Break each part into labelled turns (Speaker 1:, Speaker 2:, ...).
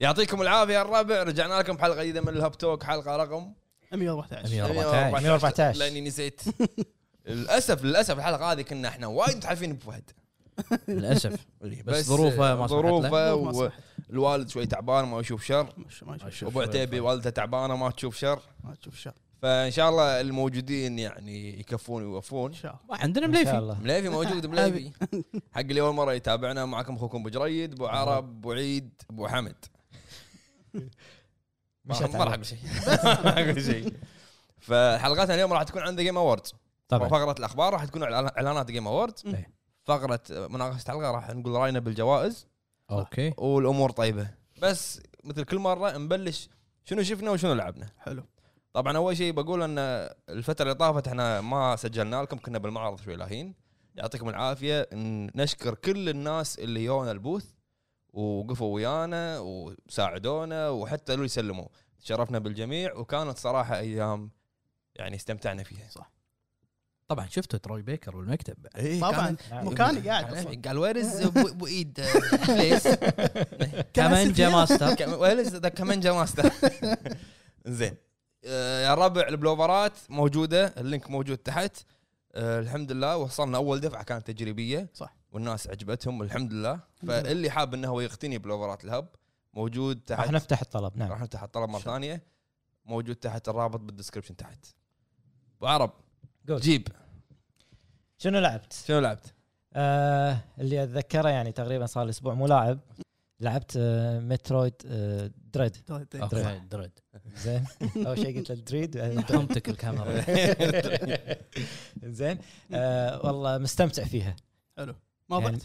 Speaker 1: يعطيكم العافيه الربع رجعنا لكم بحلقه جديده من الهاب توك حلقه رقم
Speaker 2: 114
Speaker 3: 114 114
Speaker 1: لاني نسيت للاسف للاسف الحلقه هذه كنا احنا وايد متحالفين بفهد
Speaker 3: للاسف بس
Speaker 1: آه،
Speaker 3: ظروفه ما ظروفه
Speaker 1: ظروفه
Speaker 2: ظروف ما سمحت.
Speaker 1: والوالد شوي تعبان ما يشوف شر
Speaker 2: مش- ما يشوف
Speaker 1: ابو عتيبي والدته تعبانه ما تشوف شر
Speaker 2: ما تشوف شر
Speaker 1: فان شاء الله الموجودين يعني يكفون ويوفون
Speaker 2: ان شاء الله
Speaker 3: عندنا
Speaker 4: ان شاء
Speaker 3: مليفي
Speaker 4: الله
Speaker 1: مليفي موجود مليفي حق اللي اول مره يتابعنا معكم اخوكم ابو جريد ابو عرب ابو عيد ابو حمد ما راح
Speaker 4: مشيت
Speaker 1: ما آه، راح اقول شيء
Speaker 2: بس.
Speaker 1: ما راح اقول شيء فحلقاتنا اليوم راح تكون عن ذا جيم اووردز
Speaker 3: طبعا
Speaker 1: فقره الاخبار راح تكون إعلان- اعلانات جيم اووردز
Speaker 3: إيه.
Speaker 1: فقره مناقشه الحلقه راح نقول راينا بالجوائز
Speaker 3: اوكي
Speaker 1: والامور طيبه بس مثل كل مره نبلش شنو شفنا وشنو لعبنا
Speaker 2: حلو
Speaker 4: إيه،
Speaker 1: طبعا اول شيء بقول ان الفتره اللي طافت احنا ما سجلنا لكم كنا بالمعرض شوي لاهين يعطيكم العافيه ن- نشكر كل الناس اللي يونا البوث وقفوا ويانا وساعدونا وحتى لو يسلموا تشرفنا بالجميع وكانت صراحه ايام يعني استمتعنا فيها
Speaker 3: طبعا شفتوا تروي بيكر والمكتب
Speaker 1: إيه
Speaker 2: طبعا
Speaker 4: كان- يعني
Speaker 2: مكاني قاعد اصلا
Speaker 1: قال وير از ابو ايد بليز
Speaker 3: كمانجا ماستر
Speaker 1: وير از ذا كمانجا ماستر زين آه، يا ربع البلوفرات موجوده اللينك موجود تحت آه، الحمد لله وصلنا اول دفعه كانت تجريبيه
Speaker 2: صح.
Speaker 1: والناس عجبتهم الحمد لله
Speaker 2: لله.
Speaker 1: فاللي حاب انه هو يقتني بلوفرات الهب موجود
Speaker 4: راح
Speaker 1: تحت
Speaker 4: نفتح الطلب نعم
Speaker 1: راح نفتح الطلب مره ثانيه موجود تحت الرابط بالدسكربشن تحت أبو عرب
Speaker 4: قول.
Speaker 1: جيب
Speaker 4: شنو لعبت؟
Speaker 1: شنو لعبت؟
Speaker 4: آه اللي اتذكره يعني تقريبا صار لي اسبوع مو لاعب لعبت آه مترويد آه دريد
Speaker 2: طيب،
Speaker 3: اوكي درد
Speaker 4: زين اول شيء قلت دريد
Speaker 3: امتك الكاميرا
Speaker 4: زين آه والله مستمتع فيها
Speaker 2: حلو ما
Speaker 4: يعني-
Speaker 2: ضعت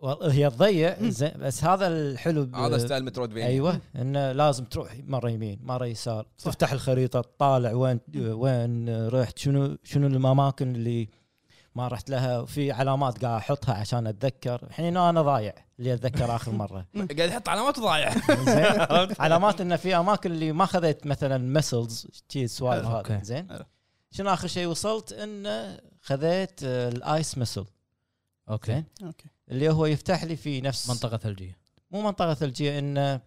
Speaker 4: والله هي تضيع زين بس هذا الحلو ب-
Speaker 1: هذا ستايل مترويد
Speaker 4: ايوه انه لازم تروح مره يمين مره يسار تفتح الخريطه تطالع وين وين رحت شنو شنو الاماكن اللي ما رحت لها وفي علامات قاعد احطها عشان اتذكر الحين انا ضايع اللي اتذكر اخر مره
Speaker 1: قاعد يحط علامات ضايع
Speaker 4: زين علامات انه في اماكن اللي ما خذيت مثلا مسلز شي سوالف
Speaker 3: حلو.
Speaker 4: هذا
Speaker 3: أوكي.
Speaker 4: زين
Speaker 2: حلو.
Speaker 4: شنو اخر شيء وصلت انه خذيت آه، الايس مسل
Speaker 3: اوكي
Speaker 2: اوكي
Speaker 4: اللي هو يفتح لي في نفس
Speaker 3: منطقه ثلجيه
Speaker 4: مو منطقه ثلجيه انه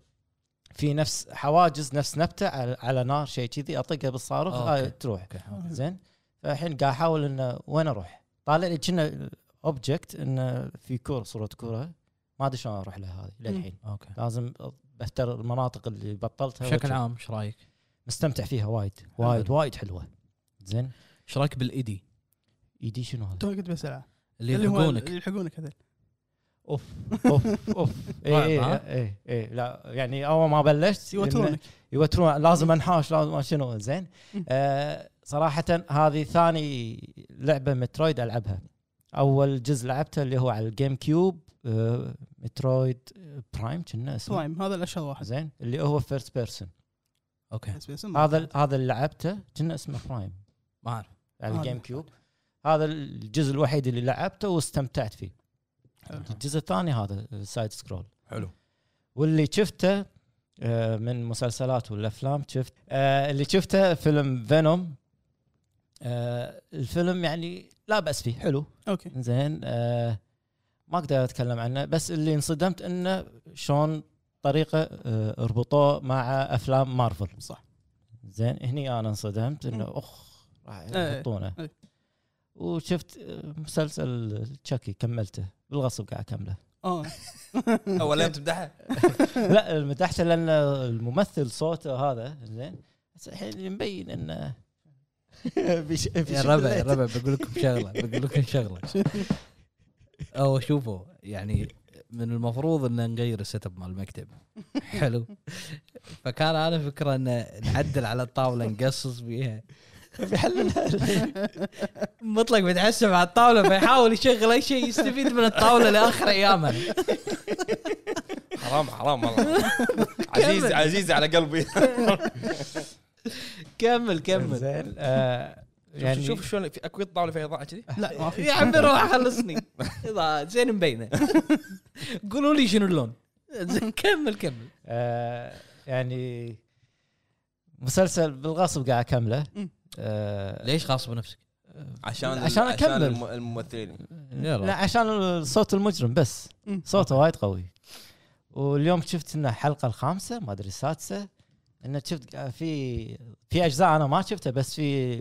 Speaker 4: في نفس حواجز نفس نبته على, على نار شيء كذي اطقها بالصاروخ
Speaker 3: أوكي.
Speaker 4: آه تروح
Speaker 3: اوكي أوكي.
Speaker 4: زين فالحين قاعد احاول انه وين اروح طالع لي كنا اوبجكت انه في كوره صوره كوره ما ادري شلون اروح لها هذه للحين
Speaker 3: اوكي
Speaker 4: لازم بفتر المناطق اللي بطلتها
Speaker 3: بشكل
Speaker 4: وأشوف.
Speaker 3: عام ايش رايك؟
Speaker 4: مستمتع فيها وايد وايد وايد حلوه زين
Speaker 3: ايش رايك بالايدي
Speaker 4: ايدي شنو هذا؟
Speaker 3: طيب.
Speaker 2: تو كنت بسأله
Speaker 3: اللي يلحقونك
Speaker 2: اللي يلحقونك هذول
Speaker 4: اوف اوف اوف اي
Speaker 3: رعب،
Speaker 4: اي
Speaker 3: ها؟
Speaker 4: اي اي إيه، لا يعني اول ما بلشت إنه-
Speaker 2: يوترونك
Speaker 4: يوترون لازم انحاش لازم ما شنو زين
Speaker 2: مم.
Speaker 4: آه صراحه هذه ثاني لعبه مترويد العبها اول جزء لعبته اللي هو على الجيم كيوب آه مترويد برايم كنا اسمه
Speaker 2: سلايم هذا الاشهر واحد
Speaker 4: زين اللي هو فيرست بيرسون
Speaker 3: اوكي
Speaker 2: بس باسم.
Speaker 4: هذا ال- هذا اللي لعبته كنا اسمه برايم
Speaker 3: ما اعرف
Speaker 4: على
Speaker 2: هذا.
Speaker 4: الجيم كيوب هذا الجزء الوحيد اللي لعبته واستمتعت فيه
Speaker 2: حلو.
Speaker 4: الجزء الثاني هذا آه، سايد سكرول
Speaker 1: حلو
Speaker 4: واللي شفته آه، من مسلسلات والافلام شفت آه، اللي شفته فيلم فينوم الفيلم يعني لا باس فيه حلو
Speaker 2: اوكي
Speaker 4: زين آه، ما اقدر اتكلم عنه بس اللي انصدمت انه شلون طريقه آه، اربطوه مع افلام مارفل
Speaker 2: صح.
Speaker 4: زين هني انا انصدمت انه
Speaker 2: مم.
Speaker 4: اخ راح
Speaker 2: إيه،
Speaker 4: يحطونه
Speaker 2: إيه.
Speaker 4: وشفت آه، مسلسل تشاكي كملته بالغصب قاعد اكمله
Speaker 2: اه
Speaker 1: اول لا تمدحه
Speaker 4: لا المدحته لان الممثل صوته هذا زين بس الحين مبين انه بش...
Speaker 3: يا ربع يا ربع بقول لكم شغله بقول لكم شغله او شوفوا يعني من المفروض ان نغير السيت اب مال المكتب حلو فكان انا فكره ان نعدل على الطاوله نقصص بيها مطلق متعسف على الطاوله فيحاول يشغل اي شيء يستفيد من الطاوله لاخر ايامه
Speaker 1: حرام حرام والله عزيز
Speaker 3: كمل.
Speaker 1: عزيز على قلبي
Speaker 3: كمل كمل
Speaker 4: زين آه،
Speaker 1: يعني
Speaker 4: يعني
Speaker 1: شوف شلون في اكو طاوله فيها اضاءه كذي
Speaker 2: لا ما في
Speaker 3: يا عمي روح خلصني إضاءة زين مبينه قولوا لي شنو اللون زين، كمل كمل
Speaker 4: آه، يعني مسلسل بالغصب قاعد اكمله
Speaker 2: مم.
Speaker 4: آه،
Speaker 3: ليش غاصب نفسك؟
Speaker 1: عشان
Speaker 4: عشان أكمل.
Speaker 1: الم- الممثلين
Speaker 3: يلا.
Speaker 4: لا عشان صوت المجرم بس
Speaker 2: مم.
Speaker 4: صوته وايد قوي واليوم شفت انه الحلقه الخامسه ما ادري السادسه انه شفت قا- في في اجزاء انا ما شفتها بس في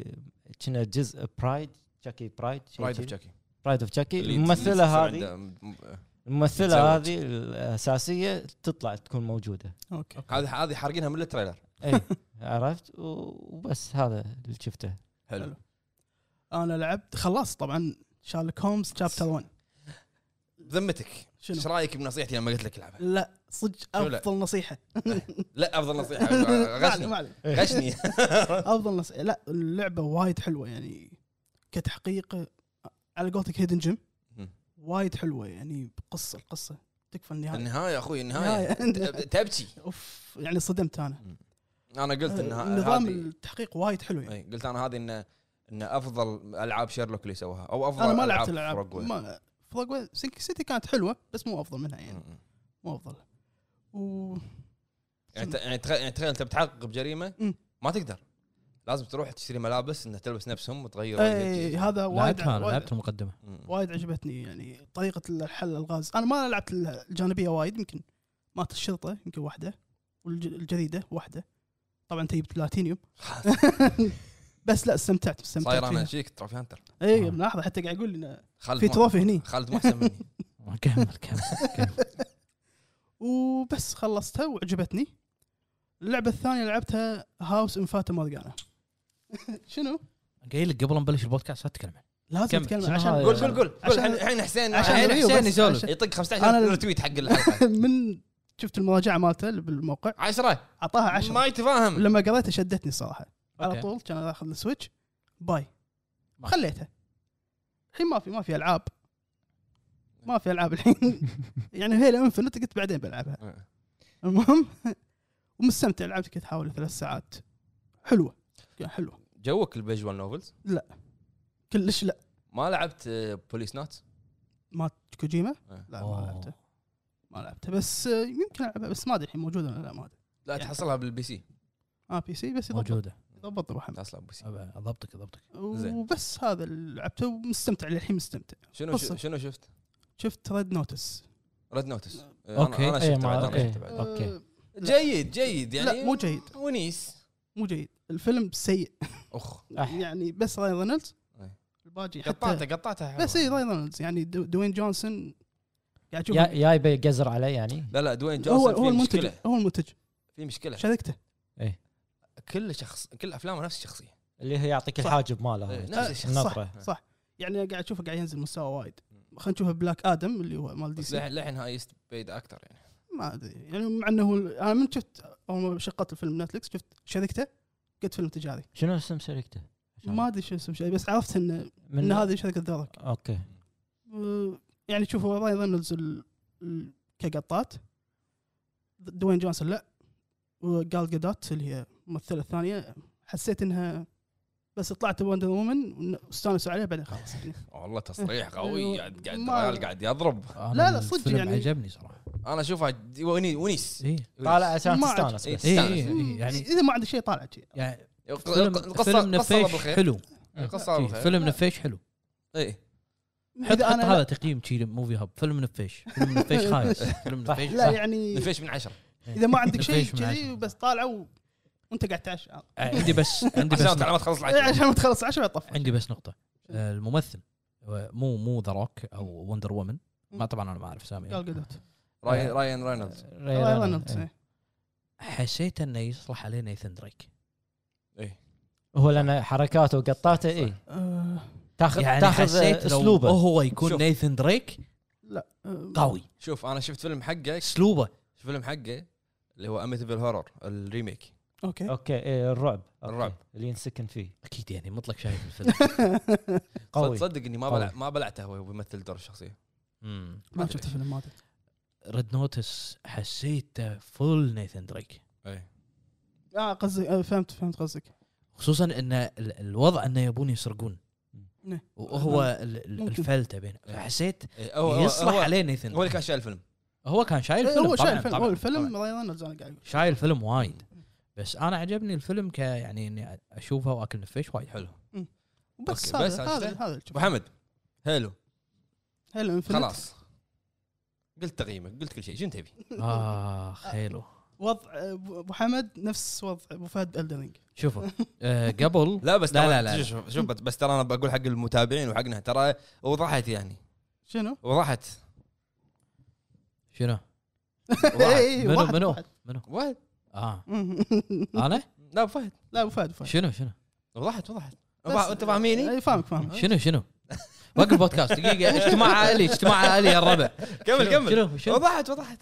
Speaker 4: كنا جزء برايد تشاكي برايد
Speaker 1: رايد اوف تشاكي
Speaker 4: برايد اوف تشاكي الممثله إيه، هذه الممثله
Speaker 1: متزوج.
Speaker 4: هذه الاساسيه تطلع تكون موجوده
Speaker 2: اوكي
Speaker 1: هذه هذه حارقينها من التريلر
Speaker 4: اي عرفت و- وبس هذا اللي شفته
Speaker 1: حلو
Speaker 2: انا لعبت خلصت طبعا شارلوك هومز شابتر 1
Speaker 1: ذمتك
Speaker 2: شنو؟
Speaker 1: ايش رايك بنصيحتي لما قلت لك العبها؟
Speaker 2: لا صدق
Speaker 1: شو لا؟
Speaker 2: افضل نصيحه
Speaker 1: لا افضل نصيحه
Speaker 2: ما عليه، ما
Speaker 1: غشني
Speaker 2: عليه.
Speaker 1: غشني
Speaker 2: افضل نصيحه لا اللعبه وايد حلوه يعني كتحقيق على قولتك هيدن جيم
Speaker 1: مم.
Speaker 2: وايد حلوه يعني قصه القصه تكفى النهايه
Speaker 1: النهايه يا اخوي النهايه ت- تبكي
Speaker 2: اوف يعني صدمت انا
Speaker 1: انا قلت ان ه-
Speaker 2: نظام
Speaker 1: هذه-
Speaker 2: التحقيق وايد حلو يعني
Speaker 1: إي، قلت انا هذه انه ان افضل العاب شيرلوك اللي سواها او افضل
Speaker 2: انا ما لعبت
Speaker 1: فروغ
Speaker 2: الالعاب
Speaker 1: ويل.
Speaker 2: ما فروغ سينك سيتي كانت حلوه بس مو افضل منها يعني
Speaker 1: مم.
Speaker 2: مو افضل و
Speaker 1: يعني ت- يعني تخ- يعني تخيل انت بتحقق بجريمه
Speaker 2: مم.
Speaker 1: ما تقدر لازم تروح تشتري ملابس انها تلبس نفسهم وتغير
Speaker 2: اي إيه، هذا وايد
Speaker 3: لعبتها أنا،
Speaker 2: وايد-
Speaker 3: لعبت المقدمه
Speaker 1: مم.
Speaker 2: وايد عجبتني يعني طريقه الحل الغاز انا ما لعبت الجانبيه وايد يمكن مات الشرطه يمكن واحده والجديده واحده طبعا انت جبت بلاتينيوم بس لا استمتعت استمتعت
Speaker 1: صاير انا
Speaker 2: فيها.
Speaker 1: شيك تروفي هانتر
Speaker 2: اي
Speaker 3: آه.
Speaker 2: ملاحظه حتى قاعد يقول لنا
Speaker 1: خالد
Speaker 2: في
Speaker 1: مو-
Speaker 2: تروفي هني
Speaker 1: خالد مو احسن مني
Speaker 3: كمل كمل كمل.
Speaker 2: وبس خلصتها وعجبتني اللعبه الثانيه لعبتها هاوس انفاتا مورجانا شنو؟
Speaker 3: قايل لك قبل ما نبلش البودكاست لا تتكلم عنه.
Speaker 2: لازم
Speaker 3: كمل.
Speaker 2: نتكلم
Speaker 3: شنو
Speaker 2: عشان
Speaker 3: هاي؟
Speaker 1: قول قول قول قول
Speaker 2: عشان-
Speaker 1: الحين- الحين حسين
Speaker 2: عشان
Speaker 1: الحين
Speaker 2: الريو
Speaker 1: حسين
Speaker 2: بس،
Speaker 1: يسولف
Speaker 2: عشان-
Speaker 1: يطق
Speaker 2: أنا-
Speaker 1: 15 ريتويت حق الحلقه
Speaker 2: من شفت المراجعه مالته بالموقع
Speaker 1: 10
Speaker 2: اعطاها 10
Speaker 1: ما يتفاهم
Speaker 2: لما قريتها شدتني صراحه على
Speaker 3: أوكي.
Speaker 2: طول كان اخذ السويتش باي
Speaker 3: ما-
Speaker 2: خليتها الحين ما في ما في العاب ما في العاب الحين يعني هيلا انفنت قلت بعدين بلعبها المهم ومستمتع لعبت كنت حوالي ثلاث ساعات حلوه يعني حلوه
Speaker 1: جوك الفيجوال نوفلز
Speaker 2: كلش لا
Speaker 1: ما لعبت آه، بوليس نوت
Speaker 2: ما كوجيما
Speaker 1: إيه.
Speaker 2: لا ما
Speaker 3: أوه.
Speaker 2: لعبته ما لعبته بس آه، يمكن العبها بس ما ادري الحين موجوده ولا لا ما ادري
Speaker 1: لا تحصلها بالبي سي
Speaker 2: اه بي سي بس يضبط
Speaker 3: موجوده
Speaker 2: يضبط ابو حمد
Speaker 1: تحصلها بالبي سي
Speaker 3: أبا، ضبطك ضبطك
Speaker 1: زين.
Speaker 2: وبس هذا اللي لعبته ومستمتع للحين مستمتع
Speaker 1: شنو
Speaker 2: قصة.
Speaker 1: شو- شنو شفت؟
Speaker 2: شفت ريد نوتس
Speaker 1: ريد نوتس
Speaker 3: أوكي.
Speaker 1: انا
Speaker 4: إيه،
Speaker 1: شفته
Speaker 4: ما-
Speaker 1: بعد أنا
Speaker 4: إيه.
Speaker 1: شفته بعد.
Speaker 4: أوكي.
Speaker 1: جيد جيد يعني
Speaker 2: لا، مو جيد.
Speaker 1: ونيس
Speaker 2: مو جيد الفيلم سيء
Speaker 1: اخ
Speaker 4: أح.
Speaker 2: يعني بس راي رينولدز
Speaker 1: أي.
Speaker 2: الباقي حتى
Speaker 1: قطعته قطعته حلوة.
Speaker 2: بس اي راي رينولدز يعني دو- دوين جونسون قاعد اشوف
Speaker 4: يا يا يبي يقزر علي يعني
Speaker 1: لا لا دوين
Speaker 2: هو
Speaker 1: جونسون
Speaker 2: هو
Speaker 1: في
Speaker 2: المنتج
Speaker 1: مشكله
Speaker 2: هو المنتج
Speaker 1: في مشكله
Speaker 2: شركته
Speaker 1: كل شخص كل افلامه نفس الشخصيه
Speaker 4: اللي هي يعطيك
Speaker 2: صح.
Speaker 4: الحاجب
Speaker 1: إيه،
Speaker 4: ماله
Speaker 1: نفس الشخص
Speaker 4: النظرة.
Speaker 2: صح صح يعني قاعد اشوفه قاعد ينزل مستوى وايد خلينا نشوف بلاك ادم اللي هو مال دي
Speaker 1: بس
Speaker 2: سي
Speaker 1: لحن لحن هاي يست بيد اكتر يعني
Speaker 2: ما ادري يعني مع انه هو- انا من شفت اول ما شقت الفيلم نتفلكس شفت شركته قلت فيلم تجاري
Speaker 4: شنو اسم شركته؟
Speaker 2: ما ادري شو اسم شيء بس عرفت انه
Speaker 4: من
Speaker 2: ان هذه شركه ذا روك.
Speaker 4: اوكي
Speaker 2: أه، يعني شوفوا راي رينولدز ال- ال- كقطات دوين جونسون لا وقال جدات اللي هي الممثله الثانيه حسيت انها بس طلعت وندر وومن واستانسوا عليها بعدين خلاص يعني
Speaker 1: والله تصريح قوي
Speaker 2: أيوه.
Speaker 1: قاعد قاعد
Speaker 2: ما-
Speaker 1: الرجال قاعد يضرب
Speaker 3: أنا
Speaker 2: لا، لا، صدق
Speaker 3: الفيلم
Speaker 2: يعني-
Speaker 3: عجبني صراحه
Speaker 1: انا اشوفها ج- وني- ونيس
Speaker 3: اي
Speaker 4: طالع عشان
Speaker 2: ما
Speaker 4: تستانس
Speaker 1: عجب-
Speaker 4: بس
Speaker 1: إيه.
Speaker 3: اي
Speaker 1: تستانس.
Speaker 3: إي، يعني
Speaker 2: اذا ما عندي شيء طالع شيء
Speaker 3: يعني
Speaker 1: الق-
Speaker 3: فيلم
Speaker 1: الق- القصه
Speaker 3: فيلم
Speaker 1: القصه
Speaker 3: نفيش
Speaker 1: بالخير طيب.
Speaker 3: حلو
Speaker 5: إيه،
Speaker 1: القصه
Speaker 3: إي،
Speaker 1: بالخير إيه.
Speaker 3: فيلم نفيش حلو
Speaker 1: اي
Speaker 3: حط حط هذا تقييم شي موفي هاب فيلم نفيش فيلم نفيش خايس فيلم
Speaker 4: صح.
Speaker 3: نفيش
Speaker 2: لا يعني
Speaker 1: إيه، نفيش من عشره
Speaker 2: اذا ما عندك شيء
Speaker 3: نفيش من
Speaker 2: كذي
Speaker 3: عشرة.
Speaker 2: وبس طالع و- وانت قاعد تعش آه.
Speaker 3: عندي بس عندي بس
Speaker 1: عشان
Speaker 3: نقطة.
Speaker 1: على ما تخلص العشرة.
Speaker 2: عشان ما تخلص 10
Speaker 5: يعني-
Speaker 2: يطفى
Speaker 3: عندي بس نقطه آه، الممثل آه، مو مو ذا روك او وندر وومن ما طبعا انا ما اعرف
Speaker 2: قال
Speaker 3: سامي
Speaker 2: قدوت
Speaker 1: راين راين رينولدز
Speaker 4: ري
Speaker 2: راي
Speaker 4: رينولدز.
Speaker 2: رينولدز
Speaker 4: إيه.
Speaker 2: إيه.
Speaker 3: حسيت انه يصلح عليه نيثن دريك
Speaker 1: إيه.
Speaker 4: هو لان حركاته وقطاته إيه. اي
Speaker 2: آه،
Speaker 4: تاخذ
Speaker 3: يعني
Speaker 4: تاخذ
Speaker 3: حسيت اسلوبه
Speaker 4: اسلوبه
Speaker 3: هو يكون
Speaker 1: شوف.
Speaker 3: نيثن دريك
Speaker 2: لا آه،
Speaker 3: قوي
Speaker 1: شوف انا شفت فيلم حقه
Speaker 3: اسلوبه
Speaker 1: فيلم حقه اللي هو اميتيفل هورر الريميك
Speaker 2: اوكي
Speaker 4: اوكي إيه الرعب أوكي.
Speaker 1: الرعب.
Speaker 4: اللي ينسكن فيه
Speaker 3: اكيد يعني مطلق شايف الفيلم
Speaker 4: قوي
Speaker 1: تصدق اني ما
Speaker 4: قوي.
Speaker 1: بلع ما بلعته هو بيمثل دور الشخصيه
Speaker 3: مم.
Speaker 2: ما شفت الفيلم ما ادري
Speaker 3: ريد نوتس حسيته فول نيثن دريك
Speaker 1: اي
Speaker 2: اه قصدي آه، فهمت فهمت قصدك
Speaker 3: خصوصا ان ال- الوضع انه يبون يسرقون
Speaker 2: نعم.
Speaker 3: وهو ال- ال-
Speaker 2: ممكن.
Speaker 3: الفلته بينه فحسيت
Speaker 1: إيه، هو- هو-
Speaker 3: يصلح
Speaker 1: هو-
Speaker 3: عليه نيثن
Speaker 1: هو اللي
Speaker 3: دريك.
Speaker 1: كان شايل الفيلم
Speaker 3: هو كان شايل فيلم
Speaker 2: إيه، هو
Speaker 3: طبعاً،
Speaker 2: شايل الفيلم
Speaker 3: طبعاً،
Speaker 2: هو
Speaker 3: طبعاً.
Speaker 2: الفيلم راي رينولدز انا قاعد اقول
Speaker 3: شايل فيلم وايد بس انا عجبني الفيلم ك يعني اني اشوفه واكل نفيش وايد حلو
Speaker 2: بس
Speaker 1: أوكي، بس
Speaker 2: هذا هذا
Speaker 1: عشان-
Speaker 2: هذا اللي
Speaker 1: ابو
Speaker 2: شوفه.
Speaker 1: حمد حلو
Speaker 2: هيلو انفنت
Speaker 1: خلاص قلت تقييمك قلت كل شيء شنو تبي؟
Speaker 3: آه،
Speaker 5: اخ حلو
Speaker 2: وضع ابو أبو حمد نفس وضع ابو فهد الدرينج
Speaker 5: شوفوا آه قبل
Speaker 1: لا بس
Speaker 5: لا،
Speaker 1: ترى-
Speaker 5: لا، لا.
Speaker 1: شوف شوف بس- بس ترى انا بقول حق المتابعين وحقنا ترى وضحت يعني
Speaker 2: شنو؟
Speaker 1: وضحت
Speaker 5: شنو؟
Speaker 1: وضحت
Speaker 2: إي،
Speaker 5: منو
Speaker 2: إيه، واحد
Speaker 5: منو؟
Speaker 2: واحد.
Speaker 5: منو؟
Speaker 1: واحد
Speaker 3: آه.
Speaker 5: اه
Speaker 2: لا
Speaker 5: انا؟
Speaker 1: لا فهد
Speaker 2: ابو فهد أبو فهد. إيه،
Speaker 5: شنو شنو؟
Speaker 1: وضحت وضحت
Speaker 2: بس-
Speaker 1: انت فاهميني؟
Speaker 2: اي فاهمك فاهمك
Speaker 5: شنو شنو؟ وقف بودكاست دقيقة اجتماع عائلي اجتماع عائلي يا الربع
Speaker 1: كمل
Speaker 5: شنو-
Speaker 1: كمل
Speaker 5: شنو شنو؟
Speaker 1: وضحت وضحت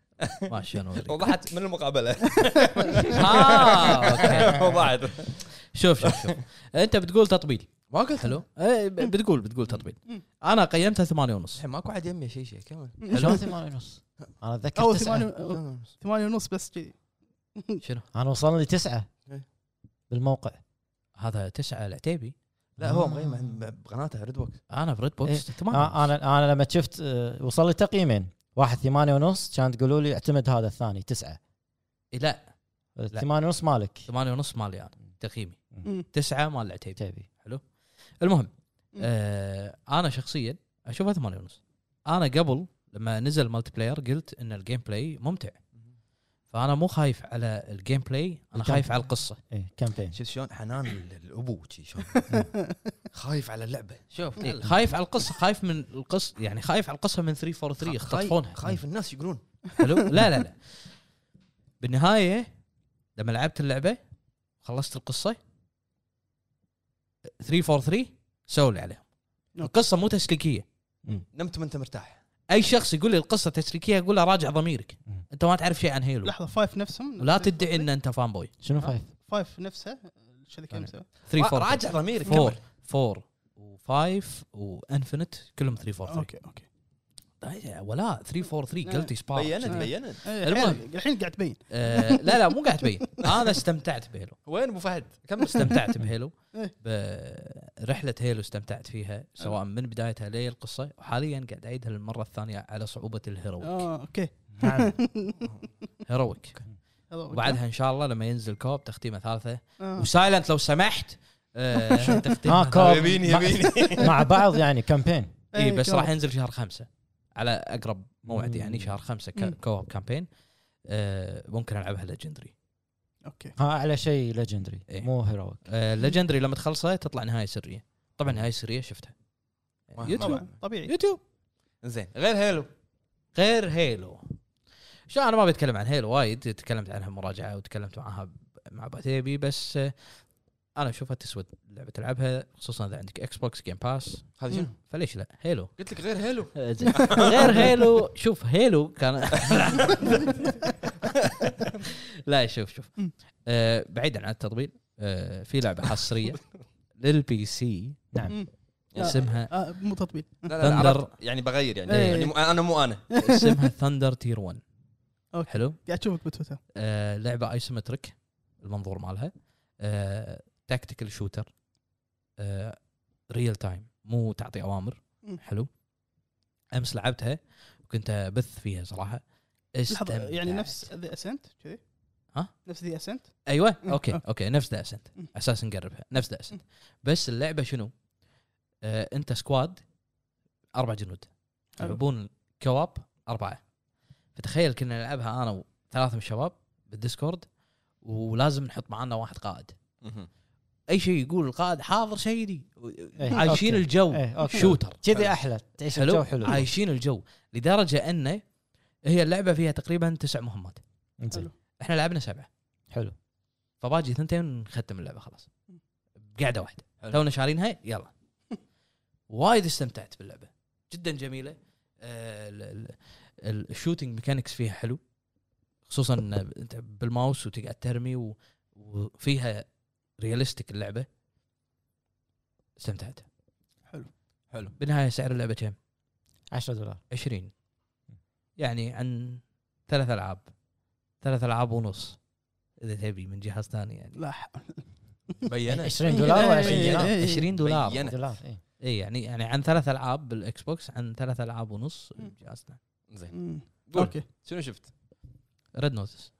Speaker 5: ما شنو أوريك.
Speaker 1: وضحت من المقابله
Speaker 5: اه اوكي
Speaker 1: وضحت
Speaker 5: شوف شوف شوف انت بتقول تطبيل ما قلت حلو إيه، ب- بتقول بتقول تطبيل انا قيمتها ثمانية ونص
Speaker 1: الحين ماكو عاد يمي شيء شيء كمل
Speaker 4: حلو ثمانية ونص انا اتذكر
Speaker 2: اول
Speaker 4: تسعة
Speaker 2: ثمانية ثمانية ونص بس كذي
Speaker 5: شنو
Speaker 4: انا وصلني تسعة
Speaker 1: إيه.
Speaker 4: بالموقع
Speaker 5: هذا تسعة العتيبي
Speaker 1: لا هو مغيم عن- بقناته ريد بوكس
Speaker 5: انا بريد
Speaker 4: إيه.
Speaker 5: بوكس
Speaker 4: آه،
Speaker 5: ثمانية
Speaker 4: انا انا لما شفت آه، وصل لي تقييمين واحد ثمانية ونص كان تقولوا لي اعتمد هذا الثاني تسعة
Speaker 5: إيه، لا
Speaker 4: ثمانية ونص مالك
Speaker 5: ثمانية ونص مالي انا تقييمي
Speaker 2: مم.
Speaker 5: تسعة مال العتيبي
Speaker 4: تبي
Speaker 5: المهم
Speaker 2: مم.
Speaker 5: آه انا شخصيا اشوفها 8 ونص انا قبل لما نزل مالتي بلاير قلت ان الجيم بلاي ممتع فانا مو خايف على الجيم بلاي انا
Speaker 4: الجيم.
Speaker 5: خايف على القصه
Speaker 4: ايه كامبين
Speaker 1: شفت شلون حنان ال- الابو شي شلون خايف على اللعبه
Speaker 5: شوف
Speaker 1: يلا.
Speaker 5: إيه، خايف على القصه خايف من القصه يعني خايف على القصه من 343
Speaker 1: خايف-
Speaker 5: يختطفونها
Speaker 1: خايف الناس يقولون
Speaker 5: حلو لا لا لا بالنهايه لما لعبت اللعبه خلصت القصه 343 سووا اللي عليهم القصه مو تسليكيه
Speaker 1: نمت وانت مرتاح
Speaker 5: اي شخص يقول لي القصه تسليكيه اقول له راجع ضميرك
Speaker 4: مم.
Speaker 5: انت ما تعرف شيء عن هيلو
Speaker 2: لحظة فايف نفسهم
Speaker 5: لا تدعي ان انت فان بوي
Speaker 4: شنو فايف؟
Speaker 2: فايف نفسها الشركة نفسها
Speaker 5: 3 4
Speaker 1: راجع ضميرك
Speaker 5: 4
Speaker 1: كمل
Speaker 5: 4 و5 وانفنت كلهم 3 4
Speaker 2: اوكي اوكي
Speaker 5: 3 طيب، ولا 3 4 3
Speaker 2: لا.
Speaker 5: قلتي سبارك
Speaker 1: بينت
Speaker 2: آه.
Speaker 1: بينت
Speaker 2: إيه،
Speaker 5: المهم.
Speaker 2: الحين- الحين قاعد تبين
Speaker 5: آه لا لا مو قاعد تبين انا استمتعت بهيلو
Speaker 1: وين ابو فهد؟ كمل
Speaker 5: استمتعت بهيلو
Speaker 2: إيه.
Speaker 5: برحلة هيلو استمتعت فيها سواء من بدايتها لي القصة وحاليا قاعد أعيدها للمرة الثانية على صعوبة الهيرويك
Speaker 2: اه اوكي
Speaker 4: نعم
Speaker 5: هيرويك
Speaker 2: هذا هو.
Speaker 5: وبعدها إن شاء الله لما ينزل كوب تختيمة ثالثة
Speaker 2: آه.
Speaker 5: وسايلنت لو سمحت آه تختيمة
Speaker 4: اه كوب
Speaker 1: يميني
Speaker 4: مع-
Speaker 1: يميني
Speaker 4: مع بعض يعني كامبين
Speaker 5: اي إيه، بس
Speaker 2: كلام.
Speaker 5: راح ينزل شهر خمسة على اقرب موعد يعني شهر خمسة
Speaker 2: مم.
Speaker 5: كواب كامبين آه ممكن العبها ليجندري
Speaker 2: اوكي
Speaker 4: ها على شيء ليجندري
Speaker 5: إيه.
Speaker 4: مو هيرويك
Speaker 5: آه ليجندري لما تخلصها تطلع نهايه سريه طبعا نهايه سريه شفتها
Speaker 1: ما-
Speaker 5: يوتيوب
Speaker 2: طبعا طبيعي
Speaker 5: يوتيوب
Speaker 1: زين غير هيلو
Speaker 5: غير هيلو شو انا ما بتكلم عن هيلو وايد تكلمت عنها مراجعه وتكلمت معها ب- مع باتيبي بس آه انا اشوفها تسود لعبه تلعبها خصوصا اذا عندك اكس بوكس جيم باس
Speaker 1: هذا شنو؟
Speaker 5: فليش لا هيلو
Speaker 1: قلت لك غير هيلو
Speaker 5: غير هيلو شوف هيلو كان لا شوف شوف آه بعيدا عن التطبيل آه في لعبه حصريه للبي سي
Speaker 4: نعم
Speaker 5: اسمها
Speaker 2: آه، مو تطبيل
Speaker 1: لا لا, لا
Speaker 5: Thunder.
Speaker 1: عرفت. يعني بغير يعني,
Speaker 2: إيه.
Speaker 1: يعني مو- انا مو انا
Speaker 5: اسمها ثندر تير 1
Speaker 2: أوكي.
Speaker 5: حلو
Speaker 2: قاعد اشوفك بتويتر
Speaker 5: آه لعبه ايسومتريك المنظور مالها آه تاكتيكال شوتر آه ريل تايم مو تعطي اوامر
Speaker 2: مم.
Speaker 5: حلو امس لعبتها وكنت ابث فيها صراحه
Speaker 2: لحظة يعني
Speaker 5: استمتعت.
Speaker 2: نفس ذا اسنت كذي
Speaker 5: ها؟
Speaker 2: نفس ذا اسنت
Speaker 5: ايوه
Speaker 2: مم.
Speaker 5: اوكي
Speaker 2: آه.
Speaker 5: اوكي نفس ذا اسنت
Speaker 2: مم.
Speaker 5: اساس نقربها نفس ذا اسنت
Speaker 2: مم.
Speaker 5: بس اللعبه شنو؟ آه انت سكواد اربع جنود
Speaker 2: حلو.
Speaker 5: يلعبون كواب اربعه فتخيل كنا نلعبها انا وثلاثه من الشباب بالديسكورد ولازم نحط معانا واحد قائد اي شيء يقول القائد حاضر سيدي
Speaker 4: إيه،
Speaker 5: عايشين
Speaker 4: أوكي.
Speaker 5: الجو
Speaker 4: إيه، أوكي.
Speaker 5: شوتر
Speaker 4: كذي احلى تعيش الجو
Speaker 5: حلو
Speaker 4: حلو
Speaker 5: عايشين الجو لدرجه انه هي اللعبه فيها تقريبا تسع مهمات
Speaker 4: إنزين.
Speaker 5: احنا لعبنا سبعه
Speaker 4: حلو
Speaker 5: فباجي ثنتين نختم اللعبه خلاص بقعده واحده
Speaker 1: حلو.
Speaker 5: تونا شارينها يلا وايد استمتعت باللعبه جدا جميله آه، ال- ال- ال- الشوتينج ميكانكس فيها حلو خصوصا إن انت بالماوس وتقعد ترمي و- وفيها رياليستيك اللعبه استمتعت
Speaker 1: حلو
Speaker 5: بالنهايه سعر اللعبه كم؟
Speaker 4: 10 دولار
Speaker 5: 20 يعني عن ثلاث العاب ثلاث العاب ونص اذا تبي من جهاز ثاني يعني
Speaker 2: لا حول.
Speaker 1: بينت
Speaker 4: 20 دولار ولا 20
Speaker 2: إيه،
Speaker 4: دينار
Speaker 2: إيه، إيه.
Speaker 5: 20 دولار
Speaker 1: بينت.
Speaker 4: دولار إيه.
Speaker 5: اي يعني يعني عن ثلاث العاب بالاكس بوكس عن ثلاث العاب ونص
Speaker 2: مم.
Speaker 5: جهازنا
Speaker 1: زين
Speaker 2: مم.
Speaker 1: قول.
Speaker 2: اوكي
Speaker 1: شنو شفت؟
Speaker 5: ريد نوتس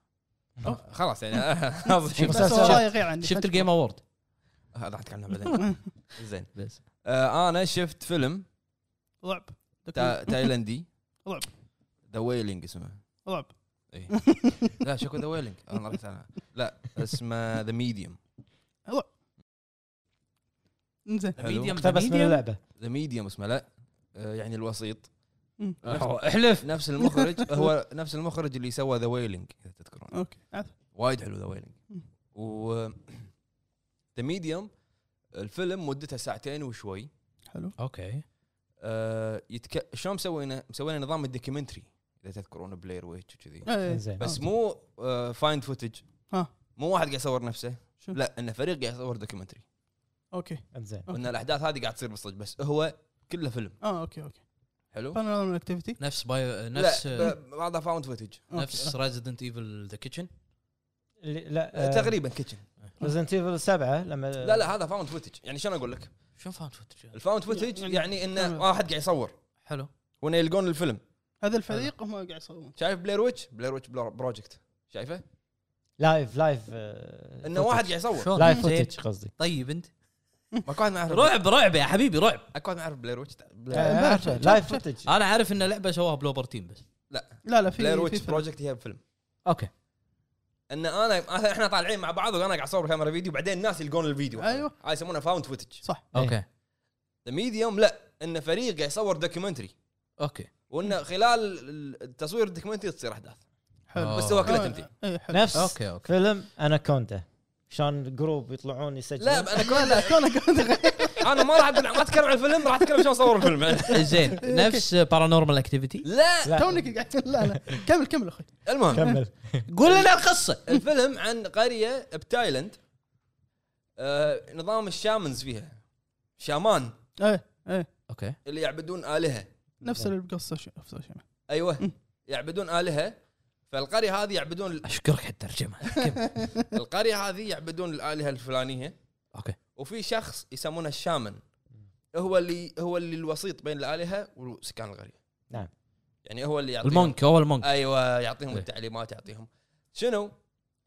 Speaker 1: آه، خلاص يعني آه،
Speaker 4: شوف.
Speaker 2: بس
Speaker 4: مسلسل.
Speaker 2: والله غير عني
Speaker 5: شفت الجيم اوورد
Speaker 1: هذا احكي عنه بعدين زين
Speaker 5: بس
Speaker 1: آه، انا شفت فيلم
Speaker 2: رعب
Speaker 1: تا- تايلندي
Speaker 2: رعب.
Speaker 1: ذا ويلينج اسمه
Speaker 2: رعب
Speaker 1: اي لا شكو ذا ويلينج انا رحت عنها آه، لا اسمه ذا ميديوم
Speaker 2: انزين
Speaker 1: ميديوم
Speaker 2: طيب،
Speaker 4: اقتبس من اللعبه
Speaker 1: ذا ميديوم اسمه لا آه، يعني الوسيط
Speaker 2: مم.
Speaker 1: احلف نفس المخرج هو نفس المخرج اللي سوى ذا ويلينج اذا تذكرون
Speaker 2: اوكي عارف.
Speaker 1: وايد حلو ذا ويلينج
Speaker 2: مم.
Speaker 1: و ذا ميديوم الفيلم مدته ساعتين وشوي
Speaker 2: حلو
Speaker 3: اوكي
Speaker 1: آه، يتك... شلون مسوينا؟ مسوينا نظام الدوكيومنتري اذا تذكرون بلاير ويتش وكذي
Speaker 2: إيه.
Speaker 4: زين
Speaker 1: بس
Speaker 2: آه.
Speaker 1: مو فايند فوتج
Speaker 2: ها.
Speaker 1: مو واحد قاعد يصور نفسه
Speaker 2: شو؟
Speaker 1: لا انه فريق قاعد يصور دوكيومنتري
Speaker 2: اوكي
Speaker 4: زين
Speaker 2: أوكي.
Speaker 1: وان الاحداث هذه قاعد تصير بالصدق بس هو كله فيلم
Speaker 2: اه اوكي اوكي
Speaker 1: حلو
Speaker 2: فانا نظام الاكتيفيتي
Speaker 5: نفس بايو
Speaker 1: نفس
Speaker 5: نفس
Speaker 1: بعضها فاوند فوتج
Speaker 5: نفس ريزدنت ايفل ذا كيتشن
Speaker 4: لا آه،
Speaker 1: تقريبا كيتشن
Speaker 4: ريزنت ايفل 7 لما
Speaker 1: آه، لا لا هذا فاوند فوتج يعني شلون اقول لك؟
Speaker 5: شلون فاوند فوتج
Speaker 1: الفاوند فوتج
Speaker 2: يعني-
Speaker 1: يعني انه
Speaker 2: تمام.
Speaker 1: واحد قاعد يصور
Speaker 5: حلو
Speaker 1: وانه يلقون الفيلم
Speaker 2: هذا الفريق هم قاعد يصورون
Speaker 1: شايف بلاير ويتش بلاير ويتش بروجكت شايفه؟
Speaker 4: لايف لايف آه،
Speaker 1: انه
Speaker 4: footage.
Speaker 1: واحد قاعد يصور
Speaker 5: شلون
Speaker 4: لايف
Speaker 5: زين.
Speaker 4: فوتج قصدي
Speaker 5: طيب انت
Speaker 1: ماكو واحد ما يعرف
Speaker 5: رعب رعب يا حبيبي رعب
Speaker 1: اكو واحد ما يعرف بلاير ويتش بلاير-
Speaker 2: عارفه.
Speaker 4: لايف فوتج
Speaker 5: انا عارف ان لعبه سواها بلوبر تيم بس
Speaker 2: لا لا في
Speaker 1: بلاير
Speaker 2: في
Speaker 1: ويتش
Speaker 2: فريق.
Speaker 1: بروجكت هي فيلم
Speaker 3: اوكي
Speaker 5: إيه.
Speaker 1: ان انا مثلا احنا طالعين مع بعض وانا قاعد اصور كاميرا فيديو بعدين الناس يلقون الفيديو
Speaker 2: أيوة.
Speaker 1: هاي يسمونها فاوند فوتج
Speaker 2: صح
Speaker 3: اوكي
Speaker 1: ذا ميديوم لا ان فريق قاعد يصور دوكيومنتري
Speaker 3: اوكي
Speaker 1: وانه خلال التصوير الدوكيومنتري تصير احداث
Speaker 2: حلو
Speaker 3: آه.
Speaker 1: بس هو كله
Speaker 2: آه،
Speaker 1: تمثيل
Speaker 2: إيه، حلو
Speaker 4: نفس
Speaker 3: اوكي اوكي
Speaker 4: فيلم اناكوندا شلون جروب يطلعون
Speaker 1: لا
Speaker 4: يسجلون
Speaker 1: انا
Speaker 2: لا
Speaker 1: كنت
Speaker 2: لا كونه كونه
Speaker 1: انا ما راح اقول ما اتكلم عن الفيلم راح اتكلم شلون صوروا الفيلم
Speaker 5: إيه،
Speaker 3: زين نفس بارانورمال اكتيفيتي
Speaker 1: لا
Speaker 2: تونك قاعد لا لا كمل كمل اخوي
Speaker 1: المهم
Speaker 4: كمل
Speaker 3: قول لنا القصه
Speaker 1: الفيلم عن قريه بتايلند آه نظام الشامنز فيها شامان
Speaker 2: ايه ايه
Speaker 3: اوكي
Speaker 1: اللي يعبدون الهه
Speaker 2: نفس القصه شو- يعني. نفس الشيء
Speaker 1: ايوه يعبدون الهه فالقريه هذه يعبدون
Speaker 3: اشكرك على الترجمه
Speaker 1: القريه هذه يعبدون الالهه الفلانيه
Speaker 3: اوكي
Speaker 1: وفي شخص يسمونه الشامن هو اللي هو اللي الوسيط بين الالهه وسكان القريه
Speaker 4: نعم.
Speaker 1: يعني هو اللي يعطيهم
Speaker 3: المونك هو
Speaker 2: آه.
Speaker 3: المونك
Speaker 1: ايوه يعطيهم
Speaker 3: إيه.
Speaker 1: التعليمات يعطيهم شنو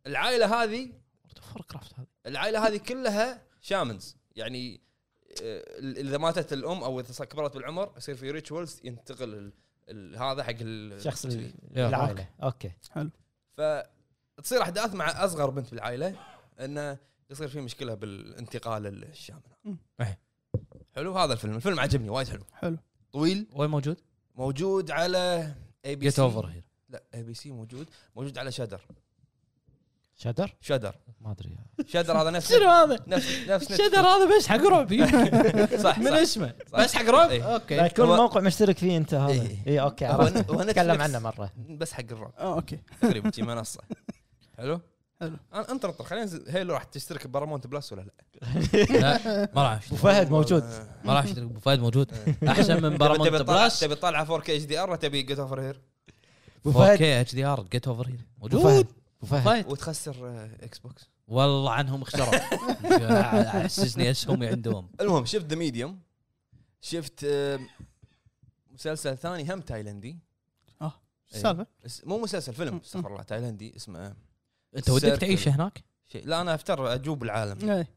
Speaker 1: العائله هذه
Speaker 3: فور كرافت هذا
Speaker 1: العائله هذه كلها شامنز يعني آه، اذا ماتت الام او اذا كبرت بالعمر يصير في ريتشولز ينتقل ال- ال- هذا حق ال-
Speaker 4: شخص ال-
Speaker 3: يا
Speaker 4: العائله اوكي
Speaker 1: فتصير احداث مع اصغر بنت بالعائله انه يصير في مشكله بالانتقال الشامن
Speaker 2: مم.
Speaker 3: إيه.
Speaker 1: حلو هذا الفيلم الفيلم عجبني وايد حلو
Speaker 2: حلو
Speaker 1: طويل
Speaker 3: وين موجود؟
Speaker 1: موجود على اي بي
Speaker 3: جيت
Speaker 1: سي
Speaker 3: اوفر هير
Speaker 1: لا اي بي سي موجود موجود على شدر
Speaker 4: شدر
Speaker 1: شدر
Speaker 4: ما ادري
Speaker 1: شدر هذا نفس
Speaker 3: شنو هذا؟
Speaker 1: نفس نفس
Speaker 3: الشدر هذا بس حق رعب
Speaker 1: نتفلكس. صح
Speaker 3: من
Speaker 1: صح.
Speaker 3: اسمه
Speaker 1: صح.
Speaker 3: بس حق رعب
Speaker 1: إيه.
Speaker 4: لا
Speaker 3: اوكي
Speaker 4: يكون
Speaker 1: هو-
Speaker 4: موقع مشترك فيه انت هذا
Speaker 1: إيه.
Speaker 4: اي اوكي
Speaker 1: هو-
Speaker 4: عرفت.
Speaker 1: هو
Speaker 4: نتكلم
Speaker 1: نتفلكس.
Speaker 4: عنه مره
Speaker 1: بس حق الرعب
Speaker 2: آه، اوكي
Speaker 1: تقريبا شي منصه حلو
Speaker 2: حلو.
Speaker 1: انا انت نطر خلينا ننزل- هيلو راح تشترك ببارامونت بلس ولا لا؟ آه.
Speaker 3: لا ما راح
Speaker 4: ابو
Speaker 3: أشتري.
Speaker 4: فهد موجود
Speaker 3: ما راح اشتري ابو فهد موجود احسن من بارامونت
Speaker 1: تبي تطلع
Speaker 3: بلس
Speaker 1: تبي تطلع 4 كي اتش دي ار ولا تبي جيت اوفر هير
Speaker 4: ابو فهد
Speaker 3: 4K اتش دي ار جيت اوفر هير
Speaker 4: ابو فهد
Speaker 3: موجود
Speaker 4: ابو فهد
Speaker 3: فهد
Speaker 1: وتخسر آه، اكس بوكس
Speaker 3: والله عنهم اخترع حسسني اسهمي عندهم
Speaker 1: المهم شفت ذا ميديوم شفت آه، مسلسل ثاني هم تايلندي
Speaker 2: شو السالفه؟
Speaker 1: بس مو مسلسل فيلم استغفر الله تايلندي اسمه
Speaker 3: انت ودك
Speaker 1: سيركل.
Speaker 3: تعيش هناك؟
Speaker 1: شيء لا انا افتر اجوب العالم
Speaker 2: إيه.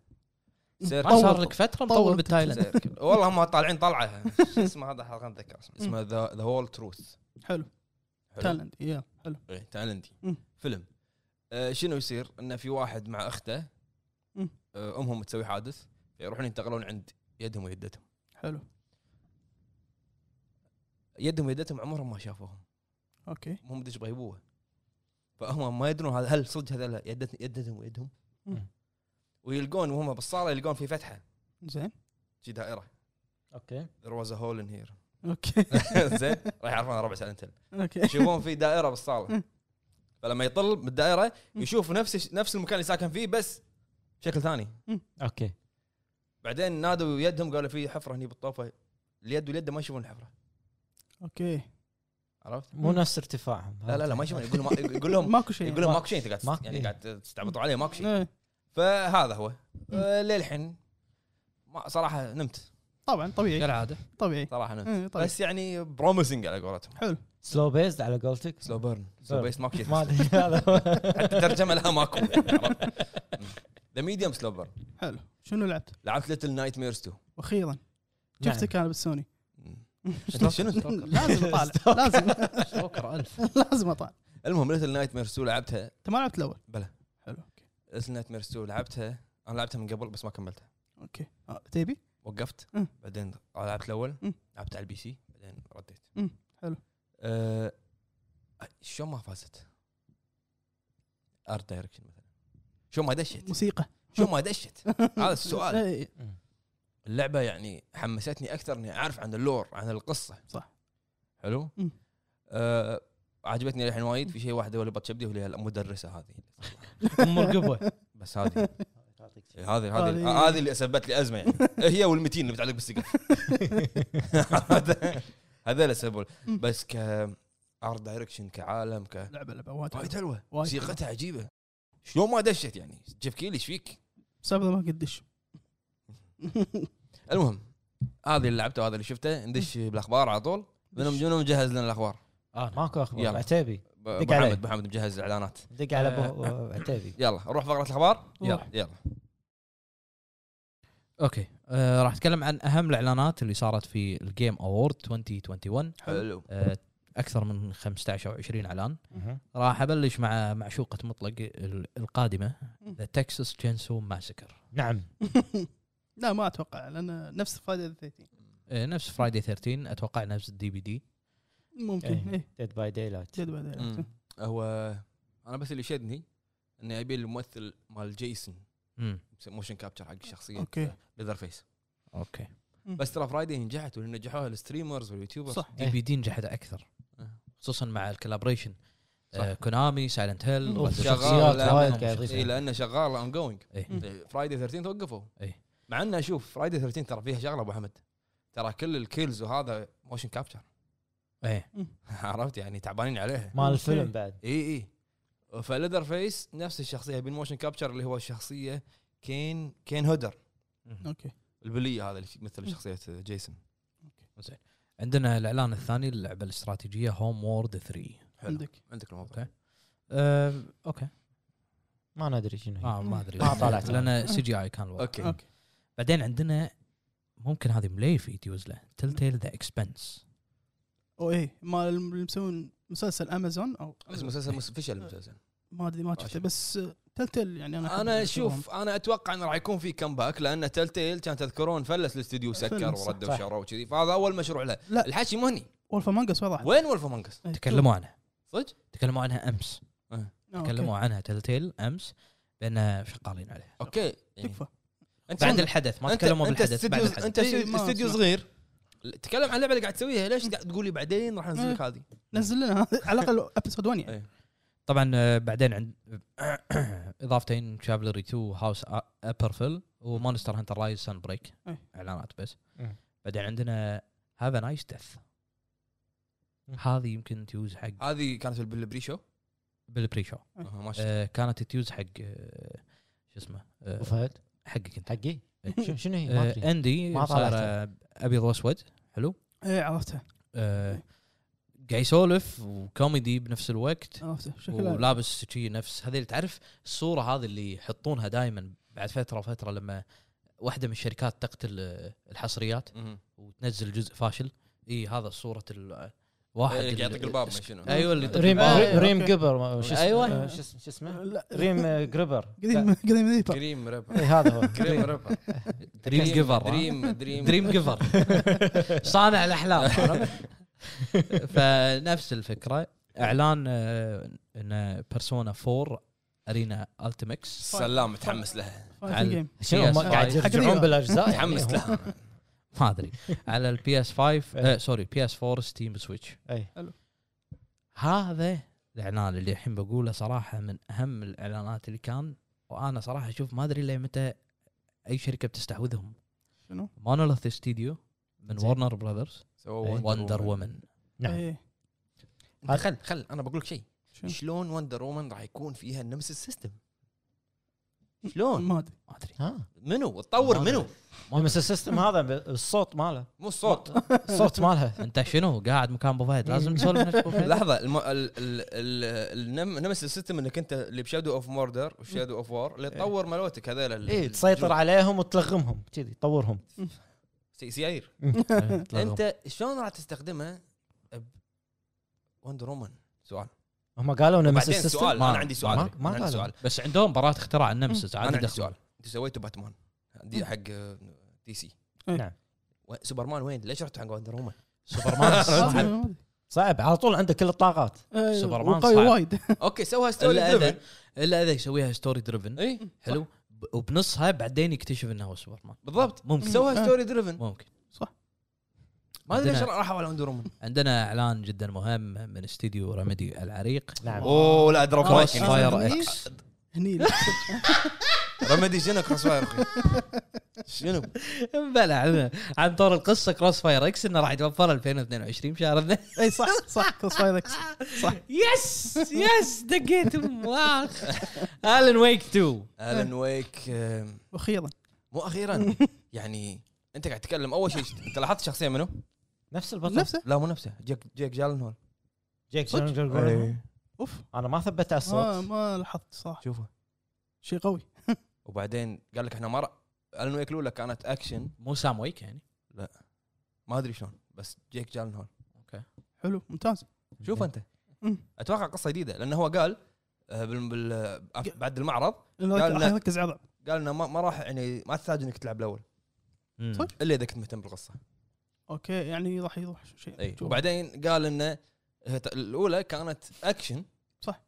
Speaker 1: سيركل.
Speaker 3: ما صار لك فتره مطول
Speaker 2: طول.
Speaker 3: بالتايلند
Speaker 1: سيركل. والله هم طالعين طلعه شو اسمه هذا حلقه اتذكر اسمه اسمه ذا هول تروث
Speaker 2: حلو تالنت يا حلو
Speaker 1: ايه تايلندي
Speaker 2: مم.
Speaker 1: فيلم آه شنو يصير؟ انه في واحد مع اخته
Speaker 2: مم.
Speaker 1: آه امهم تسوي حادث يروحون ينتقلون عند يدهم ويدتهم
Speaker 2: حلو
Speaker 1: يدهم ويدتهم عمرهم ما شافوهم
Speaker 2: اوكي
Speaker 1: هم دش بغيبوبه فهم ما يدرون هذا هل صدق هذا لا يدت يدتهم ويدهم
Speaker 2: مم.
Speaker 1: ويلقون وهم بالصاله يلقون في فتحه
Speaker 2: زين
Speaker 1: في دائره
Speaker 4: اوكي
Speaker 1: there was a hole in here
Speaker 2: اوكي
Speaker 1: زين راح يعرفون ربع سنتين
Speaker 2: اوكي
Speaker 1: يشوفون في دائره بالصاله
Speaker 2: مم.
Speaker 1: فلما يطل بالدائره
Speaker 2: مم.
Speaker 1: يشوف نفس نفس المكان اللي ساكن فيه بس بشكل ثاني
Speaker 4: اوكي
Speaker 1: بعدين نادوا يدهم قالوا في حفره هني بالطوفه اليد واليد ما يشوفون الحفره
Speaker 2: اوكي
Speaker 1: عرفت؟
Speaker 4: مو نفس ارتفاعهم
Speaker 1: لا لا لا ما يشوفون يقول لهم يقول لهم
Speaker 2: ماكو شيء
Speaker 1: يقول لهم ماكو شيء انت قاعد تست-
Speaker 4: ماكو-
Speaker 1: يعني
Speaker 4: إيه.
Speaker 1: قاعد تستعبطوا عليه ماكو شيء
Speaker 2: إيه.
Speaker 1: فهذا هو آه، للحين ما صراحه نمت
Speaker 2: طبعا طبيعي
Speaker 3: كالعاده
Speaker 2: طبيعي
Speaker 1: صراحه نمت
Speaker 2: إيه، طبيعي
Speaker 1: طيب. بس يعني بروميسنج على قولتهم
Speaker 2: حلو
Speaker 4: سلو بيزد على قولتك
Speaker 1: سلو بيرن سلو بيست ماكو شيء
Speaker 4: ما ادري هذا هو.
Speaker 1: حتى ترجمه لها ماكو ذا ميديوم سلو بيرن
Speaker 2: حلو شنو لعبت؟
Speaker 1: لعبت ليتل نايت ميرز 2
Speaker 2: واخيرا
Speaker 4: نعم.
Speaker 2: شفتك انا بالسوني
Speaker 3: شنو
Speaker 2: لازم اطالع لازم
Speaker 3: سوكر ألف
Speaker 2: لازم اطالع
Speaker 1: المهم ليتل نايت ميرس 2 لعبتها
Speaker 2: انت ما لعبت الاول
Speaker 1: بلى.
Speaker 2: حلو اوكي
Speaker 1: ليتل نايت ميرس 2 لعبتها انا لعبتها من قبل بس ما كملتها
Speaker 2: اوكي آه، تبي؟
Speaker 1: وقفت
Speaker 2: أمم.
Speaker 1: بعدين لعبت الاول
Speaker 2: أمم.
Speaker 1: لعبت على البي سي بعدين رديت
Speaker 2: أمم، حلو.
Speaker 1: أه شلون ما فازت؟ ارت دايركشن مثلا شلون ما دشت؟
Speaker 2: موسيقى إيه.
Speaker 1: شلون ما دشت؟ هذا السؤال
Speaker 2: إي،
Speaker 1: اللعبه يعني حمستني اكثر اني اعرف عن اللور عن القصه
Speaker 2: صح.
Speaker 1: حلو
Speaker 2: مم.
Speaker 1: آه عجبتني الحين وايد في شيء واحده ولا بتشبدي اللي هي المدرسه هذه
Speaker 3: ام القبوه
Speaker 1: بس هذه هذه
Speaker 2: هذه-
Speaker 1: هذه هذه اللي سبت لي ازمه يعني هي والمتين اللي متعلق بالسقف هذا- هذا اللي سبب
Speaker 2: مم.
Speaker 1: بس ك ارت دايركشن كعالم ك
Speaker 2: لعبه لعبه وايد
Speaker 1: وايد
Speaker 2: حلوة.
Speaker 1: حلوه
Speaker 2: وايد
Speaker 1: موسيقتها عجيبه شلون ما دشت يعني جيف كيلي ايش فيك؟
Speaker 2: بسبب ما قدش
Speaker 1: المهم هذه اللي لعبته وهذا اللي شفته ندش بالاخبار على طول منهم منهم مجهز لنا الاخبار
Speaker 3: آه،
Speaker 4: ماكو اخبار
Speaker 1: يلا.
Speaker 4: عتيبي
Speaker 1: ب- ابو
Speaker 4: دق علي.
Speaker 1: حمد ابو حمد مجهز الاعلانات
Speaker 4: دق على ابو عتيبي
Speaker 1: يلا نروح فقره الاخبار
Speaker 2: روح.
Speaker 1: يلا يلا
Speaker 5: اوكي آه راح اتكلم عن اهم الاعلانات اللي صارت في الجيم اوورد 2021
Speaker 1: حلو
Speaker 5: آه اكثر من 15 او 20 اعلان راح ابلش مع معشوقه مطلق ال- القادمه ذا تكساس تشينسو ماسكر
Speaker 4: نعم
Speaker 2: لا ما اتوقع لان نفس فايده الثيتين
Speaker 5: إيه، نفس فرايدي 13 اتوقع نفس الدي في دي
Speaker 2: ممكن
Speaker 4: إيه.
Speaker 2: ايه
Speaker 4: ديد باي داي لايت
Speaker 2: جد بعدين
Speaker 1: أمم. هو انا بس اللي شدني انه يبي الممثل مال جيسون موشن كابتشر حق الشخصيه
Speaker 2: أوكي.
Speaker 1: ليذر فيس
Speaker 5: اوكي
Speaker 1: بس ترى فرايدي نجحت واللي نجحوها الستريمرز واليوتيوبرز
Speaker 2: صح إيه.
Speaker 5: دي في دي نجحت اكثر
Speaker 1: آه.
Speaker 5: خصوصا مع الكولابريشن
Speaker 1: صح.
Speaker 5: آه كونامي سايلنت هيل
Speaker 2: أوف،
Speaker 4: شغال وايد قاعد يضيف.
Speaker 1: اي لانه شغال اون جوينج
Speaker 5: إيه.
Speaker 1: فرايدي 13 توقفوا
Speaker 5: إيه.
Speaker 1: مع انه شوف فرايدي 13 ترى فيها شغله ابو حمد ترى كل الكيلز وهذا موشن كابتشر
Speaker 5: ايه
Speaker 1: عرفت يعني تعبانين عليها
Speaker 4: مال الفيلم بعد
Speaker 1: اي اي فليدر فيس نفس الشخصيه بالموشن كابتشر اللي هو الشخصيه كين كين هودر
Speaker 2: اوكي
Speaker 1: البليه هذا اللي مثل شخصيه جيسون
Speaker 5: عندنا الاعلان الثاني للعبه الاستراتيجيه هوم وورد 3
Speaker 2: عندك
Speaker 1: عندك الموضوع
Speaker 5: أوكي. آه، اوكي
Speaker 4: ما ندري شنو هي
Speaker 5: آه ما ادري
Speaker 4: ما طلعت.
Speaker 5: لان سي جي اي كان الوضع
Speaker 1: اوكي,
Speaker 2: اوكي
Speaker 5: بعدين عندنا ممكن هذه ملي في يدوز له تل تيل ذا اكسبنس
Speaker 2: او ايه مال اللي مسوين مسلسل امازون او
Speaker 1: بس مسلسل مس- فشل المسلسل
Speaker 2: ما ادري ما شفته بس تلتل يعني انا أحب
Speaker 1: انا
Speaker 2: أشوفهم.
Speaker 1: اشوف انا اتوقع انه راح يكون في كمباك لان تل تيل كان تذكرون فلس الاستديو سكر
Speaker 2: فلس، صح.
Speaker 1: ورد وشروا وكذي فهذا اول مشروع له
Speaker 2: لا.
Speaker 1: الحكي مهني
Speaker 2: ولف مانجس وضع
Speaker 1: وين ولف امونجس
Speaker 2: إيه،
Speaker 5: تكلموا عنها
Speaker 1: صدق؟
Speaker 5: تكلموا عنها امس
Speaker 2: آه،
Speaker 5: تكلموا عنها تل تيل امس بان شغالين عليها
Speaker 1: اوكي يعني
Speaker 2: تكفى
Speaker 1: انت
Speaker 5: بعد الحدث ما
Speaker 1: انت
Speaker 5: تكلموا
Speaker 1: انت
Speaker 5: بالحدث بعد
Speaker 1: استديو
Speaker 5: الحدث
Speaker 1: انت
Speaker 2: إيه، ما
Speaker 1: استديو
Speaker 2: أسمع.
Speaker 1: صغير تكلم عن اللعبه اللي قاعد تسويها ليش قاعد تقول لي بعدين راح ننزل لك هذه إيه.
Speaker 2: نزل لنا هذا، على الاقل ابيسود 1 يعني
Speaker 5: طبعا آه، بعدين عند E اضافتين شابلري 2 هاوس ابرفل ومونستر هانتر رايز سان بريك
Speaker 2: أي.
Speaker 5: اعلانات بس
Speaker 4: مم.
Speaker 5: بعدين عندنا هاف نايس ديث
Speaker 4: مم.
Speaker 5: هذه يمكن تيوز حق
Speaker 1: هذه كانت بالبري شو
Speaker 5: بالبري شو
Speaker 2: أي.
Speaker 1: أها، ما شفت.
Speaker 5: آه، كانت تيوز حق آه، شو اسمه آه،
Speaker 4: ابو فهد
Speaker 5: حقك انت
Speaker 4: حقي
Speaker 5: إيه.
Speaker 4: شنو- شنو هي ما
Speaker 5: آه،
Speaker 4: ادري
Speaker 5: اندي
Speaker 4: ما
Speaker 5: صار
Speaker 4: طلعت.
Speaker 5: آه، ابيض واسود حلو
Speaker 2: ايه عرفتها
Speaker 5: آه، قاعد يسولف وكوميدي بنفس الوقت
Speaker 2: عرفتها شكلها
Speaker 5: ولابس شي نفس هذه اللي تعرف الصوره هذه اللي يحطونها دائما بعد فتره وفتره لما واحده من الشركات تقتل آه، الحصريات
Speaker 1: مهم.
Speaker 5: وتنزل جزء فاشل اي هذا صوره ال- واحد
Speaker 1: إيه، قاعد
Speaker 5: ال-
Speaker 1: يطق الباب ما
Speaker 5: السك-
Speaker 1: شنو.
Speaker 5: ايوه اللي يطق
Speaker 4: ريم
Speaker 5: الباب.
Speaker 2: آه،
Speaker 4: ريم
Speaker 2: أوكي.
Speaker 4: جبر ما- شو اسمه-
Speaker 5: أيوه.
Speaker 4: آه، شو اسمه- شو اسمه
Speaker 2: لا،
Speaker 4: ريم آه، جريبر
Speaker 2: قديم قديم ريبر
Speaker 1: كريم ريبر
Speaker 4: إيه، هذا هو
Speaker 1: كريم ريبر
Speaker 5: دريم جيفر ها؟
Speaker 1: دريم دريم
Speaker 5: دريم جيفر صانع الاحلام عرفت؟ فنفس الفكره اعلان آه، ان بيرسونا 4 ارينا التمكس
Speaker 1: سلام متحمس لها
Speaker 2: فايتنج جيم
Speaker 4: شنو هم قاعد
Speaker 2: حق
Speaker 4: يرجعون
Speaker 2: ريم.
Speaker 4: بالاجزاء يعني
Speaker 1: متحمس
Speaker 4: هم-
Speaker 1: لها
Speaker 5: ما ادري على البي اس 5
Speaker 4: إيه.
Speaker 5: آه، سوري بي اس 4 ستيم سويتش
Speaker 4: أي.
Speaker 5: هذا الاعلان اللي الحين بقوله صراحه من اهم الاعلانات اللي كان وانا صراحه اشوف ما ادري ليه متى اي شركه بتستحوذهم
Speaker 2: شنو؟
Speaker 5: مونوليث ستوديو من
Speaker 4: زين.
Speaker 5: ورنر براذرز
Speaker 1: سووا
Speaker 5: وندر وومن
Speaker 4: نعم.
Speaker 2: إيه.
Speaker 1: وومن. خل خل انا بقول لك شيء
Speaker 2: شنو؟
Speaker 1: شلون وندر وومن راح يكون فيها النمس السيستم شلون
Speaker 2: ما ادري
Speaker 5: ما ادري
Speaker 4: ها
Speaker 1: منو تطور
Speaker 5: ما أدري.
Speaker 1: منو
Speaker 4: بس السيستم هذا ب- الصوت ماله
Speaker 1: مو الصوت
Speaker 4: الصوت مالها
Speaker 5: انت شنو قاعد مكان ابو فهد
Speaker 4: إيه.
Speaker 5: لازم تسولف نفس ابو فهد
Speaker 1: لحظه الم... ال... ال... ال... النم... نمس السيستم انك انت اللي بشادو اوف موردر وشادو اوف وور اللي تطور ملوتك هذول ال-
Speaker 4: اي إيه، تسيطر
Speaker 1: الجو-
Speaker 4: عليهم وتلغمهم كذي تطورهم
Speaker 1: سي- سيايير
Speaker 4: إيه،
Speaker 1: انت شلون راح تستخدمها ب وندر وومن سؤال
Speaker 4: هم قالوا انه نفس
Speaker 1: بعدين
Speaker 4: السيستم
Speaker 1: سؤال
Speaker 5: ما-
Speaker 1: انا عندي سؤال
Speaker 5: ما-
Speaker 1: أدري.
Speaker 4: ما
Speaker 1: أنا عندي
Speaker 4: قالوا.
Speaker 1: سؤال
Speaker 5: بس عندهم براءة اختراع النمسس
Speaker 1: انا
Speaker 5: عادي
Speaker 1: عندي
Speaker 5: دخل
Speaker 1: سؤال انت سويتوا باتمان دي حق آه، دي سي
Speaker 2: إيه.
Speaker 4: نعم.
Speaker 1: و- سوبرمان وين ليش رحت حق وندر وومن
Speaker 5: سوبرمان صعب
Speaker 4: صعب على طول عنده كل الطاقات
Speaker 5: سوبرمان
Speaker 2: سوبرمان
Speaker 5: صعب.
Speaker 2: قوي إيه، وايد
Speaker 1: اوكي سوها إيه، ستوري
Speaker 5: الا اذا
Speaker 1: دريفن
Speaker 5: الا اذا يسويها ستوري دريفن
Speaker 1: اي
Speaker 5: حلو ب- وبنصها بعدين يكتشف انه هو سوبرمان
Speaker 1: بالضبط
Speaker 5: ممكن
Speaker 1: سوها
Speaker 2: آه.
Speaker 1: ستوري دريفن
Speaker 5: ممكن
Speaker 1: ما ادري ليش
Speaker 5: عندنا-
Speaker 1: راحوا على وندر وومن
Speaker 5: عندنا اعلان جدا مهم من استديو رمدي العريق
Speaker 4: نعم
Speaker 1: اوه لا ادراك
Speaker 5: كروس
Speaker 1: رايكن.
Speaker 5: فاير اكس
Speaker 2: هني
Speaker 1: رمدي شنو كروس فاير أخي؟ شنو
Speaker 5: بلى عن- عن طور القصه كروس فاير اكس انه راح يتوفر 2022 بشهر اثنين
Speaker 2: اي إيه، صح صح كروس فاير اكس
Speaker 5: يس يس دقيت المخ الن ويك 2
Speaker 1: الن ويك آم،
Speaker 2: واخيرا
Speaker 1: مو اخيرا يعني انت قاعد تتكلم اول شيء انت لاحظت الشخصيه منو؟
Speaker 4: نفس البطل نفس
Speaker 2: نفسه
Speaker 1: لا مو نفسه جيك جيك جالن هول
Speaker 4: جيك
Speaker 2: صدق؟
Speaker 4: جيلنهول.
Speaker 5: إيه.
Speaker 2: اوف
Speaker 4: انا ما ثبت
Speaker 2: ما
Speaker 4: على الصوت
Speaker 2: آه، ما لاحظت صح
Speaker 1: شوفه
Speaker 2: شيء قوي
Speaker 1: وبعدين قال لك احنا ما رأ... الن ويك الاولى كانت اكشن
Speaker 5: مو سام ويك يعني
Speaker 1: ما ادري شلون بس جيك جالن هول
Speaker 2: حلو ممتاز
Speaker 1: شوف انت
Speaker 2: مم.
Speaker 1: اتوقع قصه جديده لانه هو قال آه، بال... بال... أف- بعد المعرض
Speaker 2: لا،
Speaker 1: قال
Speaker 2: راح
Speaker 1: لا.
Speaker 2: يركز عضل
Speaker 1: قال انه ما, ما راح يعني ما تحتاج انك تلعب الاول
Speaker 5: مم.
Speaker 2: صدق؟
Speaker 1: الا اذا كنت مهتم بالقصه
Speaker 2: اوكي يعني راح يروح شيء
Speaker 1: اي
Speaker 2: شوف.
Speaker 1: وبعدين قال انه هي ت- الاولى كانت اكشن
Speaker 2: صح.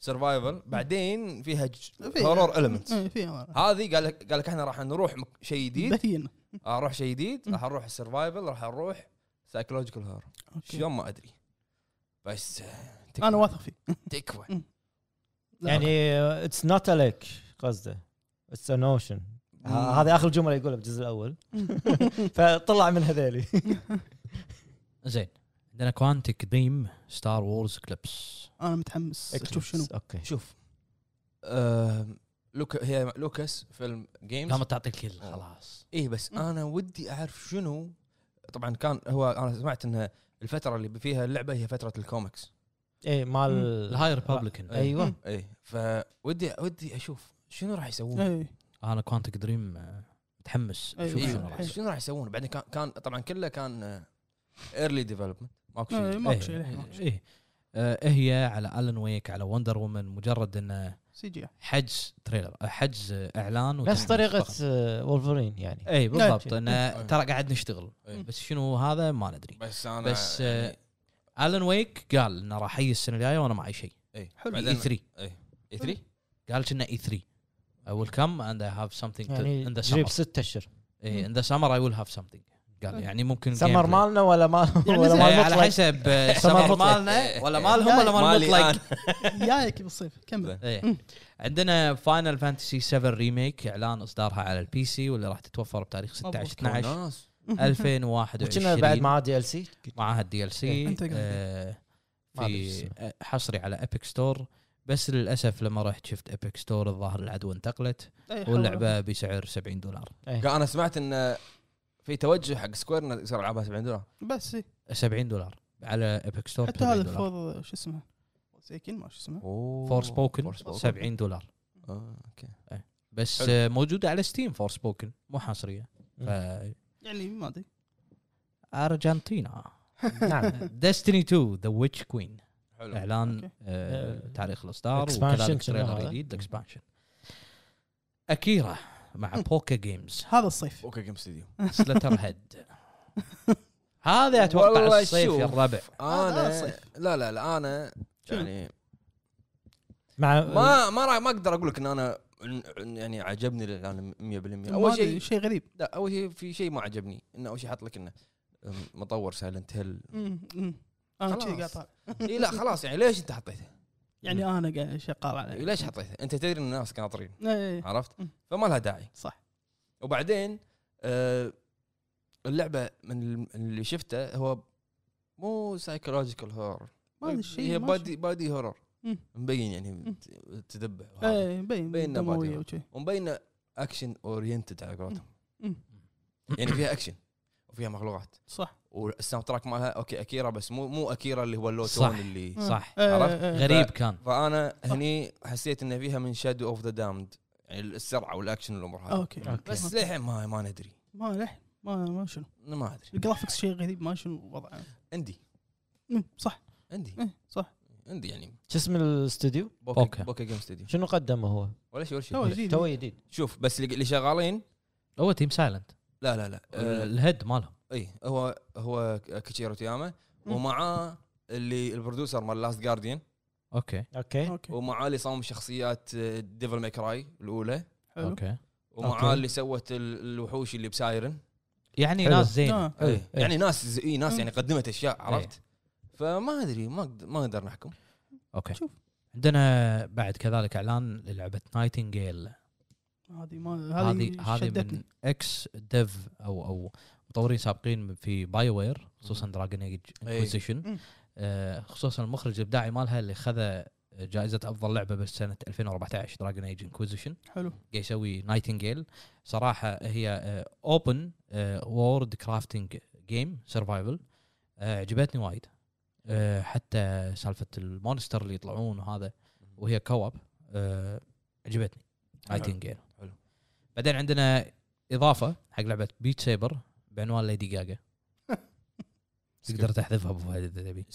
Speaker 1: سرفايفل بعدين فيها
Speaker 2: في-
Speaker 1: هورور المنتس
Speaker 2: إيه، في هذا.
Speaker 1: هذه قال لك قال لك احنا راح نروح مك- شيء جديد
Speaker 2: دهين
Speaker 1: اروح شيء جديد
Speaker 2: مم.
Speaker 1: راح اروح السرفايفل راح اروح سايكولوجيكال هور
Speaker 2: أوكي.
Speaker 1: شلون ما ادري بس آه، تكفى.
Speaker 2: انا واثق فيه
Speaker 1: تكفى
Speaker 2: لا،
Speaker 4: يعني اتس نوت لك قصده اتس ا نوشن آه، هذه اخر جمله يقولها بالجزء الاول فطلع من هذيلي
Speaker 5: زين عندنا كوانتك دريم ستار وورز كليبس
Speaker 2: انا متحمس اشوف شنو
Speaker 4: اوكي
Speaker 1: شوف آم، لوكا هي لوكاس فيلم جيمز
Speaker 5: قامت تعطيك ال- خلاص
Speaker 1: ايه بس
Speaker 2: مم.
Speaker 1: انا ودي اعرف شنو طبعا كان هو انا سمعت ان الفتره اللي فيها اللعبه هي فتره الكوميكس
Speaker 4: اي إيه، مال
Speaker 5: الهاي ريببلكن
Speaker 4: ايوه
Speaker 2: مم.
Speaker 1: ايه فودي ودي اشوف شنو راح يسوون
Speaker 2: إيه.
Speaker 5: انا كوانتك دريم آه، متحمس
Speaker 2: أيوة.
Speaker 5: شوف
Speaker 1: إيه،
Speaker 5: شنو راح يصير.
Speaker 1: شنو راح يسوون بعدين كان كان طبعا كله كان ايرلي ديفلوبمنت ماكو
Speaker 2: إيه،
Speaker 1: شيء
Speaker 2: ماكو
Speaker 5: إيه،
Speaker 2: شيء الحين، ماكو
Speaker 5: إيه،
Speaker 2: شيء.
Speaker 5: ايه آه، هي على الن ويك على وندر وومن مجرد انه
Speaker 2: سي جي
Speaker 5: حجز تريلر آه، حجز آه، اعلان
Speaker 4: نفس
Speaker 5: وتنفيذ
Speaker 4: طريقه
Speaker 5: فقط.
Speaker 4: آه، وولفرين يعني
Speaker 5: اي بالضبط
Speaker 4: أوكي.
Speaker 5: انه ترى قاعد نشتغل
Speaker 1: إيه.
Speaker 5: بس شنو هذا ما ندري
Speaker 1: بس انا
Speaker 5: بس،
Speaker 1: يعني-
Speaker 5: آه، الن ويك قال انه راح يجي السنه الجايه وانا معي شيء
Speaker 1: ايه
Speaker 2: حلو.
Speaker 1: بعدين
Speaker 5: اي 3
Speaker 1: اي 3
Speaker 5: قال كنا اي 3 I will come and I have something to-
Speaker 4: يعني
Speaker 5: in the
Speaker 4: جريب
Speaker 5: summer
Speaker 4: ست اشهر
Speaker 5: إيه in the summer I will have something قال يعني ممكن
Speaker 4: سمر
Speaker 5: gameplay.
Speaker 4: مالنا ولا مال
Speaker 2: يعني
Speaker 4: ولا
Speaker 2: زي-
Speaker 5: إيه،
Speaker 4: مال
Speaker 5: على
Speaker 4: مطلق
Speaker 5: حسب آه،
Speaker 4: سمر
Speaker 5: سمر
Speaker 4: مطلق.
Speaker 5: مالنا ولا مالهم ولا مال
Speaker 1: إيه. مالي
Speaker 5: مطلق
Speaker 1: أنا.
Speaker 2: جايك بالصيف كمل
Speaker 5: ايه عندنا فاينل فانتسي 7 ريميك اعلان اصدارها على البي سي واللي راح تتوفر بتاريخ 16 12
Speaker 1: وناس.
Speaker 4: كنا بعد
Speaker 5: 2021
Speaker 4: معاه دي ال سي
Speaker 5: معها الدي ال
Speaker 4: إيه،
Speaker 5: سي
Speaker 2: أنت قاعد.
Speaker 4: ما أدري شو
Speaker 5: في
Speaker 4: اسمه.
Speaker 5: آه، حصري على ابيك ستور بس للاسف لما رحت شفت ابيك ستور الظاهر العدوى انتقلت
Speaker 2: إيه، حلو.
Speaker 5: واللعبه بسعر 70 دولار
Speaker 1: قا- انا سمعت ان في توجه حق سكوير انه يصير العابها 70 دولار
Speaker 2: بس إيه.
Speaker 5: 70 دولار على ابيك ستور
Speaker 2: حتى
Speaker 5: 70
Speaker 2: هذا
Speaker 5: دولار
Speaker 2: فور شو اسمه سيكين ما شو اسمه
Speaker 1: اوه
Speaker 5: فور سبوكن
Speaker 1: Forspoken.
Speaker 5: 70 دولار
Speaker 1: آه، اوكي
Speaker 5: بس
Speaker 1: حلو.
Speaker 5: آه، موجوده على ستيم فور سبوكن مو حصريه ف-
Speaker 2: يعني ما ادري
Speaker 5: ارجنتينا
Speaker 4: نعم
Speaker 5: ديستني 2 ذا ويتش كوين
Speaker 1: حلو
Speaker 5: اعلان
Speaker 2: أوكي.
Speaker 5: آه،
Speaker 4: آه،
Speaker 5: تاريخ الاصدار
Speaker 4: expansion
Speaker 5: وكذلك
Speaker 4: شنو
Speaker 5: تريلر
Speaker 4: هذا؟
Speaker 5: جديد اكسبانشن اكيرا مع بوكا جيمز
Speaker 2: هذا الصيف
Speaker 1: اوكي جيم ستوديو
Speaker 5: سلتر هيد هذا اتوقع
Speaker 1: والله
Speaker 5: الصيف
Speaker 1: شوف.
Speaker 5: يا الربع
Speaker 2: هذا
Speaker 1: انا
Speaker 2: الصيف.
Speaker 1: لا لا لا انا
Speaker 2: شنو؟
Speaker 1: يعني
Speaker 4: مع آه،
Speaker 1: ما ما راح ما اقدر اقول لك ان انا إن- إن يعني عجبني الاعلان 100% اول شيء
Speaker 2: شيء غريب
Speaker 1: لا اول شيء في شيء ما عجبني انه اول شيء حط لك انه أم، مطور سايلنت هيل
Speaker 2: مم، مم. انا
Speaker 1: خلاص.
Speaker 2: شي قاعد طالع.
Speaker 1: اي لا خلاص يعني ليش انت حطيته؟
Speaker 2: يعني انا قاعد شغال
Speaker 1: إيه،
Speaker 2: عليه
Speaker 1: ليش حطيته؟ انت تدري ان الناس ناطرين
Speaker 2: إيه،
Speaker 1: عرفت؟
Speaker 2: مم.
Speaker 1: فما لها داعي
Speaker 2: صح
Speaker 1: وبعدين آه اللعبه من ال- اللي شفته هو مو سايكولوجيكال هورر
Speaker 2: ما ادري شيء
Speaker 1: هي
Speaker 2: ما
Speaker 1: بادي بادي هورر
Speaker 2: مم.
Speaker 1: مبين يعني
Speaker 2: مم.
Speaker 1: ت- تدبح
Speaker 2: شي-
Speaker 1: وهذا.
Speaker 2: ايه مبين
Speaker 1: بين
Speaker 2: بين
Speaker 1: نباتي.
Speaker 2: دمويه وشي
Speaker 1: ومبين اكشن اورينتد على قولتهم
Speaker 2: مم.
Speaker 1: يعني فيها اكشن وفيها مخلوقات
Speaker 2: صح
Speaker 1: والساوند تراك مالها اوكي اكيرا بس مو مو اكيرا اللي هو اللو
Speaker 5: صح.
Speaker 1: تون اللي
Speaker 5: صح
Speaker 2: إيه،
Speaker 1: عرفت؟
Speaker 2: إيه، إيه.
Speaker 5: غريب كان
Speaker 1: فانا هني حسيت ان فيها من شادو اوف ذا دامد يعني السرعه والاكشن والامور هذه
Speaker 2: اوكي
Speaker 4: أوكي.
Speaker 1: بس للحين ما ما ندري
Speaker 2: ما لح ما ما شنو
Speaker 1: ما ادري
Speaker 2: الجرافكس شيء غريب ما شنو وضعه
Speaker 1: عندي
Speaker 2: مم، صح
Speaker 1: عندي
Speaker 2: إيه، صح
Speaker 1: عندي يعني
Speaker 4: شو اسم الاستوديو؟
Speaker 1: بوكا
Speaker 5: أوكي.
Speaker 1: بوكا جيم ستوديو
Speaker 4: شنو قدمه هو؟
Speaker 1: ولا شيء ولا
Speaker 2: تو
Speaker 1: شيء
Speaker 2: جديد
Speaker 4: تو جديد
Speaker 1: شوف بس اللي اللي شغالين
Speaker 5: هو تيم سايلنت
Speaker 1: لا لا لا آه،
Speaker 5: الهيد مالهم
Speaker 1: اي هو هو كيتشيرو تياما ومعاه اللي البرودوسر مال لاست جارديان
Speaker 5: اوكي
Speaker 4: اوكي
Speaker 2: اوكي
Speaker 1: ومعاه اللي صام شخصيات آه، ديفل ماي كراي الاولى
Speaker 2: حلو
Speaker 5: اوكي
Speaker 1: ومعاه
Speaker 4: أوكي.
Speaker 1: اللي سوت ال- الوحوش اللي بسايرن
Speaker 5: يعني
Speaker 4: حلو.
Speaker 5: ناس زين إيه،
Speaker 2: آه.
Speaker 1: اي
Speaker 4: إيه.
Speaker 1: يعني ناس ز- اي ناس
Speaker 2: مم.
Speaker 1: يعني قدمت اشياء عرفت فما ادري ما أقد- ما نقدر نحكم
Speaker 5: اوكي
Speaker 2: شوف.
Speaker 5: عندنا بعد كذلك اعلان للعبه نايتنجيل
Speaker 2: هذه ما
Speaker 5: هذه
Speaker 2: هذه
Speaker 5: هذه من
Speaker 2: شدتني
Speaker 5: اكس ديف او او مطورين سابقين في باي وير خصوصا دراجون ايج
Speaker 1: إيه.
Speaker 5: انكوزيشن
Speaker 2: مم.
Speaker 5: خصوصا آه، المخرج الابداعي مالها اللي خذ جائزه افضل لعبه بسنه 2014 دراجون ايج انكوزيشن
Speaker 2: حلو
Speaker 5: قاعد يسوي نايتنجيل صراحه هي آه، اوبن وورد كرافتنج جيم سرفايفل عجبتني وايد آه، حتى سالفه المونستر اللي يطلعون وهذا وهي كواب آه، عجبتني
Speaker 1: حلو.
Speaker 5: نايتنجيل
Speaker 1: حلو.
Speaker 5: يعني. بعدين عندنا اضافه حق لعبه بيت سيبر بعنوان ليدي جاجا تقدر تحذفها ابو فهد اذا تبي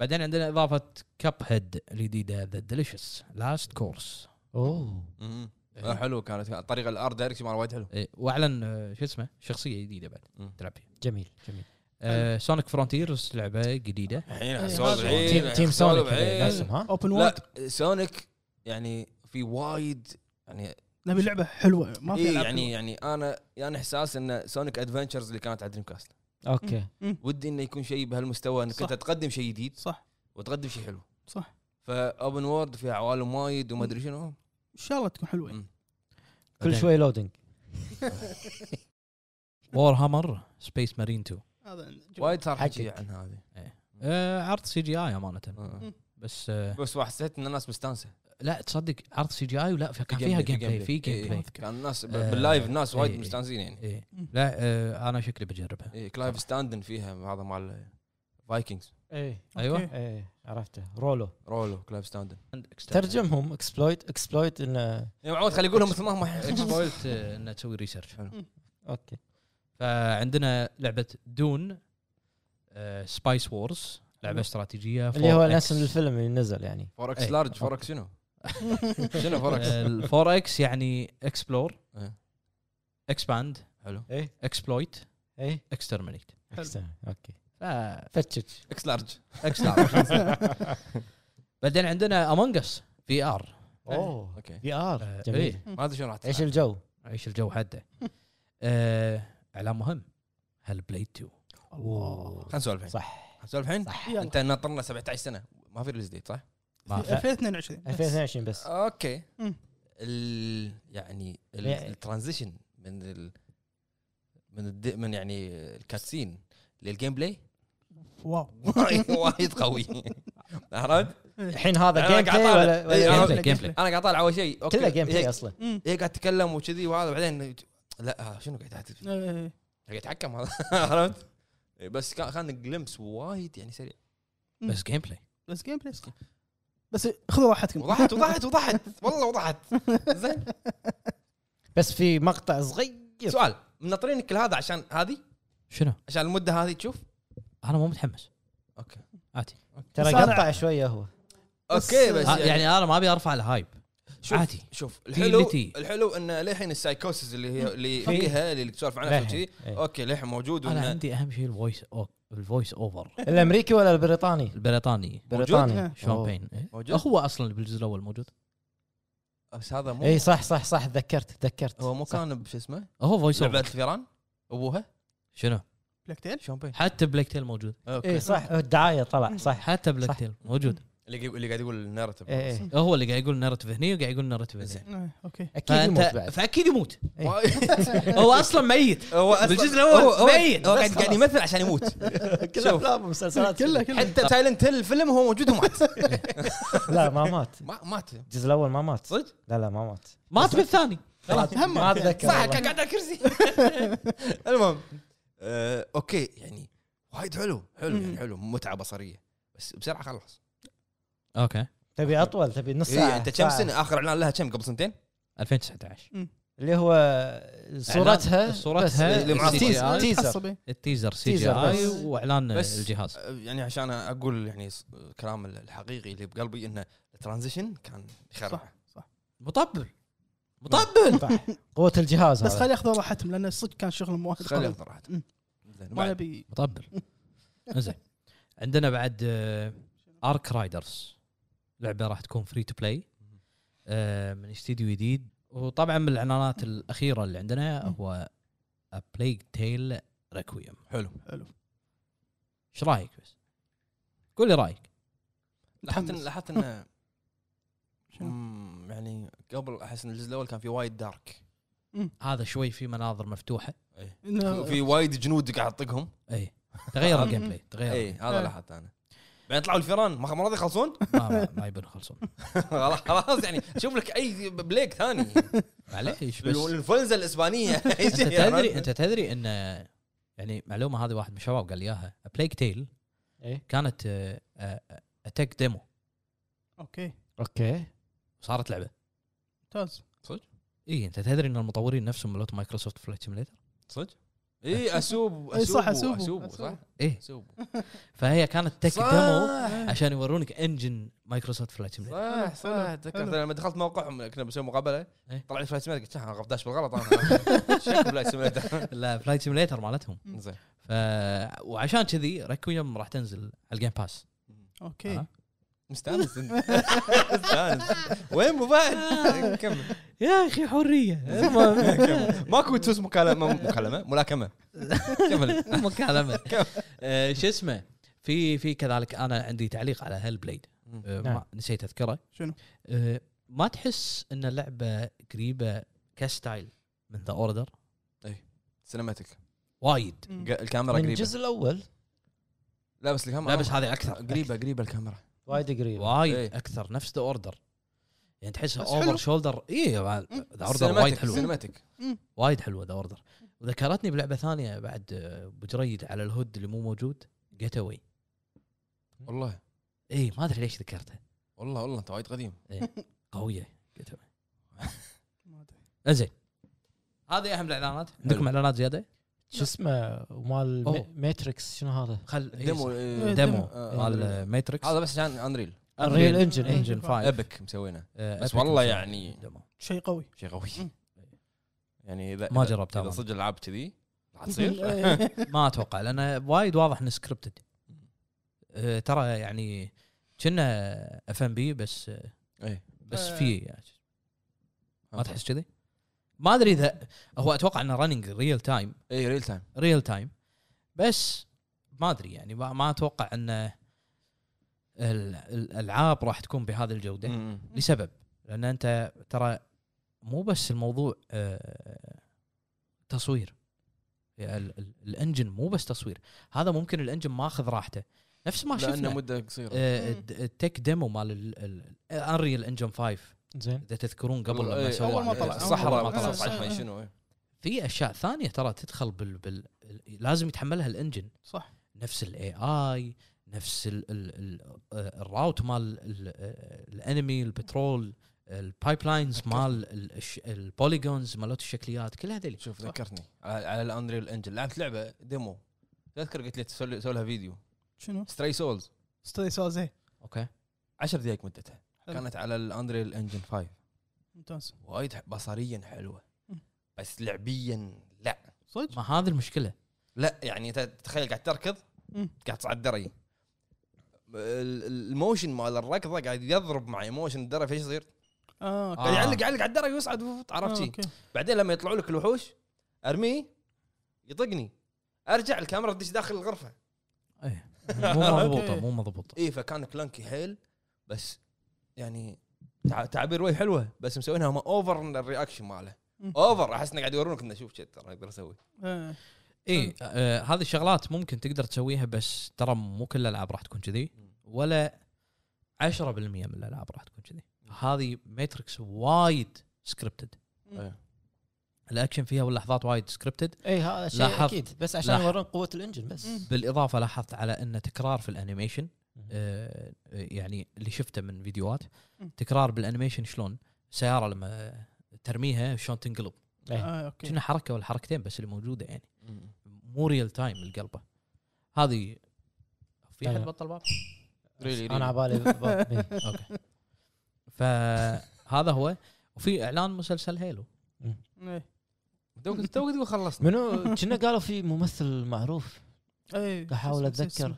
Speaker 5: بعدين عندنا اضافه كاب هيد الجديده ذا ديليشس لاست كورس
Speaker 4: اوه
Speaker 1: مم.
Speaker 4: إيه.
Speaker 1: آه، حلو كانت الطريقه الار دايركشن مال وايد حلو
Speaker 5: واعلن آه، شو اسمه شخصيه جديده بعد
Speaker 1: مم.
Speaker 5: تلعب فيها آه،
Speaker 4: جميل جميل
Speaker 5: سونيك فرونتيرز لعبه جديده
Speaker 1: الحين
Speaker 2: إيه،
Speaker 1: سولف
Speaker 2: هذا-
Speaker 1: الحين،
Speaker 4: تيم تيم
Speaker 1: سولف
Speaker 4: سونيك
Speaker 1: الحين.
Speaker 4: لازم، ها؟
Speaker 2: اوبن وورد
Speaker 1: لا سونيك يعني في وايد يعني
Speaker 2: نبي لعبه حلوه ما في
Speaker 1: إيه
Speaker 2: ألعاب
Speaker 1: يعني يعني انا يعني احساس ان سونيك ادفنتشرز اللي كانت على دريم كاست
Speaker 4: اوكي
Speaker 1: ودي انه يكون شيء بهالمستوى انك
Speaker 2: صح.
Speaker 1: انت تقدم شيء جديد
Speaker 2: صح
Speaker 1: وتقدم شيء حلو
Speaker 2: صح
Speaker 1: فاوبن وورد فيها عوالم وايد وما ادري شنو
Speaker 2: ان شاء الله تكون حلوه
Speaker 1: مم.
Speaker 4: كل شوي لودنج
Speaker 5: وور هامر سبيس مارين 2
Speaker 2: هذا جو-
Speaker 1: وايد صار حكي
Speaker 4: حقك.
Speaker 1: عن هذه
Speaker 5: آه، عرض سي جي اي امانه
Speaker 1: آه.
Speaker 5: بس آه،
Speaker 1: بس حسيت ان الناس مستانسه
Speaker 5: لا تصدق عرض سي جي اي ولا في- كان فيها جيم بلاي في جيم
Speaker 1: إيه،
Speaker 5: بلاي
Speaker 1: كان الناس ب-
Speaker 5: آه،
Speaker 1: باللايف الناس وايد
Speaker 5: إيه.
Speaker 1: مستانسين يعني
Speaker 5: إيه.
Speaker 2: مم.
Speaker 5: لا آه انا شكلي بجربها
Speaker 1: إيه، كلايف ستاندن فيها هذا مال فايكنجز
Speaker 4: ايه
Speaker 5: ايوه
Speaker 2: أوكي.
Speaker 4: ايه عرفته رولو
Speaker 1: إيه، رولو كلايف ستاندن
Speaker 4: ترجمهم اكسبلويت اكسبلويت انه
Speaker 1: يا معود يعني خلي يقولهم مثل ما هم
Speaker 5: اكسبويلت انه تسوي ريسيرش
Speaker 4: اوكي
Speaker 5: فعندنا لعبه دون آه، سبايس وورز لعبه استراتيجيه
Speaker 4: اللي هو نفس الفيلم اللي نزل يعني
Speaker 1: فور اكس
Speaker 5: إيه.
Speaker 1: لارج فور اكس شنو؟ شنو فور اكس؟
Speaker 5: الفور اكس آه، يعني اكسبلور
Speaker 1: إيه.
Speaker 5: اكسباند
Speaker 1: حلو
Speaker 4: ايه
Speaker 5: اكسبلويت
Speaker 4: ايه
Speaker 1: إيه.
Speaker 5: اكسترمينيت
Speaker 2: حلو.
Speaker 4: أحسن. اوكي
Speaker 5: فاكس
Speaker 4: فتشتش
Speaker 1: اكس لارج
Speaker 5: بعدين عندنا امونج اس في ار
Speaker 1: إيه.
Speaker 4: اوه
Speaker 1: اوكي
Speaker 4: في
Speaker 1: آه،
Speaker 4: ار جميل
Speaker 5: جميل
Speaker 1: ما ادري شنو راح
Speaker 4: ايش
Speaker 1: تصير
Speaker 4: الجو؟
Speaker 5: عيش الجو حده آه، اعلان مهم هل بليد 2
Speaker 2: الله
Speaker 1: خلينا نسولف الحين
Speaker 4: صح
Speaker 1: خلينا نسولف الحين
Speaker 2: يلا.
Speaker 1: انت ناطرنا 17 سنه ما في ريليز ديت صح؟
Speaker 5: ما في
Speaker 2: 2022 بس.
Speaker 4: 2022
Speaker 1: آه.
Speaker 4: بس
Speaker 1: اوكي
Speaker 2: مم.
Speaker 1: ال يعني ال-
Speaker 4: يعني-
Speaker 1: الترانزيشن من ال من الد... من يعني الكاتسين للجيم بلاي
Speaker 2: واو
Speaker 1: وايد- وايد قوي عرفت؟
Speaker 4: الحين هذا
Speaker 1: أنا
Speaker 4: جيم
Speaker 1: قاعد
Speaker 4: بلاي
Speaker 1: أطالع.
Speaker 4: ولا
Speaker 1: إيه،
Speaker 4: ولا
Speaker 1: أنا-
Speaker 4: game
Speaker 5: جيم بلاي جيم
Speaker 4: play؟
Speaker 5: بلاي
Speaker 1: انا قاعد اطالع اول شيء اوكي
Speaker 4: كله جيم بلاي
Speaker 1: هي-
Speaker 4: اصلا
Speaker 2: مم.
Speaker 1: هي قاعد تتكلم وكذي وهذا بعدين لا شنو قاعد تحكي؟
Speaker 2: إيه.
Speaker 1: قاعد يتحكم هذا عرفت؟ بس كان كان جلمس وايد يعني سريع
Speaker 2: مم.
Speaker 5: بس جيم بلاي
Speaker 2: بس جيم بلاي صح. بس خذوا راحتكم
Speaker 1: وضحت وضحت وضحت والله وضحت زين
Speaker 4: بس في مقطع صغير
Speaker 1: سؤال منطرين كل هذا عشان هذه
Speaker 5: شنو؟
Speaker 1: عشان المده هذه تشوف
Speaker 5: انا مو متحمس
Speaker 1: اوكي
Speaker 5: عادي
Speaker 4: ترى
Speaker 2: بس أنا-
Speaker 4: قطع شويه هو
Speaker 1: اوكي بس
Speaker 5: آه، يعني انا ما ابي ارفع الهايب
Speaker 1: شوف
Speaker 5: عادي.
Speaker 1: شوف
Speaker 5: في
Speaker 1: الحلو
Speaker 5: اللي تي.
Speaker 1: الحلو انه للحين السايكوسز اللي هي اللي
Speaker 4: في.
Speaker 1: فيها اللي تسولف عنها
Speaker 4: للحين.
Speaker 1: وكذي
Speaker 4: إيه.
Speaker 1: اوكي للحين موجود
Speaker 5: انا
Speaker 1: وإنه
Speaker 5: عندي اهم شيء الفويس أو- الفويس اوفر
Speaker 4: الامريكي ولا البريطاني؟
Speaker 5: البريطاني
Speaker 4: بريطاني
Speaker 2: إيه.
Speaker 5: شون بين إيه.
Speaker 1: موجود
Speaker 5: هو اصلا بالجزء الاول موجود
Speaker 1: بس هذا مو
Speaker 4: اي إيه، صح صح صح تذكرت تذكرت
Speaker 1: هو مو
Speaker 4: صح.
Speaker 1: كان بش اسمه
Speaker 5: هو فويس
Speaker 1: لعبه
Speaker 5: اوفر
Speaker 1: الفيران ابوها
Speaker 5: شنو؟
Speaker 2: بلاك تيل
Speaker 1: شامبين
Speaker 5: حتى بلاك تيل موجود
Speaker 4: اي
Speaker 1: اوكي
Speaker 4: إيه، صح هو الدعايه طلع صح
Speaker 5: حتى بلاك
Speaker 4: صح.
Speaker 5: تيل موجود
Speaker 1: اللي قاعد- اللي قاعد يقول النارتيف
Speaker 4: اي اي
Speaker 5: هو اللي قاعد يقول نارتيف هني وقاعد يقول نارتيف هني
Speaker 1: زين
Speaker 2: إيه، اوكي
Speaker 4: اكيد
Speaker 5: فانت
Speaker 4: يموت بعد
Speaker 5: فاكيد يموت
Speaker 4: إيه.
Speaker 5: هو اصلا ميت
Speaker 1: هو أصلاً-
Speaker 5: بالجزء الأول
Speaker 1: هو- هو-
Speaker 5: ميت.
Speaker 1: هو
Speaker 4: بس
Speaker 1: قاعد قاعد
Speaker 4: خلاص.
Speaker 1: يمثل عشان يموت
Speaker 4: كل
Speaker 1: شوف.
Speaker 4: افلام ومسلسلات
Speaker 2: كله كله
Speaker 1: حتى سايلنت هيل الفيلم هو موجود ومات
Speaker 4: لا ما مات
Speaker 1: ما- مات
Speaker 4: الجزء الاول ما مات
Speaker 1: صدق؟
Speaker 4: لا لا ما مات
Speaker 5: مات بالثاني
Speaker 4: خلاص
Speaker 2: هم
Speaker 4: ما اتذكر
Speaker 1: صح
Speaker 4: والله.
Speaker 1: كان قاعد على الكرسي المهم آه، اوكي يعني وايد حلو حلو يعني
Speaker 2: مم.
Speaker 1: حلو متعه بصريه بس بسرعه خلص
Speaker 5: اوكي
Speaker 4: تبي اطول تبي نص
Speaker 1: إيه
Speaker 4: ساعه
Speaker 1: انت كم
Speaker 4: ساعة.
Speaker 1: سنه اخر اعلان لها كم قبل سنتين
Speaker 5: 2019
Speaker 4: اللي هو صورتها
Speaker 5: صورتها
Speaker 4: بس-
Speaker 1: اللي معاه
Speaker 4: تيز-
Speaker 5: CGI.
Speaker 4: تيزر
Speaker 2: عصبي
Speaker 5: التيزر سي جي
Speaker 4: تيزر
Speaker 5: اي
Speaker 4: بس.
Speaker 5: واعلان
Speaker 1: بس.
Speaker 5: الجهاز
Speaker 1: يعني عشان اقول يعني ص- الكلام الحقيقي اللي بقلبي انه الترانزيشن كان يخرع
Speaker 2: صح صح
Speaker 5: مطبل مطبل
Speaker 4: قوه الجهاز
Speaker 2: بس
Speaker 4: هذا
Speaker 2: خلي ياخذوا راحتهم لان الصدق كان شغلهم وايد
Speaker 1: خلي
Speaker 2: قوي.
Speaker 1: انظر راحت
Speaker 2: مم.
Speaker 1: زين
Speaker 2: ما
Speaker 1: بعد.
Speaker 2: نبي
Speaker 5: مطبل زين عندنا بعد آه، ارك رايدرز لعبه راح تكون فري تو بلاي آه، من استديو جديد وطبعا من الاعلانات الاخيره اللي عندنا هو بلايك تيل ريكويم
Speaker 1: حلو
Speaker 2: حلو
Speaker 5: ايش رايك بس؟ قول لي رايك
Speaker 1: لاحظت إن-
Speaker 2: متحمس.
Speaker 1: لاحظت انه
Speaker 2: شنو؟
Speaker 1: مم، يعني قبل احس ان الجزء الاول كان في وايد دارك
Speaker 5: هذا شوي في مناظر مفتوحه
Speaker 2: إنه-
Speaker 1: في وايد جنود قاعد تطقهم
Speaker 5: اي إيه. تغير الجيم بلاي
Speaker 1: اي
Speaker 5: تغير
Speaker 1: هذا
Speaker 2: إيه.
Speaker 1: لاحظت انا بعدين طلعوا الفيران ما ما راضي يخلصون
Speaker 5: ما, ما, ما يبون يخلصون
Speaker 1: خلاص خلاص يعني شوف لك اي بليك ثاني
Speaker 5: معليش بس
Speaker 1: الانفلونزا الاسبانيه
Speaker 5: انت تدري انت تدري ان يعني معلومه هذه واحد من الشباب قال لي اياها بلايك تيل
Speaker 4: إيه.
Speaker 5: كانت آه، اتاك ديمو
Speaker 2: اوكي
Speaker 4: اوكي
Speaker 5: وصارت لعبه
Speaker 2: ممتاز
Speaker 5: اي انت إيه، تدري ان المطورين نفسهم ملوت مايكروسوفت فلايت سيميليتر
Speaker 1: صدق إيه، اي اسوب
Speaker 2: إي إيه، صح،
Speaker 1: اسوب
Speaker 2: أسوبو،
Speaker 1: اسوب
Speaker 2: أسوبو.
Speaker 1: صح
Speaker 5: ايه
Speaker 1: اسوب
Speaker 5: فهي كانت تك
Speaker 1: صح.
Speaker 5: ديمو عشان يورونك انجن مايكروسوفت فلايت سيميليتر
Speaker 1: صح صح تذكرت
Speaker 2: حلو.
Speaker 1: لما دخلت موقعهم كنا بنسوي مقابله
Speaker 5: إيه.
Speaker 1: طلع لي فلايت سيميليتر قلت "ها، انا غفداش بالغلط انا شكله فلايت سيميليتر
Speaker 5: لا فلايت سيميليتر مالتهم
Speaker 1: زين
Speaker 5: ف وعشان كذي ريكويم راح تنزل على الجيم باس
Speaker 2: اوكي
Speaker 5: آه.
Speaker 1: مستانس أنت. مستانس وين ابو فهد؟ كمل
Speaker 5: يا اخي حريه
Speaker 1: كمل. ماكو تسوس مكالمه مكالمه ملاكمه كمل
Speaker 5: مكالمه آه، شو اسمه في في كذلك انا عندي تعليق على هيل بليد آه،
Speaker 4: نعم.
Speaker 5: ما- نسيت اذكره
Speaker 2: شنو؟
Speaker 5: آه، ما تحس ان اللعبه قريبه كستايل من ذا اوردر
Speaker 1: سينماتيك
Speaker 5: وايد
Speaker 2: مم.
Speaker 1: الكاميرا
Speaker 4: من
Speaker 1: قريبه
Speaker 4: الجزء الاول
Speaker 1: لا بس الكاميرا
Speaker 5: لا بس هذه اكثر
Speaker 1: قريبه قريبه الكاميرا
Speaker 4: وايد قريب
Speaker 5: وايد
Speaker 1: إيه.
Speaker 5: اكثر نفس ذا اوردر يعني تحسها
Speaker 2: بس حلو.
Speaker 5: اوفر شولدر اي ذا
Speaker 2: مم.
Speaker 5: اوردر وايد حلوه
Speaker 1: سينماتيك
Speaker 5: وايد حلوه ذا اوردر وذكرتني بلعبه ثانيه بعد آه، ابو جريد على الهود اللي مو موجود جيت اواي
Speaker 1: والله
Speaker 5: اي إيه، ما ادري ليش ذكرتها
Speaker 1: والله والله انت وايد قديم
Speaker 5: قويه جيت اواي
Speaker 2: ما أدري.
Speaker 5: زين هذه اهم الاعلانات عندكم اعلانات زياده؟
Speaker 4: شو اسمه مال
Speaker 5: أوه.
Speaker 4: ماتريكس شنو هذا؟
Speaker 5: خل إيه،
Speaker 1: ديمو
Speaker 5: صح.
Speaker 1: آه،
Speaker 5: ديمو
Speaker 1: آه،
Speaker 5: مال ماتريكس
Speaker 1: هذا بس عشان انريل
Speaker 4: الريل انجن
Speaker 2: إيه.
Speaker 5: انجن 5
Speaker 1: ابك مسوينه
Speaker 5: آه،
Speaker 1: بس
Speaker 5: Epic
Speaker 1: والله
Speaker 5: Engine
Speaker 1: يعني
Speaker 5: Demo.
Speaker 2: شيء قوي
Speaker 1: شيء قوي يعني اذا
Speaker 5: ما
Speaker 1: إذا-
Speaker 5: جربتها
Speaker 1: اذا
Speaker 5: أنا.
Speaker 1: صدق العاب كذي راح تصير
Speaker 2: إيه.
Speaker 5: ما اتوقع لان وايد واضح انه سكريبتد ترى يعني كنا اف ام بي بس آه،
Speaker 1: إيه. آه.
Speaker 5: بس
Speaker 2: آه.
Speaker 5: في يعني ما تحس كذي؟ ما ادري اذا هو اتوقع انه رننج ريل تايم
Speaker 1: اي ريل تايم
Speaker 5: ريل تايم بس ما ادري يعني ما, ما اتوقع انه ال- الالعاب راح تكون بهذه الجوده
Speaker 1: مم.
Speaker 5: لسبب لان انت ترى مو بس الموضوع آه، تصوير يعني ال- ال- الانجن مو بس تصوير هذا ممكن الانجن ماخذ راحته نفس ما
Speaker 1: لانه
Speaker 5: شفنا
Speaker 1: مده قصيره
Speaker 5: آه، الد- التك ديمو مال انريل انجن 5
Speaker 4: زين
Speaker 5: اذا تذكرون قبل لما
Speaker 1: إيه،
Speaker 5: سووا
Speaker 2: أول ما طلع.
Speaker 1: الصحراء
Speaker 2: أول ما طلع.
Speaker 1: صح ما شنو إيه.
Speaker 5: في اشياء ثانيه ترى تدخل بال, بال... لازم يتحملها الانجن
Speaker 2: صح.
Speaker 5: نفس الاي اي نفس ال ال ال آه، الراوت مال ال- الانمي البترول البايب لاينز مال ال- الش- البوليجونز مالت الشكليات كل هذول
Speaker 1: شوف ذكرتني على على الانريل انجل لعبت لعبه ديمو تذكر قلت لي تسوي تسوي لها فيديو
Speaker 2: شنو؟
Speaker 1: ستري سولز
Speaker 2: استاذ سوزي
Speaker 5: اوكي
Speaker 1: 10 دقائق مدتها
Speaker 2: حلو.
Speaker 1: كانت على الانريل انجل 5
Speaker 2: ممتاز
Speaker 1: وايد ح- بصريا حلوه
Speaker 2: مم.
Speaker 1: بس لعبيا لا
Speaker 2: صدق؟
Speaker 5: ما هذه المشكله
Speaker 1: لا يعني انت تتخيل قاعد تركض
Speaker 2: مم.
Speaker 1: قاعد تصعد دري ال- ال- الموشن مال الركضه قاعد يضرب مع ايموشن الدري فايش يصير؟ يعني
Speaker 2: اه
Speaker 5: آه.
Speaker 1: قاعد
Speaker 2: اوكي
Speaker 1: يعلق يعلق على الدرج ويصعد وفط، عرفت شي
Speaker 2: اوكي
Speaker 1: بعدين لما يطلعوا لك الوحوش ارميه يطقني ارجع الكاميرا تدش داخل الغرفه
Speaker 5: ايه مو مضبوطه مو مضبوطه
Speaker 1: اي إيه، فكان كلانكي حيل بس يعني تع- تعابير وجه حلوه بس مسوينها هم اوفر الرياكشن ماله
Speaker 2: مم.
Speaker 1: اوفر احس انه قاعد يورونك انه شوف شت ترى اقدر اسوي
Speaker 2: آه.
Speaker 5: اي آه هذه الشغلات ممكن تقدر تسويها بس ترى مو كل الالعاب راح تكون كذي ولا 10% من الالعاب راح تكون كذي هذه ماتريكس وايد سكريبتد
Speaker 1: إيه.
Speaker 5: الاكشن فيها واللحظات وايد سكريبتد
Speaker 4: اي إيه، هذا
Speaker 5: لاحظت-
Speaker 4: شيء اكيد بس عشان
Speaker 5: لاحظ.
Speaker 4: يورون قوه الانجن بس
Speaker 2: مم.
Speaker 5: بالاضافه لاحظت على ان تكرار في الانيميشن
Speaker 4: مم.
Speaker 5: آه يعني اللي شفته من فيديوهات
Speaker 2: مم.
Speaker 5: تكرار بالانيميشن شلون السياره لما ترميها شلون تنقلب
Speaker 4: إيه.
Speaker 2: آه اوكي
Speaker 5: كنا حركه ولا حركتين بس اللي موجوده يعني مو ريل تايم القلبه هذه في
Speaker 4: لا،
Speaker 5: احد
Speaker 4: لا.
Speaker 5: بطل باب
Speaker 4: انا عبالي باب بي.
Speaker 5: اوكي فهذا هو وفي اعلان مسلسل هيلو
Speaker 2: إيه.
Speaker 1: توك توك تقول خلصنا
Speaker 4: منو كنا قالوا في ممثل معروف
Speaker 2: ايه
Speaker 4: بحاول
Speaker 2: بس- بس-
Speaker 4: اتذكر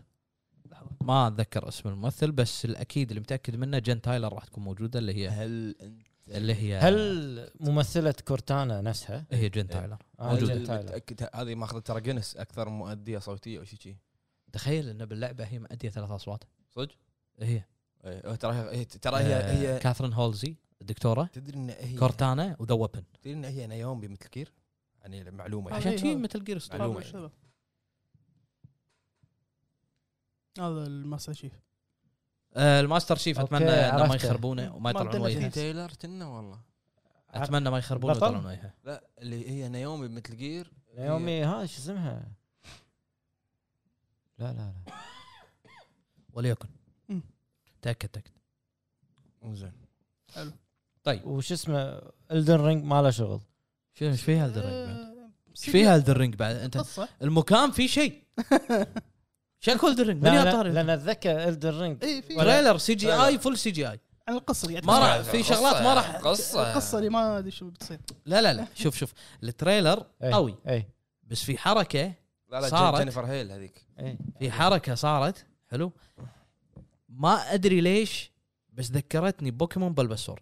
Speaker 5: ما اتذكر اسم الممثل بس الاكيد اللي متاكد منه جن تايلر راح تكون موجوده اللي هي
Speaker 1: هل انت
Speaker 5: اللي هي
Speaker 4: هل ممثلة كورتانا نفسها؟
Speaker 5: هي جن تايلر
Speaker 4: آه،
Speaker 5: موجودة.
Speaker 4: جن تايلر.
Speaker 1: متاكد هذه ماخذه ترى جنس اكثر مؤديه صوتيه او شيء شي.
Speaker 5: تخيل انه باللعبه هي مأديه ثلاث اصوات
Speaker 1: صدق؟
Speaker 5: هي
Speaker 1: إيه، ترى هي ترى هي
Speaker 5: آه،
Speaker 1: هي
Speaker 5: كاثرين هولزي الدكتوره
Speaker 1: تدري ان هي
Speaker 5: كورتانا وذا ويبن
Speaker 1: تدري ان هي نيومي مثل كير يعني معلومه يعني.
Speaker 2: هذا
Speaker 5: عشان
Speaker 2: إيه،
Speaker 5: شي
Speaker 2: هذا.
Speaker 5: مثل جير
Speaker 1: معلومة.
Speaker 2: طبعاً، شباب. هذا الماستر شيف
Speaker 5: آه، الماستر شيف
Speaker 4: أوكي،
Speaker 5: اتمنى انه ما
Speaker 4: عرفته.
Speaker 5: يخربونه وما
Speaker 2: ما
Speaker 5: يطلعون
Speaker 2: بدنا
Speaker 5: وجهه
Speaker 1: في تايلر كنا والله
Speaker 5: اتمنى ما يخربونه
Speaker 4: بطل؟
Speaker 5: ويطلعون وجهه
Speaker 1: لا اللي هي نيومي مثل جير
Speaker 4: نيومي ها شو اسمها؟ لا لا لا
Speaker 5: وليكن
Speaker 2: مم.
Speaker 5: تاكد تاكد
Speaker 1: زين
Speaker 4: وش اسمه الدن رينج ما له شغل
Speaker 5: شنو ايش فيها الدرينج بعد؟
Speaker 2: آه،
Speaker 5: ايش فيها الدرينج بعد انت
Speaker 2: قصه
Speaker 5: المكان فيه شيء شكل الدرينج من
Speaker 4: لا
Speaker 5: يا
Speaker 4: لا
Speaker 5: طاري
Speaker 4: لان اتذكر الدن رينج
Speaker 5: إيه،
Speaker 2: اي في
Speaker 5: تريلر سي جي
Speaker 1: تريلر.
Speaker 5: اي فول سي جي اي
Speaker 2: عن القصه قاعد
Speaker 5: ما
Speaker 2: تحكي.
Speaker 5: راح في شغلات ما راح
Speaker 1: قصه
Speaker 2: القصه اللي يعني. ما ادري شو بتصير
Speaker 5: لا لا لا شوف شوف التريلر
Speaker 4: إيه.
Speaker 5: قوي
Speaker 4: اي
Speaker 5: بس في حركه
Speaker 1: لا لا
Speaker 5: صارت.
Speaker 1: جن- جينيفر هيل هذيك
Speaker 4: اي
Speaker 5: في حركه صارت حلو ما ادري ليش بس ذكرتني بوكيمون بلبسور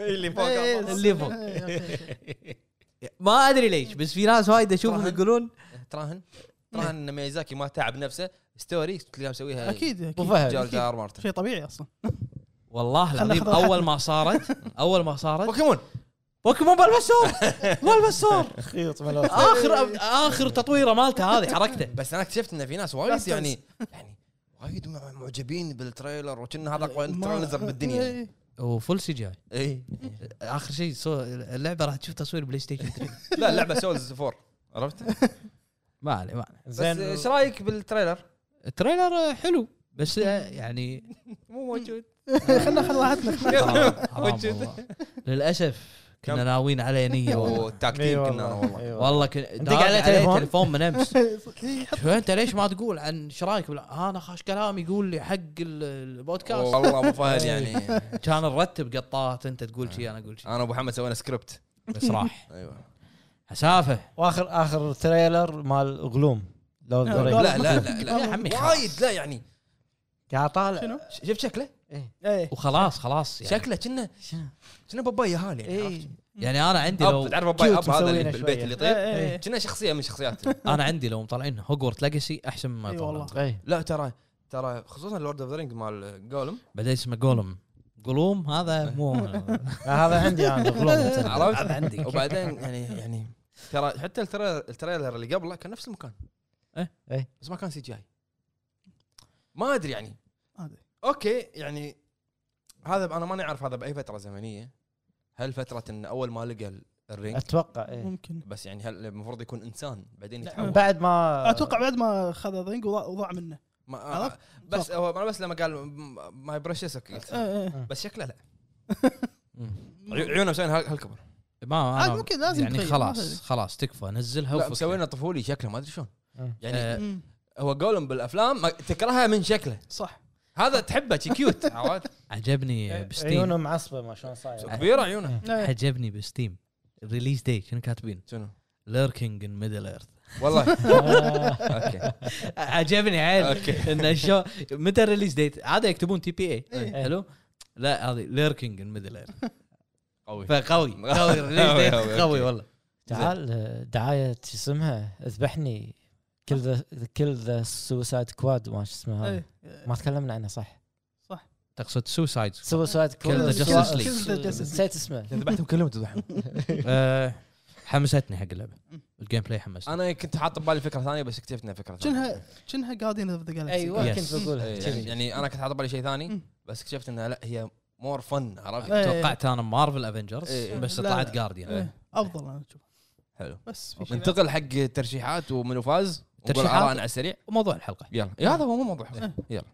Speaker 1: اللي
Speaker 2: إيه،
Speaker 5: اللي فوق.
Speaker 2: إيه، أوكي، أوكي.
Speaker 5: ما ادري ليش بس في ناس وايد اشوفهم
Speaker 1: طبعاً.
Speaker 5: يقولون
Speaker 1: تراهن تراهن ان ميازاكي ما تعب نفسه ستوري تلاقيه مسويها
Speaker 2: اكيد
Speaker 4: ابو
Speaker 2: اكيد
Speaker 1: جار
Speaker 4: فهد
Speaker 2: أكيد.
Speaker 1: جار مارتن
Speaker 2: شيء طبيعي اصلا
Speaker 5: والله
Speaker 2: خلنا
Speaker 5: العظيم
Speaker 2: ناخذ راحتنا.
Speaker 5: اول ما صارت اول ما صارت
Speaker 1: بوكيمون
Speaker 5: بوكيمون بالبسور بالبسور
Speaker 4: خيط ملوخ
Speaker 5: اخر اخر تطويره مالته هذه حركته
Speaker 1: بس انا اكتشفت ان في ناس وايد يعني يعني وايد مع- معجبين بالتريلر وكنا هذا اقوى
Speaker 2: ما-
Speaker 1: تريلر بالدنيا إيه. يعني.
Speaker 2: إيه،
Speaker 5: وفول سي جي
Speaker 1: اي
Speaker 5: اخر شيء سو- اللعبه راح تشوف تصوير بلاي ستيشن 3
Speaker 1: لا اللعبه سولز 4 عرفت
Speaker 5: ما عليه ما عليه
Speaker 1: بس
Speaker 4: زين
Speaker 1: ايش رايك بالتريلر؟
Speaker 5: التريلر آه، حلو بس آه، يعني
Speaker 1: مو موجود
Speaker 2: خلنا ناخذ راحتنا
Speaker 1: آه.
Speaker 5: حرام حرام والله. للاسف كنا
Speaker 1: كم؟
Speaker 5: ناويين عليه نيه والله
Speaker 1: والتاك تيم كنا
Speaker 4: إي
Speaker 1: أنا والله
Speaker 4: إي
Speaker 5: والله كنا
Speaker 4: أنت قاعد عليه تليفون؟
Speaker 5: تليفون من امس
Speaker 2: إيه،
Speaker 5: شو انت ليش ما تقول عن ايش رايك بال- آه، انا خاش كلام يقول لي حق ال- البودكاست
Speaker 1: والله ابو فهد يعني
Speaker 5: كان نرتب قطات انت تقول شي انا اقول شي
Speaker 1: انا وابو محمد سوينا سكريبت
Speaker 5: بس راح
Speaker 1: ايوه
Speaker 5: حسافه
Speaker 4: واخر اخر تريلر مال غلوم لو
Speaker 2: لا،
Speaker 1: لا
Speaker 4: لا
Speaker 1: لا لا لا
Speaker 5: يا عمي خلاص.
Speaker 1: وايد لا يعني
Speaker 4: قاعد طالع
Speaker 2: شنو؟
Speaker 1: شفت شكله؟
Speaker 2: إيه.
Speaker 5: وخلاص خلاص يعني,
Speaker 1: شكله كنا كنا بابايا هالي
Speaker 2: إيه،
Speaker 1: يعني عرفت؟
Speaker 4: اي
Speaker 5: يعني انا عندي لو
Speaker 1: اب تعرف باباي
Speaker 4: كيوت
Speaker 1: اب هذا اللي
Speaker 4: مسوينه
Speaker 1: بالبيت
Speaker 4: شوية.
Speaker 1: اللي يطير
Speaker 2: إيه، إيه.
Speaker 1: كنا شخصيه من شخصيات
Speaker 5: انا عندي لو مطلعين هوجورت ليجاسي احسن مما
Speaker 2: اي
Speaker 5: يطلعون
Speaker 2: والله
Speaker 4: اي
Speaker 1: لا ترى ترى خصوصا لورد اوف ذا رينج مال جولم
Speaker 5: بعدين اسمه جولم جولوم هذا مو
Speaker 4: هذا عندي انا غلوم
Speaker 1: عرفت؟
Speaker 5: هذا عندي
Speaker 1: وبعدين يعني يعني ترى حتى التريلر التريلر اللي قبله كان نفس المكان
Speaker 5: إيه.
Speaker 4: إيه.
Speaker 1: بس ما كان سي جي اي ما ادري يعني
Speaker 2: ما أدري.
Speaker 1: اوكي يعني هذا انا ماني عارف هذا باي فتره زمنيه هل فتره ان اول ما لقى الرينج
Speaker 4: اتوقع اي
Speaker 2: ممكن
Speaker 1: بس يعني هل المفروض يكون انسان بعدين
Speaker 2: لا.
Speaker 1: يتحول
Speaker 4: إيه. بعد ما
Speaker 2: اتوقع بعد ما اخذ الرينج وضاع وضاع منه
Speaker 1: ما
Speaker 2: عرفت؟
Speaker 1: بس هو انا بس لما قال ماي بريشس قلت
Speaker 2: إيه، إيه.
Speaker 1: بس شكله لا
Speaker 5: مم.
Speaker 1: عيو- عيونه مسوين هال- هالكبر
Speaker 5: ما
Speaker 2: عاد
Speaker 5: انا
Speaker 2: ممكن لازم
Speaker 5: يعني
Speaker 2: تغير، ما
Speaker 5: خلاص
Speaker 2: في-
Speaker 5: خلاص تكفى نزلها
Speaker 1: لا
Speaker 5: وفكها.
Speaker 1: مسوينه طفولي شكله ما ادري شلون
Speaker 4: أه.
Speaker 1: يعني
Speaker 2: مم.
Speaker 1: هو جولم بالافلام ما تكرهها من شكله
Speaker 2: صح
Speaker 1: هذا تحبه شي كيوت عرفت؟
Speaker 5: عجبني بستيم
Speaker 4: إيه، عيونه معصبه ما شلون صاير
Speaker 1: كبيره عيونه
Speaker 2: إيه.
Speaker 5: عجبني بستيم الريليز دي شنو كاتبين؟
Speaker 1: شنو؟
Speaker 5: ليركينج ان ميدل ايرث
Speaker 1: والله
Speaker 4: آه.
Speaker 1: اوكي
Speaker 5: عجبني عيل
Speaker 1: اوكي
Speaker 5: انه شو متى الريليز ديت؟ عاده يكتبون تي بي اي
Speaker 4: إيه.
Speaker 5: حلو؟ لا هذه ليركينج ان ميدل ايرث
Speaker 1: قوي
Speaker 5: فقوي قوي الريليز
Speaker 1: قوي،
Speaker 5: ديت
Speaker 1: قوي،
Speaker 5: قوي
Speaker 1: أوكي.
Speaker 5: والله
Speaker 4: تعال آه، دعايه شو اسمها اذبحني كل ذا كل ذا سوسايد كواد ما شو اسمها هذا.
Speaker 2: إيه.
Speaker 4: ما تكلمنا عنه صح
Speaker 5: تقصد سوسايد
Speaker 4: سوسايد كواد
Speaker 5: Kill the Justice League.
Speaker 2: Kill the Justice League.
Speaker 4: نسيت اسمه
Speaker 1: ذبحتهم كلهم تذبحهم
Speaker 5: آه، حمستني حق اللعبه الجيم بلاي حمستني
Speaker 1: انا كنت حاط ببالي فكره ثانيه بس اكتشفت انها فكره ثانيه
Speaker 2: شنها شنها جاردين اوف ذا جالكسي
Speaker 4: ايوه
Speaker 5: Yes.
Speaker 4: كنت
Speaker 1: إيه،
Speaker 4: بقولها
Speaker 1: يعني,
Speaker 4: كذي.
Speaker 1: يعني انا كنت حاط ببالي شيء ثاني
Speaker 2: مم.
Speaker 1: بس اكتشفت انها لا هي مور فن
Speaker 5: آه.
Speaker 1: عرفت؟
Speaker 2: إيه.
Speaker 5: توقعت انا مارفل افنجرز
Speaker 1: إيه.
Speaker 5: بس
Speaker 2: لا،
Speaker 5: طلعت
Speaker 2: لا.
Speaker 5: جارديان
Speaker 2: إيه. افضل انا اشوف
Speaker 1: حلو
Speaker 2: بس في شيء بعد.
Speaker 1: ننتقل حق ترشيحات ومنو فاز نقول
Speaker 5: ترشيحات.
Speaker 1: آراءنا على السريع
Speaker 5: وموضوع الحلقه
Speaker 1: يلا إيه، هذا هو مو موضوع
Speaker 2: إيه.
Speaker 1: يلا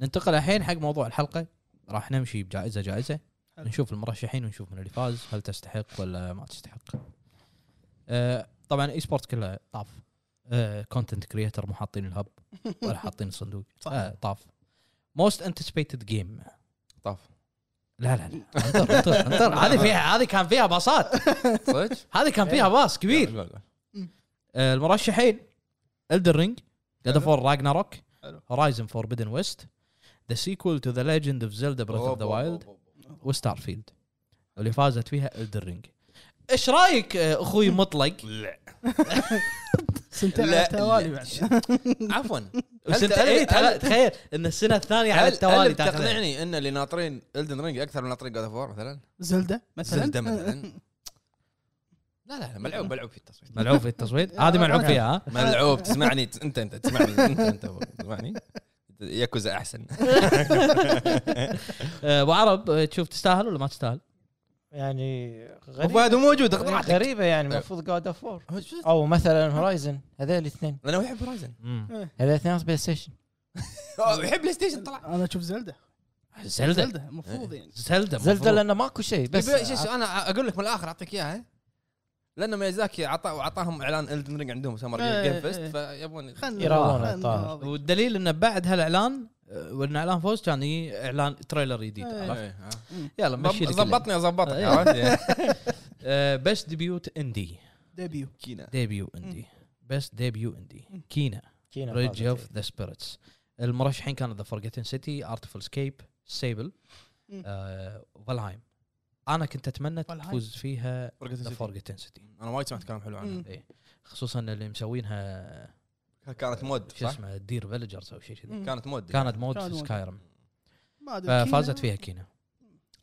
Speaker 5: ننتقل الحين حق موضوع الحلقه راح نمشي بجائزه جائزه نشوف المرشحين ونشوف من اللي فاز هل تستحق ولا ما تستحق آه، طبعا اي سبورت كله طاف آه، كونتنت كريتر مو حاطين الهب ولا حاطين الصندوق
Speaker 2: صح.
Speaker 5: آه، طاف موست انتسبيتد جيم
Speaker 1: طاف
Speaker 5: لا لا لا انطر انطر انطر هذه فيها هذه كان فيها باصات
Speaker 1: صدق؟
Speaker 5: هذه كان فيها باص كبير
Speaker 1: لا، لا.
Speaker 5: آه، المرشحين الدر رينج جاد اوف وور راجناروك
Speaker 2: حلو.
Speaker 5: هورايزن فوربيدن ويست ذا سيكول تو ذا ليجند اوف زيلدا بريث اوف ذا وايلد وستار فيلد اللي فازت فيها الدر رينج ايش رايك آه، اخوي مطلق
Speaker 2: سنتين
Speaker 1: لا،
Speaker 2: على التوالي
Speaker 1: لا.
Speaker 2: بعد
Speaker 1: عفوا
Speaker 5: بس انت
Speaker 1: هل-
Speaker 5: إيه،
Speaker 1: هل-
Speaker 5: تعال- تخيل ان السنه الثانيه على
Speaker 1: هل-
Speaker 5: التوالي
Speaker 1: هل
Speaker 5: تاخذها
Speaker 1: تقنعني ان اللي ناطرين الدن رينج اكثر من ناطرين جاد اوف وور مثلا؟
Speaker 2: زلده مثلا
Speaker 1: زلدة
Speaker 2: إيه.
Speaker 1: مثلا لا لا لا ملعوب ملعوب في التصويت
Speaker 5: ملعوب في التصويت هذه ملعوب فيها ها
Speaker 1: ملعوب تسمعني ت- انت انت تسمعني انت انت تسمعني ياكوزا احسن
Speaker 5: آه، ابو عرب آه، تشوف تستاهل ولا ما تستاهل؟
Speaker 4: يعني غريبه
Speaker 1: وفهد موجود اخذ راحتك
Speaker 4: غريبه يعني المفروض جاد اوف وور او مثلا هورايزن هذول الاثنين
Speaker 1: انا هو يحب هورايزن
Speaker 4: هذول الاثنين بلاي ستيشن
Speaker 1: هو يحب بلاي ستيشن طلع
Speaker 2: انا اشوف زلده
Speaker 5: زلدة إيه.
Speaker 2: زلده المفروض يعني
Speaker 5: زلدة
Speaker 4: زلده لانه ماكو شيء
Speaker 1: بس
Speaker 4: بس
Speaker 1: انا اقول لك من الاخر اعطيك اياها لانه ميزاكي عطا وعطاهم اعلان الدن رينج عندهم سمر
Speaker 2: إيه،
Speaker 1: جيم
Speaker 2: إيه،
Speaker 1: فيست
Speaker 2: إيه.
Speaker 1: فيبون
Speaker 2: خلنا
Speaker 4: يراوغون
Speaker 2: خلنا
Speaker 4: الطاهر.
Speaker 2: نراضي.
Speaker 5: والدليل انه بعد هالاعلان آه، وان اعلان فوز كان يجي اعلان تريلر جديد
Speaker 2: إيه.
Speaker 5: عرفت؟
Speaker 1: إيه، ها.
Speaker 5: يلا آه، مشي لك الليل.
Speaker 1: ضبطني اضبطك
Speaker 5: إيه.
Speaker 1: عرفت؟
Speaker 5: بيست ديبيوت اندي
Speaker 2: ديبيو
Speaker 1: كينا
Speaker 5: ديبيو اندي بيست ديبيو اندي كينا ريج اوف ذا سبيريتس المرشحين كانوا ذا فورجيتن سيتي ارتفل سكيب سيبل
Speaker 2: مم.
Speaker 5: فالهايم انا آه، كنت اتمنى
Speaker 2: Valheim.
Speaker 5: تفوز فيها ذا
Speaker 1: انا
Speaker 5: فورجيتن سيتي
Speaker 1: وايد سمعت كلام حلو عنها
Speaker 2: مم.
Speaker 5: إيه. خصوصا اللي مسوينها
Speaker 1: كانت مود
Speaker 5: شو
Speaker 1: صح؟
Speaker 5: اسمه دير فيلجرز او شيء كذي
Speaker 2: مم.
Speaker 1: كانت مود
Speaker 5: كانت مود
Speaker 2: كانت مود.
Speaker 5: سكايرم
Speaker 2: ما أدري،
Speaker 5: ففازت
Speaker 2: كينا.
Speaker 5: آه، فيها كينا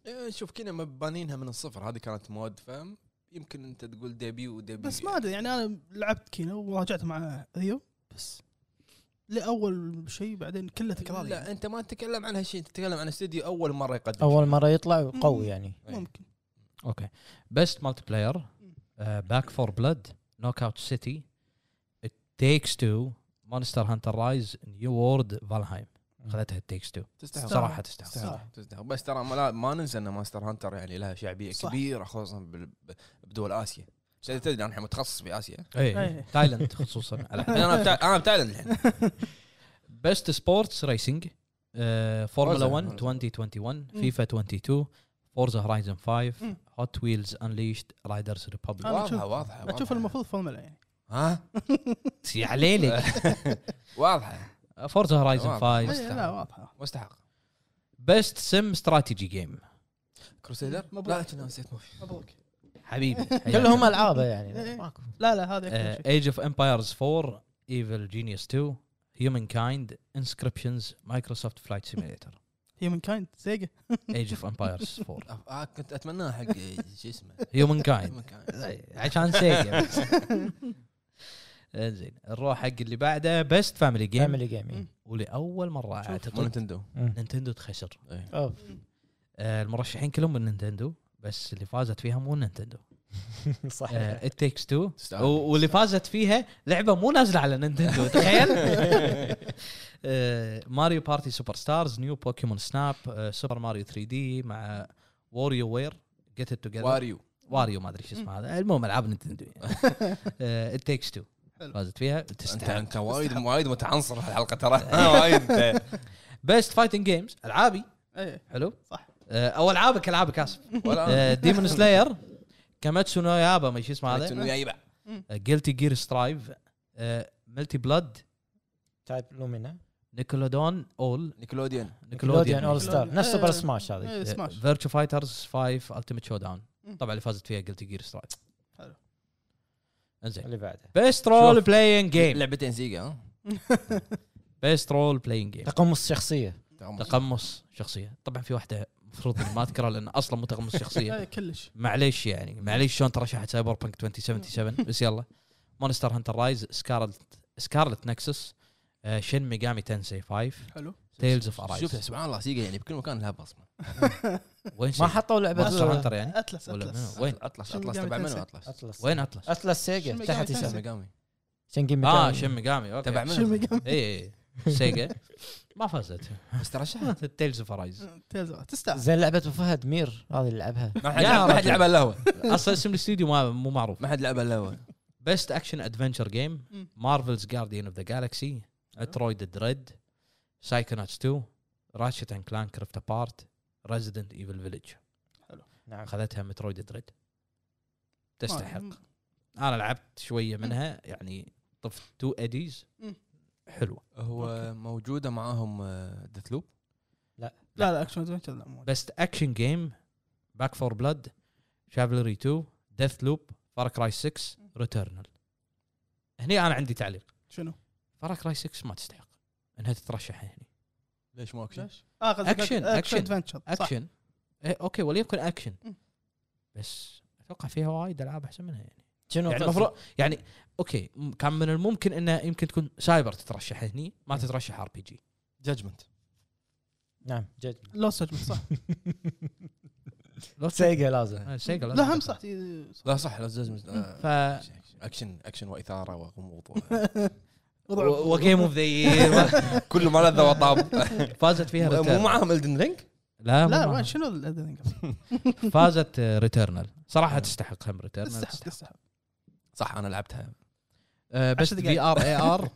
Speaker 1: إيه، شوف كنا مبانينها من الصفر هذه كانت مود فاهم يمكن انت تقول ديبيو وديبيو
Speaker 2: بس ما ادري يعني انا لعبت كينا وراجعت مع ذيو بس لاول شيء بعدين كله تكرار
Speaker 1: لا
Speaker 2: يعني.
Speaker 1: انت ما تتكلم عن هالشيء أنت تتكلم عن استديو اول مره يقدم
Speaker 4: اول مره يطلع قوي يعني
Speaker 5: طيب.
Speaker 2: ممكن
Speaker 5: آه، اوكي بيست مالتي
Speaker 2: uh,
Speaker 5: بلاير
Speaker 2: Hmm.
Speaker 5: باك فور بلاد نوك اوت سيتي تيكس تو مونستر هانتر رايز نيو وورد فالهايم اخذتها تيكس تو
Speaker 1: تستاهل
Speaker 2: صراحة.
Speaker 5: صراحه تستاهل
Speaker 2: صح.
Speaker 1: تستاهل. بس ترى ما, لا- ما ننسى ان ماستر هانتر يعني لها شعبيه
Speaker 2: صح.
Speaker 1: كبيره خصوصا بال- بدول اسيا تدري تدري انا الحين متخصص في اسيا
Speaker 5: اي
Speaker 2: إيه.
Speaker 5: تايلاند خصوصا
Speaker 1: الحين انا بتا... انا بتايلاند الحين
Speaker 5: بيست سبورتس ريسنج
Speaker 2: uh,
Speaker 5: فورمولا
Speaker 1: فورزا.
Speaker 5: 1 2021
Speaker 2: Hmm.
Speaker 5: فيفا 22 فورزا هورايزن 5
Speaker 2: مم.
Speaker 5: هوت ويلز انليشد رايدرز ريببليك
Speaker 2: أنا
Speaker 1: واضحه
Speaker 2: أشوف-
Speaker 1: واضحه
Speaker 2: اشوف
Speaker 1: واضحة.
Speaker 2: المفروض فورمولا يعني
Speaker 1: ها
Speaker 2: Ah.
Speaker 5: يا عليلي
Speaker 2: Uh,
Speaker 1: واضحه
Speaker 5: فورزا هورايزن
Speaker 1: واضح.
Speaker 5: 5
Speaker 2: إيه، لا واضحه
Speaker 1: مستحق
Speaker 5: بيست سم استراتيجي جيم
Speaker 1: كروسيدر
Speaker 2: مبروك.
Speaker 1: لا أنا نسيت موفي
Speaker 2: مبروك
Speaker 5: حبيبي
Speaker 4: كلهم العابه يعني
Speaker 2: إيه.
Speaker 4: ماكو
Speaker 2: لا لا هذا أكثر شيء.
Speaker 5: ايج اوف امبايرز 4 ايفل جينيوس 2 هيومن كايند انسكربشنز مايكروسوفت فلايت سيميليتر
Speaker 2: هيومن كايند سيجا
Speaker 5: ايج اوف امبايرز 4
Speaker 1: آه، كنت اتمناه حق شو اسمه
Speaker 5: هيومن كايند
Speaker 1: مكان.
Speaker 5: عشان سيجا بس. Uh, زين نروح حق اللي بعده بيست فاميلي جيم
Speaker 4: فاميلي جيمنج
Speaker 5: ولاول مره
Speaker 1: مو
Speaker 5: اعتقد
Speaker 1: نتندو
Speaker 5: نينتندو تخسر
Speaker 1: إيه.
Speaker 4: اوف
Speaker 5: آه، المرشحين كلهم من نينتندو بس اللي فازت فيها مو نينتندو
Speaker 4: صح
Speaker 5: ات تيكس تو
Speaker 1: تستاهل.
Speaker 5: واللي فازت فيها لعبه مو نازله على نينتندو تخيل آه، ماريو بارتي سوبر ستارز نيو بوكيمون سناب آه، سوبر ماريو 3 دي مع واريو وير جيت ات توجذر
Speaker 1: واريو
Speaker 5: واريو ما ادري شو اسمه هذا المهم العاب نينتندو يعني. آه، ات تيكس تو
Speaker 2: حلو.
Speaker 5: فازت فيها
Speaker 1: انت
Speaker 5: تستحق إيه.
Speaker 1: انت وايد وايد متعنصر في الحلقه ترى أنا وايد
Speaker 5: بيست فايتنج جيمز العابي
Speaker 2: ايه
Speaker 5: حلو
Speaker 2: صح. آه.
Speaker 5: آه، او العابك العابك اسف
Speaker 1: ولا
Speaker 5: ديمون سلاير كاماتسو نو يابا ما إيه، شو اسمه
Speaker 1: أنا.
Speaker 5: هذا آه،
Speaker 1: يايبه
Speaker 5: جيلتي جير سترايف آه، ملتي بلاد
Speaker 4: تايب لومينا
Speaker 5: نيكولودون اول
Speaker 1: نيكلوديان
Speaker 4: نيكلوديان اول
Speaker 5: نيكولوديان
Speaker 4: ستار نفس سوبر سماش هذه
Speaker 5: آه،
Speaker 2: إيه، سماش
Speaker 5: فيرتشو فايترز 5 التيمت شو داون
Speaker 2: مم.
Speaker 5: طبعا اللي فازت فيها جيلتي جير سترايف
Speaker 2: حلو.
Speaker 5: انزين
Speaker 4: اللي بعدها
Speaker 5: بيست رول
Speaker 4: شوف.
Speaker 5: بلاينج جيم
Speaker 1: لعبتين سيجا ها
Speaker 5: بيست رول بلاينج جيم
Speaker 4: تقمص شخصيه
Speaker 5: تقمص شخصيه طبعا في واحده المفروض إن ما اذكرها لان اصلا متقمص شخصيه
Speaker 2: إيه، كلش
Speaker 5: معليش يعني معليش شلون ترشحت سايبر بانك 2077 بس يلا مونستر هانتر رايز سكارلت سكارلت نكسس آه، شين ميجامي تنسي 5
Speaker 2: حلو
Speaker 5: تيلز اوف ارايز
Speaker 1: شوف سبحان الله سيجا يعني بكل مكان لها بصمه
Speaker 5: وين
Speaker 4: ما
Speaker 5: ما مونستر
Speaker 4: حطوا لعبه
Speaker 5: هانتر يعني
Speaker 2: اتلس
Speaker 5: ولا منو؟
Speaker 2: اتلس
Speaker 5: وين
Speaker 1: اطلس
Speaker 2: شنو
Speaker 1: اطلس
Speaker 2: قام
Speaker 1: تبع منو
Speaker 2: يتنسى؟
Speaker 1: اطلس؟
Speaker 4: اطلس
Speaker 5: وين
Speaker 2: أه،
Speaker 5: اطلس؟
Speaker 4: اطلس سيجا
Speaker 2: شن ميجامي
Speaker 4: تحت يسمى
Speaker 1: ميجامي
Speaker 4: شنجي
Speaker 5: اه
Speaker 4: ميجامي.
Speaker 5: شين ميجامي إيه، اوكي
Speaker 1: تبع
Speaker 5: تبع
Speaker 1: منو؟
Speaker 2: شو ميجامي؟
Speaker 5: اي إي. سيجا ما فازت
Speaker 1: بس ترى شهر
Speaker 5: تيلز اوف رايز
Speaker 2: تيلز تستاهل
Speaker 4: زين لعبه أبو فهد مير هذه اللي لعبها
Speaker 1: ما حد
Speaker 5: يا
Speaker 1: ما حد
Speaker 5: رجل.
Speaker 1: لعب القهوه
Speaker 5: اصلا اسم الاستوديو ما مو معروف
Speaker 1: ما حد لعب القهوه
Speaker 5: بيست اكشن ادفنشر جيم
Speaker 2: مم.
Speaker 5: مارفلز جارديان اوف ذا
Speaker 2: أه.
Speaker 5: جالكسي اترويد دريد سايكوناتس 2 راشت اند كلان كريفت ابارت ريزيدنت ايفل فيلج
Speaker 4: نعم
Speaker 5: اخذتها مترويد دريد
Speaker 2: طيب،
Speaker 5: تستحق انا لعبت شويه منها يعني طفت تو اديز
Speaker 2: مم.
Speaker 5: حلوه
Speaker 1: هو موجوده معاهم آه، ديث لوب
Speaker 2: لا لا اكشن ادفنشر لا مو
Speaker 5: بيست اكشن جيم باك فور بلاد شافلري 2 ديث لوب فار كراي 6 ريتيرنال هني انا عندي تعليق
Speaker 2: شنو؟
Speaker 5: فار كراي 6 ما تستحق انها تترشح هنا
Speaker 1: ليش ما اكشن؟
Speaker 2: اه قصدك
Speaker 5: أكشن، أكشن.
Speaker 2: ادفنشر صح
Speaker 5: اكشن إيه اوكي وليكن اكشن
Speaker 2: مم.
Speaker 5: بس اتوقع فيها وايد العاب احسن منها يعني
Speaker 4: شنو
Speaker 5: يعني
Speaker 4: قصدك؟
Speaker 5: المفروض يعني اوكي م- كان من الممكن انه يمكن تكون سايبر تترشح هني ما تترشح ار بي جي
Speaker 1: جادجمنت
Speaker 4: نعم جد
Speaker 2: لو سجمنت صح
Speaker 4: سيجا لازم
Speaker 5: سيجا
Speaker 2: لا هم صح إيه،
Speaker 1: لا صح لا جادجمنت
Speaker 5: ف
Speaker 1: اكشن اكشن واثاره وغموض
Speaker 5: و- وجيم اوف ذا يير
Speaker 1: كله ما لذ وطاب
Speaker 5: فازت فيها
Speaker 1: مو
Speaker 5: Returnal.
Speaker 1: معاهم الدن رينج
Speaker 5: لا مو
Speaker 2: لا
Speaker 5: معها.
Speaker 2: وين شنو ال- ال-
Speaker 5: فازت ريتيرنال
Speaker 1: إيه.
Speaker 5: صراحه تستحق هم ريتيرنال
Speaker 2: تستحق تستحق
Speaker 1: صح انا لعبتها
Speaker 5: آه، بس
Speaker 2: عشر
Speaker 5: في
Speaker 2: دقايق.
Speaker 5: ار اي ار ان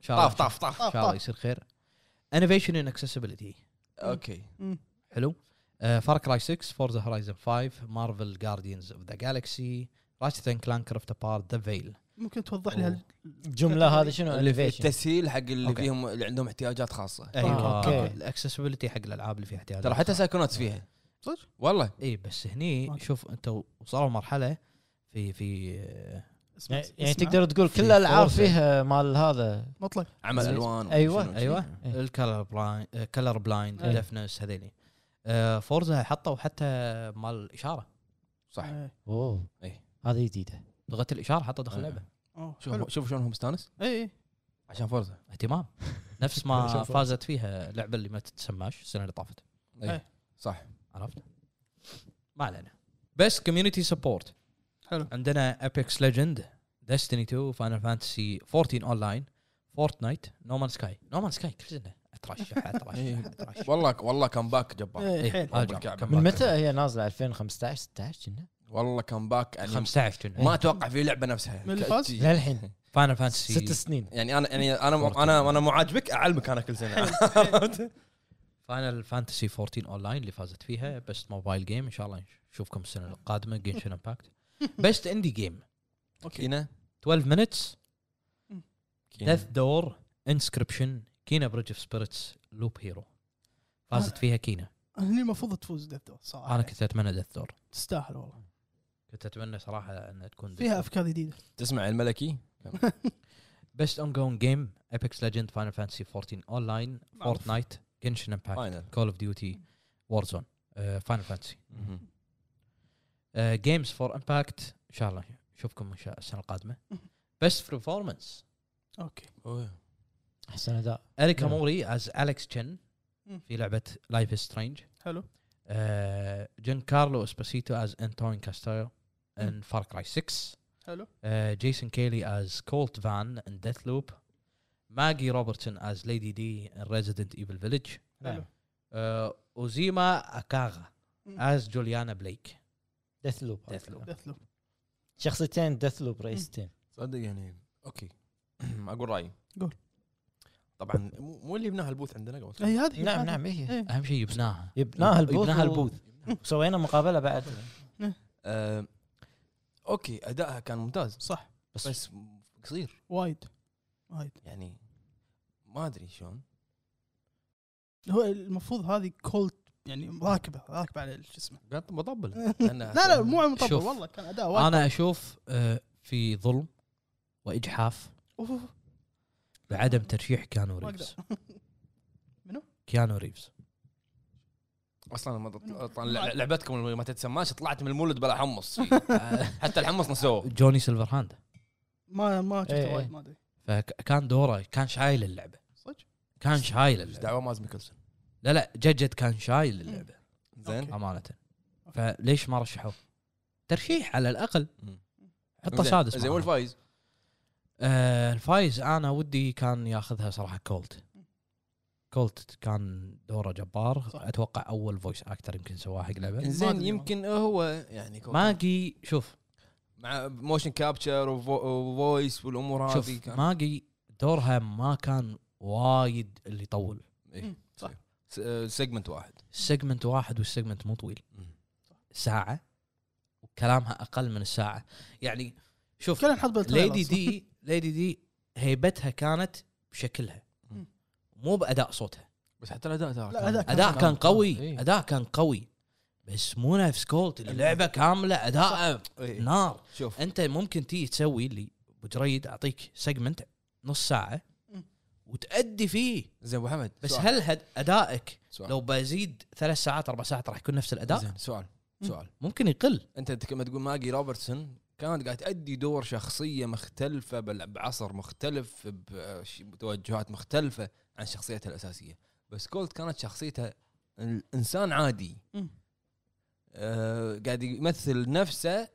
Speaker 5: شاء الله
Speaker 1: طاف طاف طاف
Speaker 5: ان شاء الله يصير خير انوفيشن ان اكسسبيلتي
Speaker 1: اوكي
Speaker 2: مم.
Speaker 5: حلو آه، فار كراي 6 فورزا هورايزن 5 مارفل جارديانز اوف ذا جالكسي راشت اند كلانك رفت ابارت ذا فيل
Speaker 2: ممكن توضح لي هال-
Speaker 4: الجمله هذه شنو انوفيشن
Speaker 1: التسهيل حق اللي
Speaker 5: أوكي.
Speaker 1: فيهم اللي عندهم احتياجات خاصه
Speaker 5: ايوه
Speaker 4: أوكي.
Speaker 5: اوكي الاكسسبيلتي حق الالعاب اللي فيها احتياجات
Speaker 1: أيوة. ترى حتى سايكونوتس فيها
Speaker 2: صدق؟
Speaker 1: والله
Speaker 5: اي بس هني
Speaker 2: أوكي.
Speaker 5: شوف انت وصلوا مرحله في في آه،
Speaker 2: اسمع-
Speaker 4: يعني
Speaker 2: اسمع.
Speaker 4: تقدر تقول كل
Speaker 5: في
Speaker 4: الالعاب
Speaker 5: Forza.
Speaker 4: فيها مال هذا
Speaker 2: مطلق
Speaker 1: عمل
Speaker 4: زين.
Speaker 1: الوان
Speaker 4: أيوة،
Speaker 1: وشنو-
Speaker 5: ايوه
Speaker 4: إيه.
Speaker 5: الكلر بلايند كلر بلايند
Speaker 4: إيه.
Speaker 5: دفنس هذيلي آه، فورزا حطوا حتى مال الاشاره
Speaker 1: صح
Speaker 2: إيه.
Speaker 4: اوه
Speaker 1: إيه.
Speaker 4: هذه جديده
Speaker 5: لغه الاشاره حطوا داخل
Speaker 1: آه.
Speaker 5: اللعبه
Speaker 2: أوه، حلو. إيه،
Speaker 1: شوف شوف شلون هو مستانس
Speaker 2: اي إي.
Speaker 1: عشان فورزا
Speaker 5: اهتمام نفس ما فازت فيها اللعبه اللي ما تتسماش السنه اللي طافت
Speaker 1: أي.
Speaker 2: أي.
Speaker 1: صح
Speaker 5: عرفت ما علينا بس كوميونتي سبورت
Speaker 2: حلو.
Speaker 5: عندنا ابيكس ليجند ديستني 2 فاينل فانتسي 14 اون لاين فورتنايت نومان سكاي نومان سكاي كل سنه اترشح
Speaker 1: إيه.
Speaker 5: اترشح اترشح
Speaker 1: والله والله كان باك جبار
Speaker 2: إيه،
Speaker 5: إيه،
Speaker 2: حيل
Speaker 5: هذا
Speaker 1: رب
Speaker 5: جاب.
Speaker 1: الكعبة.
Speaker 4: من متى هي نازله 2015 16 كنا
Speaker 1: والله كان باك يعني
Speaker 5: 15 كنا
Speaker 1: ما اتوقع في لعبه نفسها
Speaker 2: من اللي فاز؟
Speaker 4: للحين
Speaker 5: فاينل فانتسي
Speaker 4: ست سنين
Speaker 1: يعني انا يعني انا انا انا مو عاجبك اعلمك انا كل سنه
Speaker 5: فاينل فانتسي 14 اون لاين اللي فازت فيها بيست موبايل جيم ان شاء الله نشوفكم السنه القادمه جنشن امباكت
Speaker 2: إيه.
Speaker 5: بيست اندي جيم
Speaker 1: كينا
Speaker 5: 12 مينتس
Speaker 1: كينا.
Speaker 5: ديث دور انسكربشن كينا بريدج اوف سبيريتس لوب هيرو فازت فيها كينا
Speaker 2: هني المفروض تفوز ديث دور صراحه
Speaker 5: انا كنت اتمنى ديث دور
Speaker 2: تستاهل والله
Speaker 5: كنت اتمنى صراحه انها تكون
Speaker 2: فيها افكار جديده
Speaker 1: تسمع الملكي
Speaker 5: بيست اون جون جيم ابيكس ليجند فاينل فانتسي 14 اون لاين
Speaker 2: معروف. آه.
Speaker 5: فورتنايت جنشن امباكت
Speaker 1: فاينل
Speaker 5: كول اوف ديوتي وورزون فاينل فانتسي
Speaker 1: مهم.
Speaker 5: جيمز فور امباكت ان شاء الله نشوفكم ان شاء الله السنه القادمه بيست برفورمانس
Speaker 2: اوكي
Speaker 1: أوه.
Speaker 4: احسن اداء
Speaker 5: اريكا
Speaker 4: نعم.
Speaker 5: موري از اليكس تشن
Speaker 2: مم.
Speaker 5: في لعبه لايف سترينج
Speaker 2: حلو
Speaker 5: جين كارلو اسباسيتو از انتوين كاستيو ان فار كراي 6
Speaker 2: حلو
Speaker 5: جيسون كيلي از كولت فان ان ديث لوب ماجي روبرتسون از ليدي دي ان ريزيدنت ايفل فيلج
Speaker 2: حلو
Speaker 5: آه، اوزيما اكاغا
Speaker 2: مم.
Speaker 5: از جوليانا بليك
Speaker 4: ديث لوب
Speaker 5: ديث لوب
Speaker 2: ديث لوب
Speaker 4: شخصيتين ديث لوب رئيستين
Speaker 1: صدق يعني اوكي اقول رايي
Speaker 2: قول. أيوه.
Speaker 1: طبعا مو مو اللي بناها البوث عندنا قبل
Speaker 2: اي هذه
Speaker 4: نعم
Speaker 2: هذه.
Speaker 4: نعم هي
Speaker 2: إيه.
Speaker 5: اهم شيء يبناها
Speaker 4: جبناها البوث
Speaker 5: يبناها
Speaker 4: و-
Speaker 5: البوث
Speaker 4: وسوينا مقابله بعد
Speaker 1: آه، اوكي ادائها كان ممتاز
Speaker 2: صح
Speaker 1: بس, بس قصير
Speaker 2: وايد وايد
Speaker 1: يعني ما ادري شلون
Speaker 2: هو المفروض هذه كولد يعني راكبه راكبه على شو اسمه
Speaker 1: قاعد مطبل
Speaker 2: لا لا مو على مطبل
Speaker 5: شوف.
Speaker 2: والله كان اداء وايد
Speaker 5: انا اشوف آه، في ظلم واجحاف
Speaker 2: أوف، أوف،
Speaker 5: بعدم ترشيح كيانو
Speaker 2: ما
Speaker 5: ريفز
Speaker 2: منو؟
Speaker 5: كيانو ريفز
Speaker 1: اصلا لما تط- طلع- لعبتكم اللي ما تتسماش طلعت من المولد بلا حمص حتى الحمص نسوه
Speaker 5: جوني سيلفر هاند
Speaker 2: ما ما شفته
Speaker 4: إيه،
Speaker 2: وايد
Speaker 4: إيه.
Speaker 2: ما ادري
Speaker 5: فكان دوره كان شايل اللعبه
Speaker 2: صدق
Speaker 5: كان شايل
Speaker 1: ايش
Speaker 5: اللعبه
Speaker 1: دعوه ماز ميكلسون
Speaker 5: لا لا جدجد كان شايل
Speaker 2: إيه.
Speaker 5: اللعبه
Speaker 1: زين
Speaker 5: امانه فليش ما رشحوه؟ ترشيح على الاقل
Speaker 1: مم.
Speaker 5: حطه
Speaker 1: زين.
Speaker 5: سادس
Speaker 1: زين
Speaker 5: معاهم.
Speaker 1: والفايز
Speaker 5: آه الفايز انا ودي كان ياخذها صراحه كولت كولت كان دوره جبار
Speaker 2: صح.
Speaker 5: اتوقع اول فويس اكتر يمكن سواه حق لعبه
Speaker 1: زين
Speaker 2: أدري.
Speaker 1: يمكن هو يعني كو-
Speaker 5: ماجي شوف
Speaker 1: مع موشن كابتشر وفو- وفويس والامور
Speaker 5: شوف
Speaker 1: هذه كان-
Speaker 5: ماجي دورها ما كان وايد اللي يطول
Speaker 1: إيه.
Speaker 2: صح.
Speaker 1: س- آه، سيجمنت واحد
Speaker 5: سيجمنت واحد والسيجمنت مو طويل
Speaker 1: مم.
Speaker 5: ساعه وكلامها اقل من الساعه يعني شوف
Speaker 2: كلام حط بالتريلر
Speaker 5: ليدي
Speaker 2: أصلاً.
Speaker 5: دي ليدي دي هيبتها كانت بشكلها
Speaker 1: مم.
Speaker 5: مو باداء صوتها
Speaker 1: بس حتى الاداء ترى
Speaker 2: لا،
Speaker 1: كان-
Speaker 2: أداء
Speaker 5: اداء كان قوي
Speaker 3: إيه.
Speaker 5: اداء كان قوي بس مو نفس كولت اللعبه كامله اداء
Speaker 1: إيه.
Speaker 5: نار
Speaker 1: شوف
Speaker 5: انت ممكن تيجي تسوي اللي ابو جريد اعطيك سيجمنت نص ساعه
Speaker 2: مم.
Speaker 5: وتأدي فيه
Speaker 1: زين ابو حمد
Speaker 5: بس
Speaker 1: سؤال.
Speaker 5: هل هد ادائك
Speaker 1: سؤال.
Speaker 5: لو بزيد ثلاث ساعات اربع ساعات راح يكون نفس الاداء
Speaker 1: زين سؤال
Speaker 2: مم.
Speaker 1: سؤال
Speaker 5: ممكن يقل
Speaker 1: انت تك- لما تقول ماجي روبرتسون كانت قاعد تأدي دور شخصية مختلفة بال- بعصر مختلف بش- بتوجهات مختلفة عن شخصيتها الأساسية بس كولت كانت شخصيتها الإنسان عادي
Speaker 2: مم.
Speaker 1: آه قاعد يمثل نفسه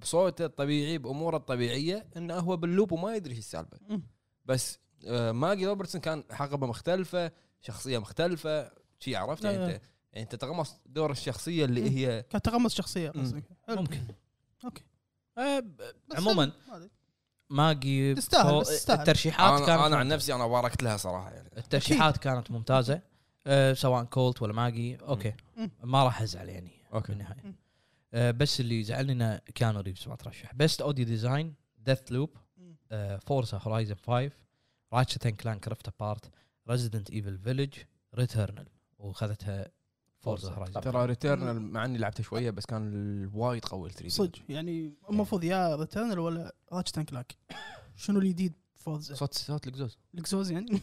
Speaker 1: بصوته الطبيعي بأموره الطبيعية إنه هو باللوب وما يدري شو السالفة
Speaker 2: مم.
Speaker 1: بس آه ماجي روبرتسون كان حقبة مختلفة شخصية مختلفة شي عرفت
Speaker 2: لا،
Speaker 1: يعني
Speaker 2: لا.
Speaker 1: انت يعني انت تغمص دور الشخصية اللي
Speaker 2: مم.
Speaker 1: هي
Speaker 2: كان تغمس شخصيه
Speaker 1: مم.
Speaker 2: قصدك. حلو.
Speaker 5: ممكن
Speaker 2: اوكي
Speaker 5: آه، ب-
Speaker 2: بس
Speaker 5: عموما
Speaker 2: حلو، ما أدري.
Speaker 5: ماجي
Speaker 2: تستاهل،
Speaker 5: فو-
Speaker 2: بس تستاهل.
Speaker 5: الترشيحات كانت
Speaker 1: انا, أنا عن
Speaker 5: ممتازة.
Speaker 1: نفسي انا باركت لها صراحه يعني
Speaker 5: الترشيحات كانت ممتازه أه سواء كولت ولا ماجي اوكي
Speaker 2: مم.
Speaker 5: ما راح ازعل يعني
Speaker 1: أوكي.
Speaker 5: في النهايه
Speaker 2: مم.
Speaker 5: أه بس اللي زعلني انه كانوا ريفز ما ترشح بيست اوديو ديزاين ديث لوب
Speaker 2: مم.
Speaker 5: فورسا هورايزن 5 راتشت اند كلانك ريفت ابارت ريزيدنت ايفل فيلج ريتيرنال واخذتها فورسا هورايزن
Speaker 1: ترى ريتيرنال مع اني لعبته شويه بس كان ال- وايد قوي ال 3
Speaker 2: صدق يعني المفروض يا ريتيرنال ولا راتشت اند كلاك شنو الجديد فوز
Speaker 1: صوت صوت الاكزوز
Speaker 2: الاكزوز يعني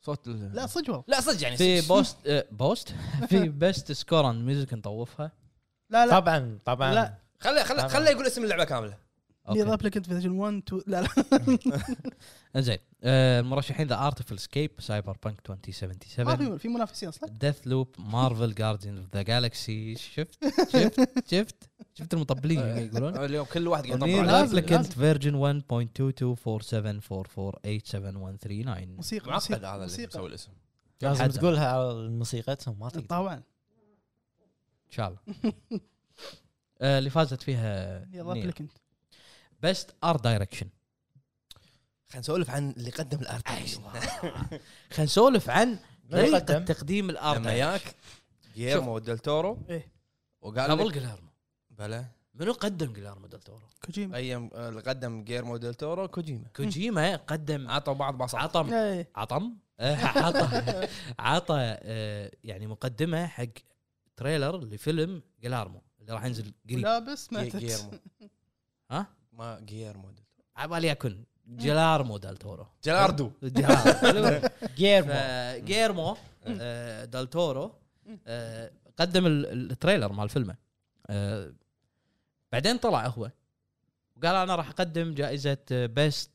Speaker 1: صوت ال-
Speaker 2: لا صدق والله
Speaker 1: لا صدق يعني
Speaker 5: في
Speaker 1: صدق.
Speaker 5: بوست أه بوست في بيست سكور اند ميوزك نطوفها
Speaker 2: لا لا
Speaker 4: طبعا طبعا
Speaker 2: لا.
Speaker 1: خله خله خله يقول اسم اللعبه كامله
Speaker 5: أوكي.
Speaker 2: نير ابلكنت فيرجن 1 2 لا لا
Speaker 5: زين آه، المرشحين ذا ارتفل سكيب سايبر بانك
Speaker 2: ما
Speaker 5: 2077
Speaker 2: في في منافسين اصلا
Speaker 5: ديث لوب مارفل جارديان اوف ذا جالكسي شفت شفت شفت شفت المطبلين اللي إيه، يقولون
Speaker 1: آه، اليوم كل واحد قاعد
Speaker 5: نير
Speaker 1: يطلع.
Speaker 2: لازم،
Speaker 5: ابلكنت
Speaker 2: لازم.
Speaker 5: فيرجن 1.2247448719
Speaker 2: موسيقى
Speaker 1: معقد هذا اللي
Speaker 2: موسيقى- موسيقى
Speaker 1: مسوي الاسم
Speaker 4: لازم
Speaker 5: حزن.
Speaker 4: تقولها على موسيقتهم ما تقدر
Speaker 2: طبعا
Speaker 5: ان شاء الله آه، اللي فازت فيها
Speaker 2: نير ابلكنت
Speaker 5: بيست ار دايركشن
Speaker 1: خلينا نسولف عن اللي قدم الارت
Speaker 2: أيوة.
Speaker 5: خلينا نسولف أيوة. عن
Speaker 4: من
Speaker 5: طريقه
Speaker 4: يقدم؟
Speaker 5: تقديم الار
Speaker 1: لما
Speaker 5: دايركشن
Speaker 1: ياك جيرمو ديل تورو
Speaker 2: إيه.
Speaker 1: وقال
Speaker 5: قبل
Speaker 1: لك
Speaker 5: جلارمو
Speaker 1: بلا
Speaker 5: منو قدم جلارمو ديل تورو؟
Speaker 2: كوجيما
Speaker 1: ايام آه، اللي قدم جيرمو ديل تورو كوجيما
Speaker 5: كوجيما قدم
Speaker 1: عطوا بعض باصات
Speaker 5: عطم
Speaker 2: إيه.
Speaker 5: عطم عطى عطى آه، يعني مقدمه حق تريلر لفيلم جلارمو اللي راح ينزل قريب
Speaker 2: لابس ما
Speaker 1: جي- جيرمو
Speaker 5: ها؟
Speaker 1: ما جيرمو ديل تورو.
Speaker 5: عبالي اكون جلارمو دال تورو
Speaker 1: جيلاردو
Speaker 5: جلارمو.
Speaker 4: جيرمو
Speaker 5: فجيرمو آه، دال تورو آه، قدم ال- التريلر مال فيلمه آه، بعدين طلع هو وقال انا راح اقدم جائزه بيست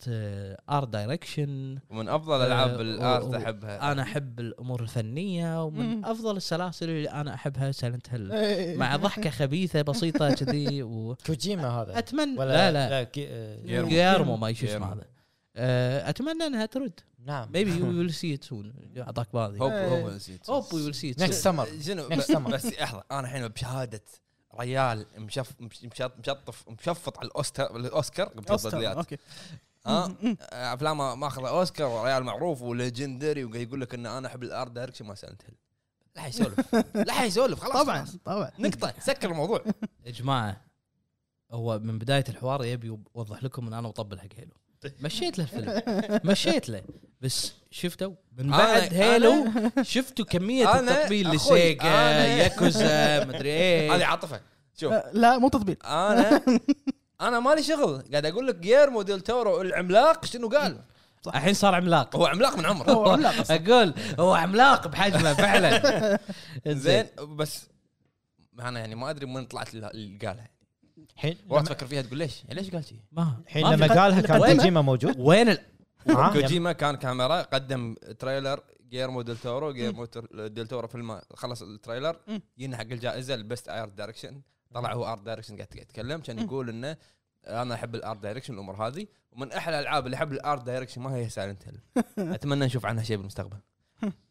Speaker 5: ار دايركشن
Speaker 1: من افضل
Speaker 5: آه،
Speaker 1: العاب
Speaker 5: و-
Speaker 1: الارت
Speaker 5: و-
Speaker 1: احبها
Speaker 5: انا احب الامور الفنيه ومن
Speaker 2: مم.
Speaker 5: افضل السلاسل اللي انا احبها سايلنت هيل
Speaker 2: إيه.
Speaker 5: مع ضحكه خبيثه بسيطه كذي واتمنى
Speaker 4: كوجيما هذا
Speaker 5: لا لا
Speaker 4: كي- آه،
Speaker 1: جيرمو.
Speaker 5: جيرمو ما شو اسمه
Speaker 1: جيرمو.
Speaker 5: هذا آه، اتمنى انها ترد
Speaker 4: نعم
Speaker 5: ميبي يو ويل سي ات سون اعطاك
Speaker 1: هوب
Speaker 5: بعض
Speaker 1: هوب نسيت
Speaker 5: هوب وي ويل سي ات
Speaker 4: Next summer.
Speaker 1: شنو
Speaker 4: Next
Speaker 1: ب-
Speaker 4: summer.
Speaker 1: إيه. بس لحظه انا الحين بشهاده ريال مشف مش- مشط- مشطف مشفط على الأوستر- الاوسكار قلت
Speaker 2: أوستر.
Speaker 1: الضديات
Speaker 2: اوكي
Speaker 1: ها آه، افلامه ماخذ اوسكار وريال معروف وليجندري وقاعد يقول لك ان انا احب الارت دايركشن ما سالت هل لا يسولف لا يسولف خلاص
Speaker 2: طبعا
Speaker 1: خلاص.
Speaker 2: طبعا
Speaker 1: نقطه سكر الموضوع
Speaker 5: يا جماعه هو من بدايه الحوار يبي يوضح لكم ان انا مطبل حق هيلو مشيت له الفيلم مشيت له بس شفتوا من
Speaker 1: أنا-
Speaker 5: بعد هيلو شفتوا كميه
Speaker 1: أنا
Speaker 5: التطبيل
Speaker 1: أخوي،
Speaker 5: لسيجا
Speaker 1: أنا-
Speaker 5: ياكوزا مدري
Speaker 1: هذه
Speaker 5: ايه
Speaker 1: عاطفه شوف
Speaker 2: آه، لا مو تطبيل
Speaker 1: انا انا مالي شغل قاعد اقول لك جيرمو ديل تورو العملاق شنو قال
Speaker 5: الحين صار عملاق
Speaker 1: هو عملاق من عمره
Speaker 2: هو عملاق أصلاً.
Speaker 5: اقول هو عملاق بحجمه فعلا
Speaker 1: زين بس انا يعني ما ادري من وين طلعت ال- اللي قالها
Speaker 4: الحين
Speaker 1: ورحت تفكر فيها تقول ليش؟ يعني ليش قال شيء؟
Speaker 5: ما
Speaker 4: الحين
Speaker 5: ما
Speaker 4: لما
Speaker 5: في-
Speaker 4: قالها
Speaker 5: وين-
Speaker 4: كان كوجيما موجود نعم.
Speaker 5: وين ال-
Speaker 4: ها؟
Speaker 1: كوجيما كان كاميرا قدم تريلر جيرمو ديل تورو جيرمو تر- ديل تورو فيلم خلص
Speaker 2: مم.
Speaker 1: التريلر جينا حق الجائزه البست ارت دايركشن طلع هو ارت دايركشن قاعد قاعد يتكلم كان
Speaker 2: مم.
Speaker 1: يقول انه انا احب الارت دايركشن الامور هذه ومن احلى الالعاب اللي احب الارت دايركشن ما هي سايلنت هيل اتمنى نشوف عنها شيء بالمستقبل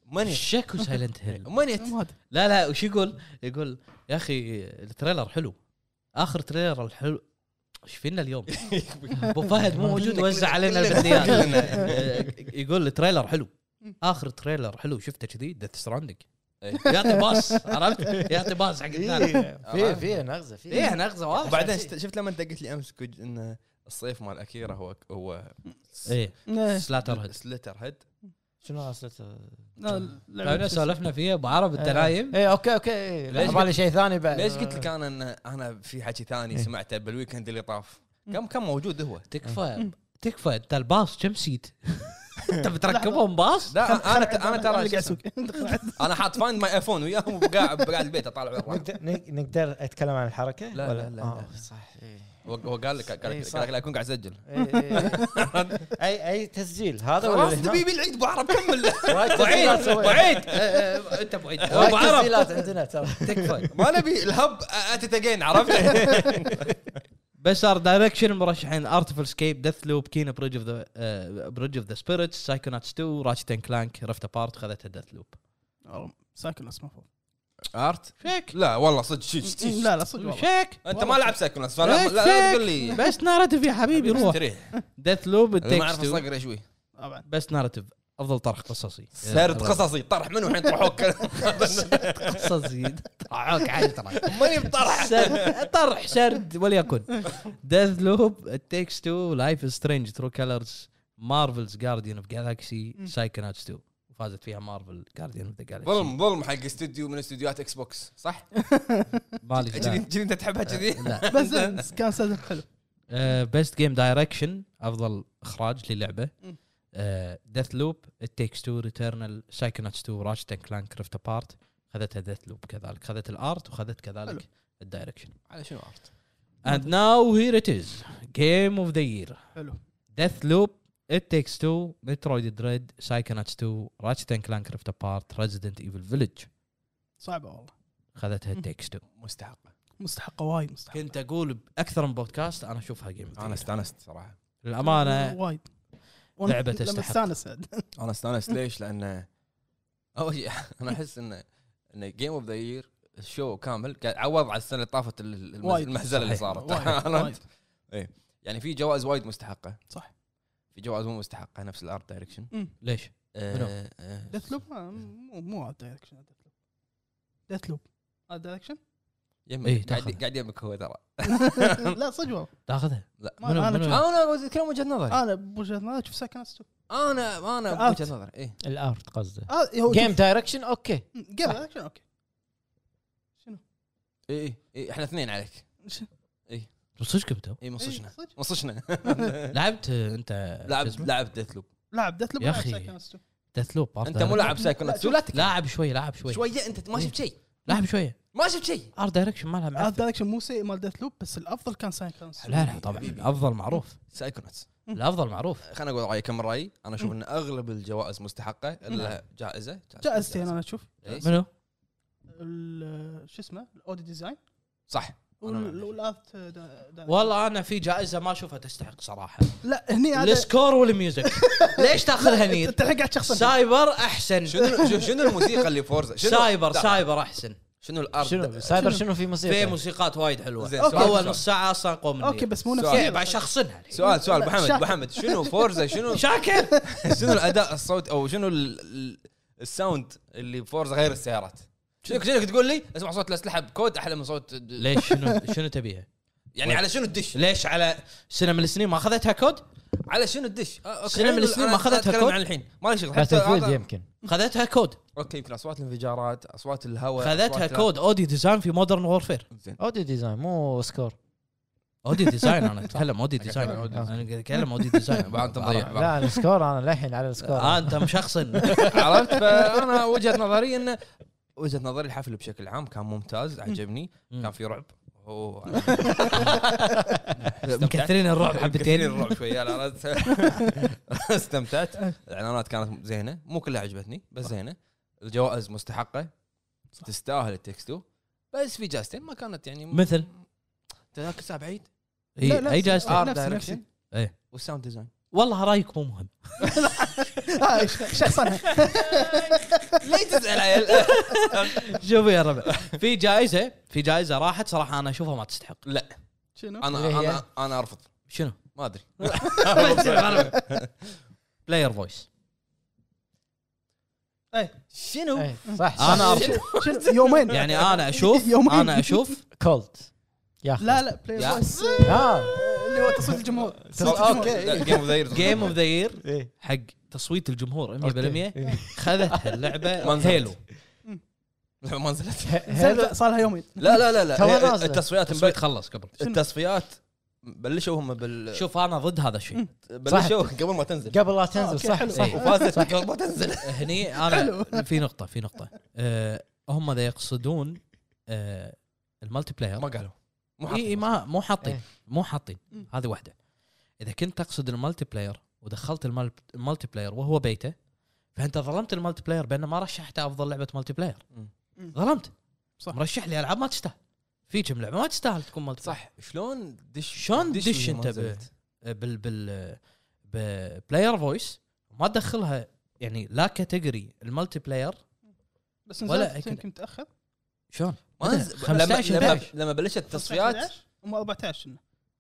Speaker 1: مانيت
Speaker 5: شكو سايلنت هيل
Speaker 1: مانيت
Speaker 2: مو هذا
Speaker 5: لا لا وش يقول؟ يقول يا اخي التريلر حلو اخر تريلر الحلو ايش فينا اليوم؟ ابو فهد مو موجود وزع علينا البنديات يقول التريلر حلو اخر تريلر حلو شفته كذي ديث ستراندنج
Speaker 1: إيه.
Speaker 5: يعطي باص عرفت؟ يعطي باص حق الثاني
Speaker 4: إيه.
Speaker 1: آه.
Speaker 4: في في نغزه في
Speaker 5: ايه نغزه واضحه
Speaker 1: وبعدين شت- شفت لما انت قلت لي امس كج- ان الصيف مال اكيرا هو هو
Speaker 2: إيه،
Speaker 5: ايه سلاتر هيد
Speaker 1: سلتر هيد
Speaker 4: شنو اصلا
Speaker 2: لا، اللعبة
Speaker 5: احنا سولفنا فيه ابو
Speaker 1: آه.
Speaker 5: عرب انت نايم
Speaker 4: اي اوكي اوكي إيه.
Speaker 1: ليش
Speaker 4: على بالي شيء ثاني بعد
Speaker 1: ليش قلت لك انا ان انا في حكي ثاني سمعته بالويكند اللي طاف كم كم موجود هو
Speaker 5: تكفى تكفى انت الباص كم سيت؟ انت بتركبهم باص؟
Speaker 1: لا أنا- انا انا
Speaker 2: اللي
Speaker 1: ترى
Speaker 2: قاعد
Speaker 1: شو اسمه؟
Speaker 2: يسوق دخلت.
Speaker 1: انا حاط فايند ماي ايفون وياهم وقاعد قاعد البيت اطالع بالراحة.
Speaker 4: نقدر نقدر اتكلم عن الحركه
Speaker 1: لا،
Speaker 4: ولا؟
Speaker 1: لا، لا،
Speaker 4: آه،
Speaker 1: لا.
Speaker 4: صح إيه.
Speaker 1: هو هو قال لك قال
Speaker 4: إيه،
Speaker 1: لك
Speaker 4: صح.
Speaker 1: قال لك لا اكون قاعد اسجل
Speaker 4: إيه، إيه. اي اي تسجيل هذا ولا
Speaker 1: خلاص
Speaker 4: اللي طيب، هناك؟
Speaker 1: دبيبي العيد ابو عرب كمل
Speaker 4: وايد
Speaker 5: ابو عيد
Speaker 4: تسجيلات
Speaker 5: ابو
Speaker 4: سوينا.
Speaker 5: عيد أه، أه، انت ابو عيد
Speaker 4: وايد
Speaker 5: ابو عرب
Speaker 4: تسجيلات عندنا ترى
Speaker 5: تكفى
Speaker 1: ما نبي الهب اتتجين عرفت
Speaker 5: بس ار دايركشن مرشحين ارتفل سكيب ديث لوب كينا بريدج اوف ذا بريدج اوف ذا سبيريتس سايكوناتس 2 راتشت اند كلانك رفت ابارت خذتها ديث لوب
Speaker 2: والله ساكن اسمه فوق
Speaker 1: ارت
Speaker 5: شيك
Speaker 1: لا والله صدق شي- شي- شي.
Speaker 2: لا لا صدق والله
Speaker 5: شيك
Speaker 1: انت ما لعب سايكون لا
Speaker 5: إيه،
Speaker 1: لا لا
Speaker 5: شيك.
Speaker 1: تقول لي
Speaker 5: بس ناريتيف يا حبيبي روح
Speaker 1: استريح.
Speaker 5: ديث لوب
Speaker 1: إذا ما اعرف
Speaker 5: التكست
Speaker 1: الصقر شوي
Speaker 2: طبعا
Speaker 5: بس ناريتيف افضل طرح قصصي
Speaker 1: سرد قصصي طرح منو الحين طرحوك
Speaker 5: قصصي طرحوك عادي ترى
Speaker 1: ماني بطرح
Speaker 5: سرد طرح سرد وليكن ديث لوب تيكس تو لايف سترينج ترو كلرز مارفلز جارديان اوف جالاكسي سايكوناتس 2 فازت فيها مارفل جارديان اوف ذا جالاكسي
Speaker 1: ظلم ظلم حق استوديو من استديوهات اكس بوكس صح؟
Speaker 5: مالي
Speaker 1: كذي كذي انت تحبها كذي؟
Speaker 5: لا آه،
Speaker 2: بس زين، كان صدق حلو
Speaker 5: بيست جيم دايركشن افضل اخراج للعبه ديث لوب تيكس تو ريتيرنال سايكوناتس 2 راشت اند كلانك ريفت ابارت خذتها ديث لوب كذلك خذت الارت وخذت
Speaker 2: حلو.
Speaker 5: كذلك الدايركشن
Speaker 1: على شنو ارت؟
Speaker 5: And now here it is. Game of the year.
Speaker 2: حلو
Speaker 5: Death Loop, It Takes Two, Metroid Dread, Psychonauts 2, Ratchet and Clank Rift Apart, Resident Evil Village.
Speaker 2: صعبه والله
Speaker 5: خذتها It Takes Two.
Speaker 1: مستحقه
Speaker 2: مستحقه وايد مستحقه
Speaker 5: كنت اقول باكثر من بودكاست انا اشوفها جيم
Speaker 1: انا استانست صراحه
Speaker 5: للامانه
Speaker 2: وايد
Speaker 5: لعبة
Speaker 2: لما
Speaker 5: تستحق.
Speaker 2: استانس عاد.
Speaker 1: انا استانست ليش؟ لان اول شيء انا احس ان ان جيم اوف ذا يير الشو كامل قاعد عوض على السنه اللي طافت ال- الم-
Speaker 2: وايد.
Speaker 1: المهزله اللي
Speaker 5: صحيح.
Speaker 1: صارت
Speaker 2: وايد،
Speaker 1: عرفت؟
Speaker 2: وايد.
Speaker 1: يعني في جوائز وايد مستحقه
Speaker 2: صح.
Speaker 1: في جوائز مو مستحقه نفس الارت دايركشن
Speaker 5: ليش؟
Speaker 1: آه،
Speaker 5: منو؟
Speaker 2: ديث لوب ما- آه، مو آه، مو دايركشن ديث لوب دايركشن
Speaker 5: إيه،
Speaker 1: قاعد
Speaker 5: تأخذ.
Speaker 1: قاعد يمك هو ترى
Speaker 2: لا صدق والله
Speaker 5: تاخذها
Speaker 1: لا
Speaker 2: ما-
Speaker 5: منو-
Speaker 2: انا
Speaker 5: منو؟
Speaker 2: شفت-
Speaker 1: انا اتكلم وجهه نظري آه،
Speaker 2: انا بوجهه نظري اشوف ساكن ستو
Speaker 1: انا انا
Speaker 2: الأرت.
Speaker 1: وجهه نظري ايه
Speaker 4: الارت قصده
Speaker 2: آه، هو
Speaker 4: جيم دايركشن اوكي
Speaker 2: جيم دايركشن اوكي
Speaker 1: ايه ايه احنا اثنين عليك
Speaker 2: ش-
Speaker 5: صدق انت
Speaker 1: اي
Speaker 2: إيه،
Speaker 1: منصشنا
Speaker 2: صدق.
Speaker 1: منصشنا
Speaker 5: لعبت انت
Speaker 1: لعب لعب ديث لوب
Speaker 2: لاعب ديث لوب
Speaker 5: يا
Speaker 2: لاعب آه،
Speaker 5: أخي.
Speaker 2: ساكن ستو
Speaker 5: ديث لوب
Speaker 1: انت مو لاعب
Speaker 2: لا،
Speaker 1: سايكونات
Speaker 2: شوف.
Speaker 1: لا تك-
Speaker 5: لاعب شويه لاعب شويه
Speaker 1: شويه انت ما شفت شيء
Speaker 5: لاعب شويه
Speaker 1: ما شفت شيء
Speaker 5: ار دايركشن مالها
Speaker 2: ارت
Speaker 5: معفن
Speaker 2: دايركشن مو سيء مال ديث لوب بس الافضل كان ساكن ستو
Speaker 5: لا لا طبعا الافضل معروف
Speaker 1: سايكوناتس
Speaker 5: الافضل معروف
Speaker 1: خليني اقول رايي كم رايي انا اشوف ان اغلب الجوائز مستحقه الا جائزه
Speaker 2: جائزتين انا اشوف
Speaker 1: إيه.
Speaker 5: منو؟
Speaker 2: ال- شو اسمه الاوديو ديزاين
Speaker 1: صح أنا ما
Speaker 2: وال-
Speaker 1: أدري.
Speaker 2: والارت آه، دا- دا-
Speaker 5: والله انا في جائزه ما اشوفها تستحق صراحه
Speaker 2: لا هني هذا
Speaker 5: السكور والميوزك ليش تاخذها نير؟
Speaker 2: انت الحين قاعد تشخصن
Speaker 5: سايبر احسن
Speaker 1: شنو شنو- شنو الموسيقى اللي فورزا شنو
Speaker 5: سايبر
Speaker 1: لا،
Speaker 5: سايبر احسن
Speaker 1: شنو الارت
Speaker 4: شنو سايبر
Speaker 2: شنو؟
Speaker 4: شنو في
Speaker 5: في
Speaker 4: موسيقى؟
Speaker 5: موسيقات وايد حلوه
Speaker 1: زين،
Speaker 2: سؤال،
Speaker 5: اول
Speaker 1: سؤال.
Speaker 5: نص ساعه اصلا قوم من
Speaker 2: اوكي بس مو نفس
Speaker 1: سؤال.
Speaker 5: كيف إيه، بعد شخصنها
Speaker 1: سؤال سؤال ابو حمد
Speaker 2: شا-
Speaker 1: ابو حمد شنو فورزا شنو
Speaker 5: شاكر
Speaker 1: شنو الاداء الصوت او شنو ال- ال- الساوند اللي فورزا غير السيارات شنو شنو تقول لي اسمع صوت الاسلحه بكود احلى من صوت
Speaker 5: ليش شنو شنو تبيها؟
Speaker 1: يعني على شنو تدش
Speaker 5: ليش على سنه من السنين ما اخذتها كود؟
Speaker 1: على شنو تدش آه،
Speaker 5: سنة من
Speaker 1: خلينا-
Speaker 5: السنين
Speaker 1: أنا
Speaker 5: ما أخذتها
Speaker 1: أتكلم
Speaker 5: كود.
Speaker 1: عن الحين ما لي شغل
Speaker 4: باتل فيلد
Speaker 1: هذا-
Speaker 4: يمكن
Speaker 5: خذتها كود
Speaker 1: اوكي يمكن اصوات الانفجارات اصوات الهواء
Speaker 5: خذتها
Speaker 1: أصوات-
Speaker 5: كود اودي ديزاين في مودرن وورفير
Speaker 1: زين
Speaker 4: اوديو ديزاين مو سكور
Speaker 5: اودي ديزاين انا اتكلم اودي ديزاين
Speaker 1: أتكلم أوديو
Speaker 5: انا قاعد اتكلم اودي ديزاين
Speaker 1: يعني بعد أنت مضيع.
Speaker 4: لا انا سكور انا للحين على
Speaker 5: آه،
Speaker 4: السكور
Speaker 5: انت مشخصن
Speaker 1: عرفت فانا وجهه نظري انه وجهه نظري الحفل بشكل عام كان ممتاز عجبني كان في رعب أوه،
Speaker 5: مكثرين الرعب
Speaker 1: مكثرين
Speaker 5: حبتين
Speaker 1: الرعب شويه لا، لا، استمتعت الاعلانات كانت زينه مو كلها عجبتني بس زينه الجوائز مستحقه تستاهل التكستو بس في جائزتين ما كانت يعني
Speaker 5: مثل
Speaker 1: تذاكر ساعه بعيد
Speaker 5: إي،
Speaker 2: لا، لا،
Speaker 5: اي جائزه
Speaker 2: آه.
Speaker 1: ارت
Speaker 2: نفسي،
Speaker 1: دايركشن
Speaker 5: إيه.
Speaker 1: والساوند ديزاين
Speaker 5: والله رايك مو مهم
Speaker 2: آه، شخصنها
Speaker 5: ليه تسال شوف يا ربع في جائزه في جائزه راحت صراحه انا اشوفها ما تستحق
Speaker 1: لا
Speaker 2: شنو؟
Speaker 1: انا
Speaker 4: اللي هي؟
Speaker 1: انا انا ارفض
Speaker 5: شنو؟
Speaker 1: ما ادري
Speaker 5: بلاير فويس
Speaker 1: شنو
Speaker 4: إيه، صح صح.
Speaker 5: انا ارفض
Speaker 2: شنو؟ يومين
Speaker 5: يعني انا اشوف
Speaker 2: يومين.
Speaker 5: انا اشوف
Speaker 4: كولت يا أخي.
Speaker 2: لا لا بلاي
Speaker 5: يا.
Speaker 2: فويس
Speaker 4: آه.
Speaker 2: اللي هو تصويت الجمهور تصويت الجمهور
Speaker 1: اوكي
Speaker 5: إيه.
Speaker 1: جيم اوف ذا يير
Speaker 5: جيم اوف ذا يير
Speaker 4: إيه.
Speaker 5: حق تصويت الجمهور 100%
Speaker 4: إيه.
Speaker 5: خذتها اللعبه
Speaker 1: ما نزلت.
Speaker 5: هيلو
Speaker 1: ما نزلت
Speaker 2: زين، صار لها يومين
Speaker 1: لا لا لا
Speaker 4: توا
Speaker 1: لا
Speaker 4: نازلة.
Speaker 1: التصفيات
Speaker 5: التصويت خلص قبل
Speaker 1: التصفيات بلشوا هم بال
Speaker 5: شوف انا ضد هذا الشيء
Speaker 1: بلشوا قبل ما تنزل
Speaker 4: قبل لا
Speaker 2: آه،
Speaker 4: تنزل
Speaker 2: أوكي،
Speaker 4: صح
Speaker 2: حلو.
Speaker 4: صح
Speaker 5: إيه.
Speaker 1: وفازت قبل ما تنزل
Speaker 5: هني انا في نقطه في نقطه آه، هم ذا يقصدون آه، المالتي بلاير
Speaker 1: ما قالوا مو
Speaker 5: اي إي،
Speaker 1: حاطين
Speaker 5: ما مو حاطين
Speaker 4: إيه.
Speaker 5: مو حاطين
Speaker 2: مم.
Speaker 5: هذه واحده اذا كنت تقصد المالتي بلاير ودخلت المال- المالتي بلاير وهو بيته فانت ظلمت المالتي بلاير بان ما رشحته افضل لعبه مالتي بلاير
Speaker 1: مم.
Speaker 2: مم.
Speaker 5: ظلمت
Speaker 2: صح.
Speaker 5: صح مرشح لي العاب ما تستاهل في كم لعبه ما تستاهل تكون مالتي بلاير.
Speaker 1: صح شلون دش
Speaker 5: شلون تدش
Speaker 1: وهي ما
Speaker 5: انت ب-
Speaker 1: نزلت؟
Speaker 5: بال بال بلاير فويس ما تدخلها يعني لا كاتيجوري المالتي بلاير
Speaker 2: بس
Speaker 5: ولا
Speaker 2: نزلت
Speaker 5: كذا.
Speaker 2: يمكن متاخر
Speaker 5: شلون؟
Speaker 1: ما نزل- لما
Speaker 5: 15
Speaker 1: لما
Speaker 5: 11.
Speaker 1: لما بلشت التصفيات
Speaker 2: 19 هم 14 شنو؟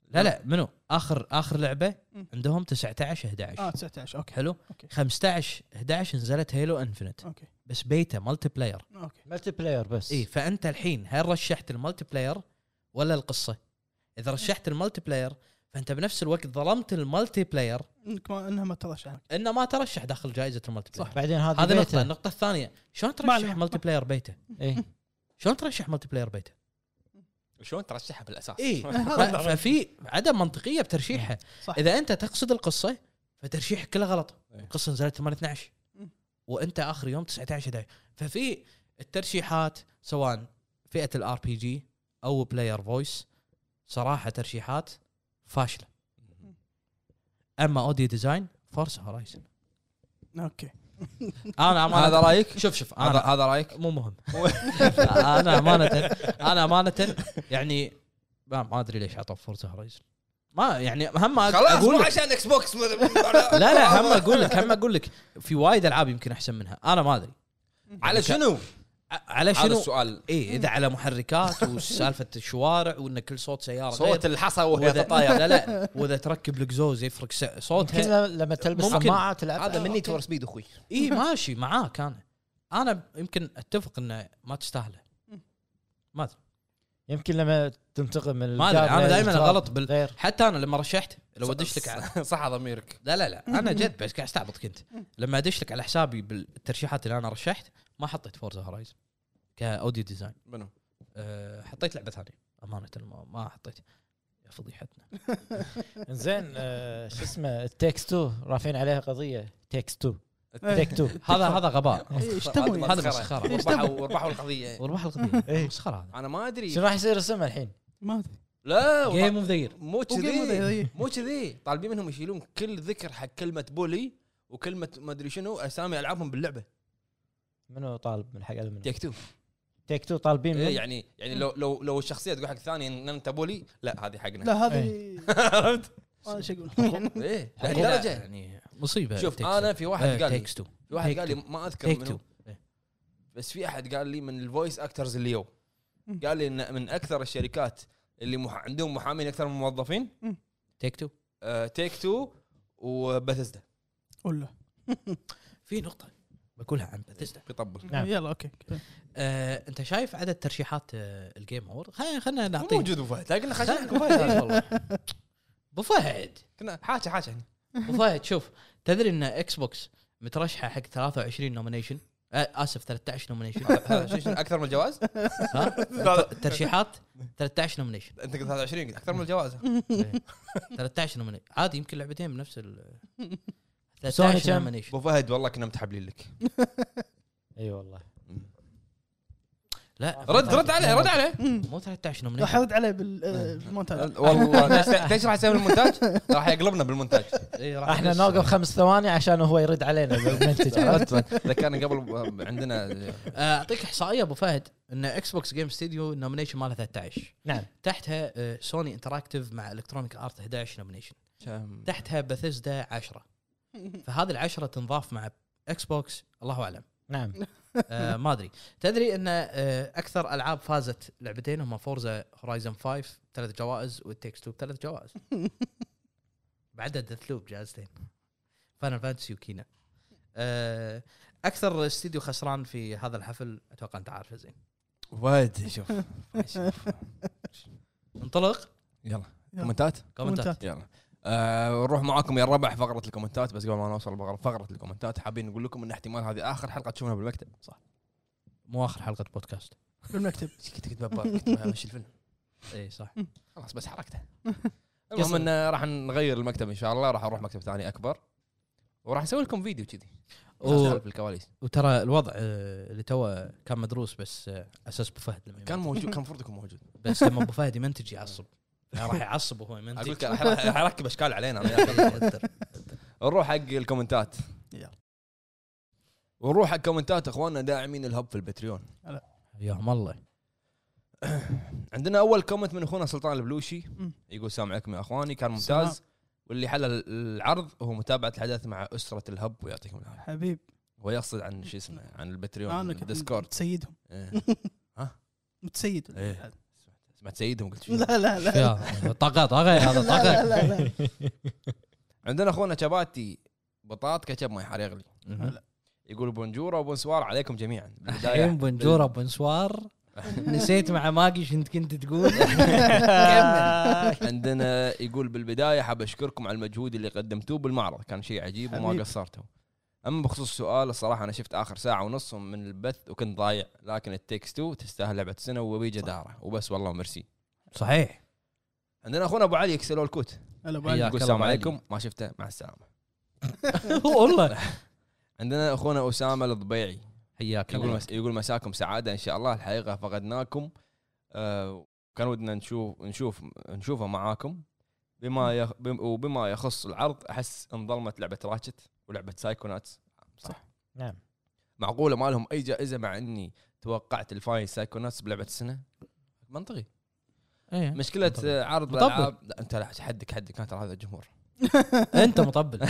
Speaker 5: لا لا منو اخر اخر لعبه
Speaker 2: مم.
Speaker 5: عندهم 19 11
Speaker 2: اه 19 اوكي
Speaker 5: حلو
Speaker 2: أوكي. آه.
Speaker 5: 15 11 نزلت هيلو انفنت
Speaker 2: اوكي
Speaker 5: بس بيتا مالتي بلاير
Speaker 2: اوكي
Speaker 4: ملتي بلاير بس
Speaker 5: اي فانت الحين هل رشحت المالتي بلاير ولا القصه؟
Speaker 2: إيه.
Speaker 5: اذا رشحت المالتي بلاير فانت بنفس الوقت ظلمت المالتي بلاير
Speaker 2: انك ما انها ما ترش عنك
Speaker 5: انه ما ترشح داخل جائزه المالتي بلاير
Speaker 4: بعدين هذه
Speaker 5: هذه
Speaker 4: بيتا.
Speaker 5: نقطه النقطه الثانيه شلون
Speaker 2: معلومة.
Speaker 5: ترشح مالتي بلاير بيته؟
Speaker 4: إيه.
Speaker 5: شلون ترشح مالتي بلاير بيته؟
Speaker 1: شلون ترشحها بالاساس
Speaker 5: اي ففي عدم منطقيه بترشيحها
Speaker 2: صح
Speaker 5: اذا انت تقصد القصه فترشيحك كله غلط
Speaker 1: إيه.
Speaker 5: القصه نزلت 8 12
Speaker 2: مم.
Speaker 5: وانت اخر يوم 19 11 ففي الترشيحات سواء فئه الار بي جي او بلاير فويس صراحه ترشيحات فاشله اما اوديو ديزاين فورس هورايزن
Speaker 2: اوكي
Speaker 5: انا امانه
Speaker 1: هذا رايك؟
Speaker 5: شوف شوف
Speaker 1: هذا
Speaker 5: انا
Speaker 1: هذا رايك
Speaker 5: مو مهم انا امانه انا امانه يعني ما ما ادري ليش عطوا فورس هورايزن ما يعني هم
Speaker 1: خلاص
Speaker 5: أقول
Speaker 1: مو
Speaker 5: لك-
Speaker 1: عشان اكس بوكس
Speaker 5: لا لا هم اقول لك هم اقول لك في وايد العاب يمكن احسن منها انا ما ادري
Speaker 1: على شنو؟
Speaker 5: ع- على
Speaker 1: هذا
Speaker 5: شنو
Speaker 1: السؤال
Speaker 5: اي اذا على محركات وسالفه الشوارع وان كل صوت سياره
Speaker 1: صوت
Speaker 5: غير.
Speaker 1: الحصى وهي
Speaker 5: واذا
Speaker 1: تطاير
Speaker 5: لا لا واذا تركب الاكزوز يفرق س- صوتها
Speaker 4: يمكن لما تلبس
Speaker 5: ممكن.
Speaker 4: سماعه تلعب
Speaker 1: هذا مني تور سبيد اخوي
Speaker 5: اي إيه، ماشي معاك انا انا يمكن اتفق انه ما تستاهله ما ادري
Speaker 4: يمكن لما تنتقم من
Speaker 5: ما أدري، أنا
Speaker 4: الجابلة
Speaker 5: دايماً
Speaker 4: للتراب
Speaker 5: غلط بال-
Speaker 4: غير
Speaker 5: حتى انا لما رشحت لو ادش لك على
Speaker 1: صح ضميرك
Speaker 5: لا لا لا انا جد بس قاعد استعبط كنت لما ادش لك على حسابي بالترشيحات اللي انا رشحت ما حطيت فورزا هورايزن كاوديو ديزاين
Speaker 1: منو؟
Speaker 5: أه، حطيت لعبه ثانيه امانه ما- ما حطيت يا فضيحتنا
Speaker 4: زين آه، شو اسمه تيكس 2 رافعين عليها قضيه تيكس 2
Speaker 2: إيه.
Speaker 4: تيك 2
Speaker 5: هذا هذا غباء
Speaker 2: إيه، ايش تبون
Speaker 5: هذا مسخره
Speaker 2: إيش
Speaker 1: وربحوا وربحوا القضيه
Speaker 5: وربح
Speaker 4: إيه.
Speaker 5: القضيه مسخره هذا
Speaker 1: انا ما
Speaker 5: إيه.
Speaker 1: ادري
Speaker 4: شنو راح يصير اسمه الحين؟
Speaker 2: ما ادري
Speaker 1: لا
Speaker 5: جيم اوف ذا يير
Speaker 1: مو
Speaker 2: وجيم أوف ذا
Speaker 1: كذي
Speaker 2: يير.
Speaker 1: مو كذي طالبين منهم يشيلون كل ذكر حق كلمه بولي وكلمه ما ادري شنو اسامي العابهم باللعبه
Speaker 4: منو طالب من حق المنو؟
Speaker 1: تيك تو
Speaker 4: تيك 2 طالبين
Speaker 1: إيه،
Speaker 4: من
Speaker 1: يعني يعني لو لو لو الشخصيه تقول حق ثاني ان انت بولي لا هذه
Speaker 2: لا
Speaker 1: حقنا
Speaker 2: هذه
Speaker 5: إيه.
Speaker 1: عرفت؟
Speaker 2: انا شو اقول
Speaker 1: ايه لهالدرجه
Speaker 5: يعني مصيبه
Speaker 1: شوف انا في
Speaker 5: إيه،
Speaker 1: واحد قال لي
Speaker 5: تيكس تو
Speaker 1: في واحد
Speaker 5: Take
Speaker 1: قال لي
Speaker 5: two.
Speaker 1: ما اذكر
Speaker 5: تيك
Speaker 1: منو
Speaker 5: تو
Speaker 1: بس في احد قال لي من الفويس اكترز اللي يو
Speaker 2: مم.
Speaker 1: قال لي ان من اكثر الشركات اللي مح... عندهم محامين اكثر من موظفين آه،
Speaker 5: تيك تو
Speaker 1: تيك تو وبثزدا
Speaker 2: ولا
Speaker 5: في نقطه بقولها عن بثيستا
Speaker 1: يطبل
Speaker 4: نعم.
Speaker 2: يلا اوكي
Speaker 5: آه، انت شايف عدد ترشيحات آه، الجيم اور خلينا
Speaker 1: مو
Speaker 5: نعطيه
Speaker 1: موجود ابو فهد لكن خشناك
Speaker 5: خلينا-
Speaker 1: أبو فهد.
Speaker 5: إيه، والله. ابو فهد
Speaker 1: كنا حاشه حاشه هنا
Speaker 5: ابو فهد شوف تدري ان اكس بوكس مترشحه حق 23 نومينيشن اسف 13 نومينيشن
Speaker 1: هذا شو- شو- اكثر من الجواز
Speaker 5: ها الترشيحات 13 نومينيشن
Speaker 1: انت قلت 23 قلت اكثر من الجواز
Speaker 4: إيه.
Speaker 5: 13 نومينيشن عادي يمكن لعبتين بنفس ال
Speaker 4: سوني
Speaker 5: 13
Speaker 4: كم؟
Speaker 5: نومينيشن
Speaker 1: ابو فهد والله كنا متحبلين لك
Speaker 4: اي والله
Speaker 5: لا
Speaker 1: رد رد عليه رد عليه
Speaker 5: مو 13
Speaker 2: راح
Speaker 5: نومينيشن
Speaker 2: ارد عليه بال-
Speaker 1: إيه.
Speaker 2: آه، بالمونتاج
Speaker 1: والله ليش راح يسوي المونتاج؟ راح يقلبنا بالمونتاج
Speaker 5: إيه، راح
Speaker 4: احنا
Speaker 5: بس-
Speaker 4: نوقف خمس ثواني عشان هو يرد علينا المنتج
Speaker 1: ذكرنا قبل عندنا
Speaker 5: آه، اعطيك احصائيه ابو فهد ان اكس بوكس جيم ستوديو النومينيشن ماله 13
Speaker 4: نعم
Speaker 5: تحتها آه، سوني انتراكتيف مع الكترونيك ارت 11 نومينيشن
Speaker 1: كم
Speaker 5: تحتها بثزدا 10 فهذه العشرة تنضاف مع اكس بوكس الله اعلم
Speaker 4: نعم
Speaker 5: آه ما ادري تدري ان آه اكثر العاب فازت لعبتين هم فورزا هورايزن 5 ثلاث جوائز والتكس تو ثلاث جوائز بعدها ديث لوب جائزتين فاينل فانتسي وكينا آه اكثر استديو خسران في هذا الحفل اتوقع انت عارفه زين
Speaker 1: وايد شوف
Speaker 5: انطلق
Speaker 1: يلا كومنتات
Speaker 5: كومنتات
Speaker 1: يلا آه، نروح معاكم يا الربع فقره الكومنتات بس قبل ما نوصل لفقرة- فقره الكومنتات حابين نقول لكم ان احتمال هذه اخر حلقه تشوفونها بالمكتب صح
Speaker 5: مو اخر حلقه بودكاست
Speaker 2: بالمكتب
Speaker 1: كنت كنت ببالي كنت بمشي الفيلم
Speaker 5: اي إيه، صح
Speaker 1: خلاص بس حركته المهم ان راح نغير المكتب ان شاء الله راح اروح مكتب ثاني اكبر وراح اسوي لكم فيديو كذي
Speaker 5: و-
Speaker 1: خلف الكواليس
Speaker 5: وترى الوضع آه، اللي توه كان مدروس بس آه، اساس ابو فهد لما
Speaker 1: كان
Speaker 5: كان
Speaker 1: موجود كان المفروض يكون موجود
Speaker 5: بس لما ابو فهد يمنتج يعصب يعني راح يعصب وهو يمنتج
Speaker 1: اقول لك راح- راح اركب اشكال علينا أنا وياك.
Speaker 5: يوتر.
Speaker 1: نروح حق الكومنتات
Speaker 2: يلا.
Speaker 1: ونروح حق كومنتات اخواننا داعمين الهب في البتريون
Speaker 5: حياهم الله
Speaker 1: عندنا اول كومنت من اخونا سلطان البلوشي
Speaker 2: مم.
Speaker 1: يقول السلام عليكم يا اخواني كان
Speaker 2: السلام.
Speaker 1: ممتاز واللي حل العرض هو متابعه الحدث مع اسره الهب ويعطيكم العافيه
Speaker 2: حبيب
Speaker 1: هو يقصد عن شو اسمه عن البتريون
Speaker 2: انا كنت
Speaker 1: الديسكورد
Speaker 2: متسيدهم
Speaker 1: إيه.
Speaker 2: متسيد
Speaker 1: إيه. سمعت سيدهم قلت شو
Speaker 2: لا لا لا
Speaker 5: يا طاقه طاقه هذا
Speaker 2: لا
Speaker 5: طاقه
Speaker 2: لا لا
Speaker 1: عندنا اخونا شباتي بطاط كتشب ما يحار يغلي
Speaker 5: مهم.
Speaker 1: يقول بونجورا وبونسوار عليكم جميعا
Speaker 5: الحين بنجوره بنسوار نسيت مع ماجي شنت كنت تقول
Speaker 1: عندنا يقول بالبدايه حاب اشكركم على المجهود اللي قدمتوه بالمعرض كان شيء عجيب وما
Speaker 2: حبيب.
Speaker 1: قصرتوا اما بخصوص السؤال الصراحه انا شفت اخر ساعه ونص من البث وكنت ضايع لكن التكس 2 تستاهل لعبه سنه وبي جداره وبس والله ميرسي
Speaker 5: صحيح
Speaker 1: عندنا اخونا ابو علي يكسلوا الكوت
Speaker 2: هلا أبو علي.
Speaker 5: حياك
Speaker 1: يقول السلام
Speaker 5: الله أبو
Speaker 1: عليكم ما شفته مع السلامه
Speaker 5: والله
Speaker 1: عندنا اخونا اسامه الضبيعي
Speaker 5: حياك
Speaker 1: يقول
Speaker 5: الله
Speaker 1: مس... يقول مساكم سعاده ان شاء الله الحقيقه فقدناكم آه كان ودنا نشوف نشوف نشوفه معاكم بما يخ... بم... وبما يخص العرض احس انظلمت لعبه راتشت ولعبه سايكوناتس صح
Speaker 4: نعم
Speaker 1: معقوله ما لهم اي جائزه مع اني توقعت الفاين سايكوناتس بلعبه السنه منطقي
Speaker 4: نعم.
Speaker 5: إيه.
Speaker 1: مشكله
Speaker 5: منطقي.
Speaker 1: آه، عرض
Speaker 5: مطبل.
Speaker 1: الالعاب لا انت لا حدك حدك كانت هذا الجمهور
Speaker 5: انت مطبل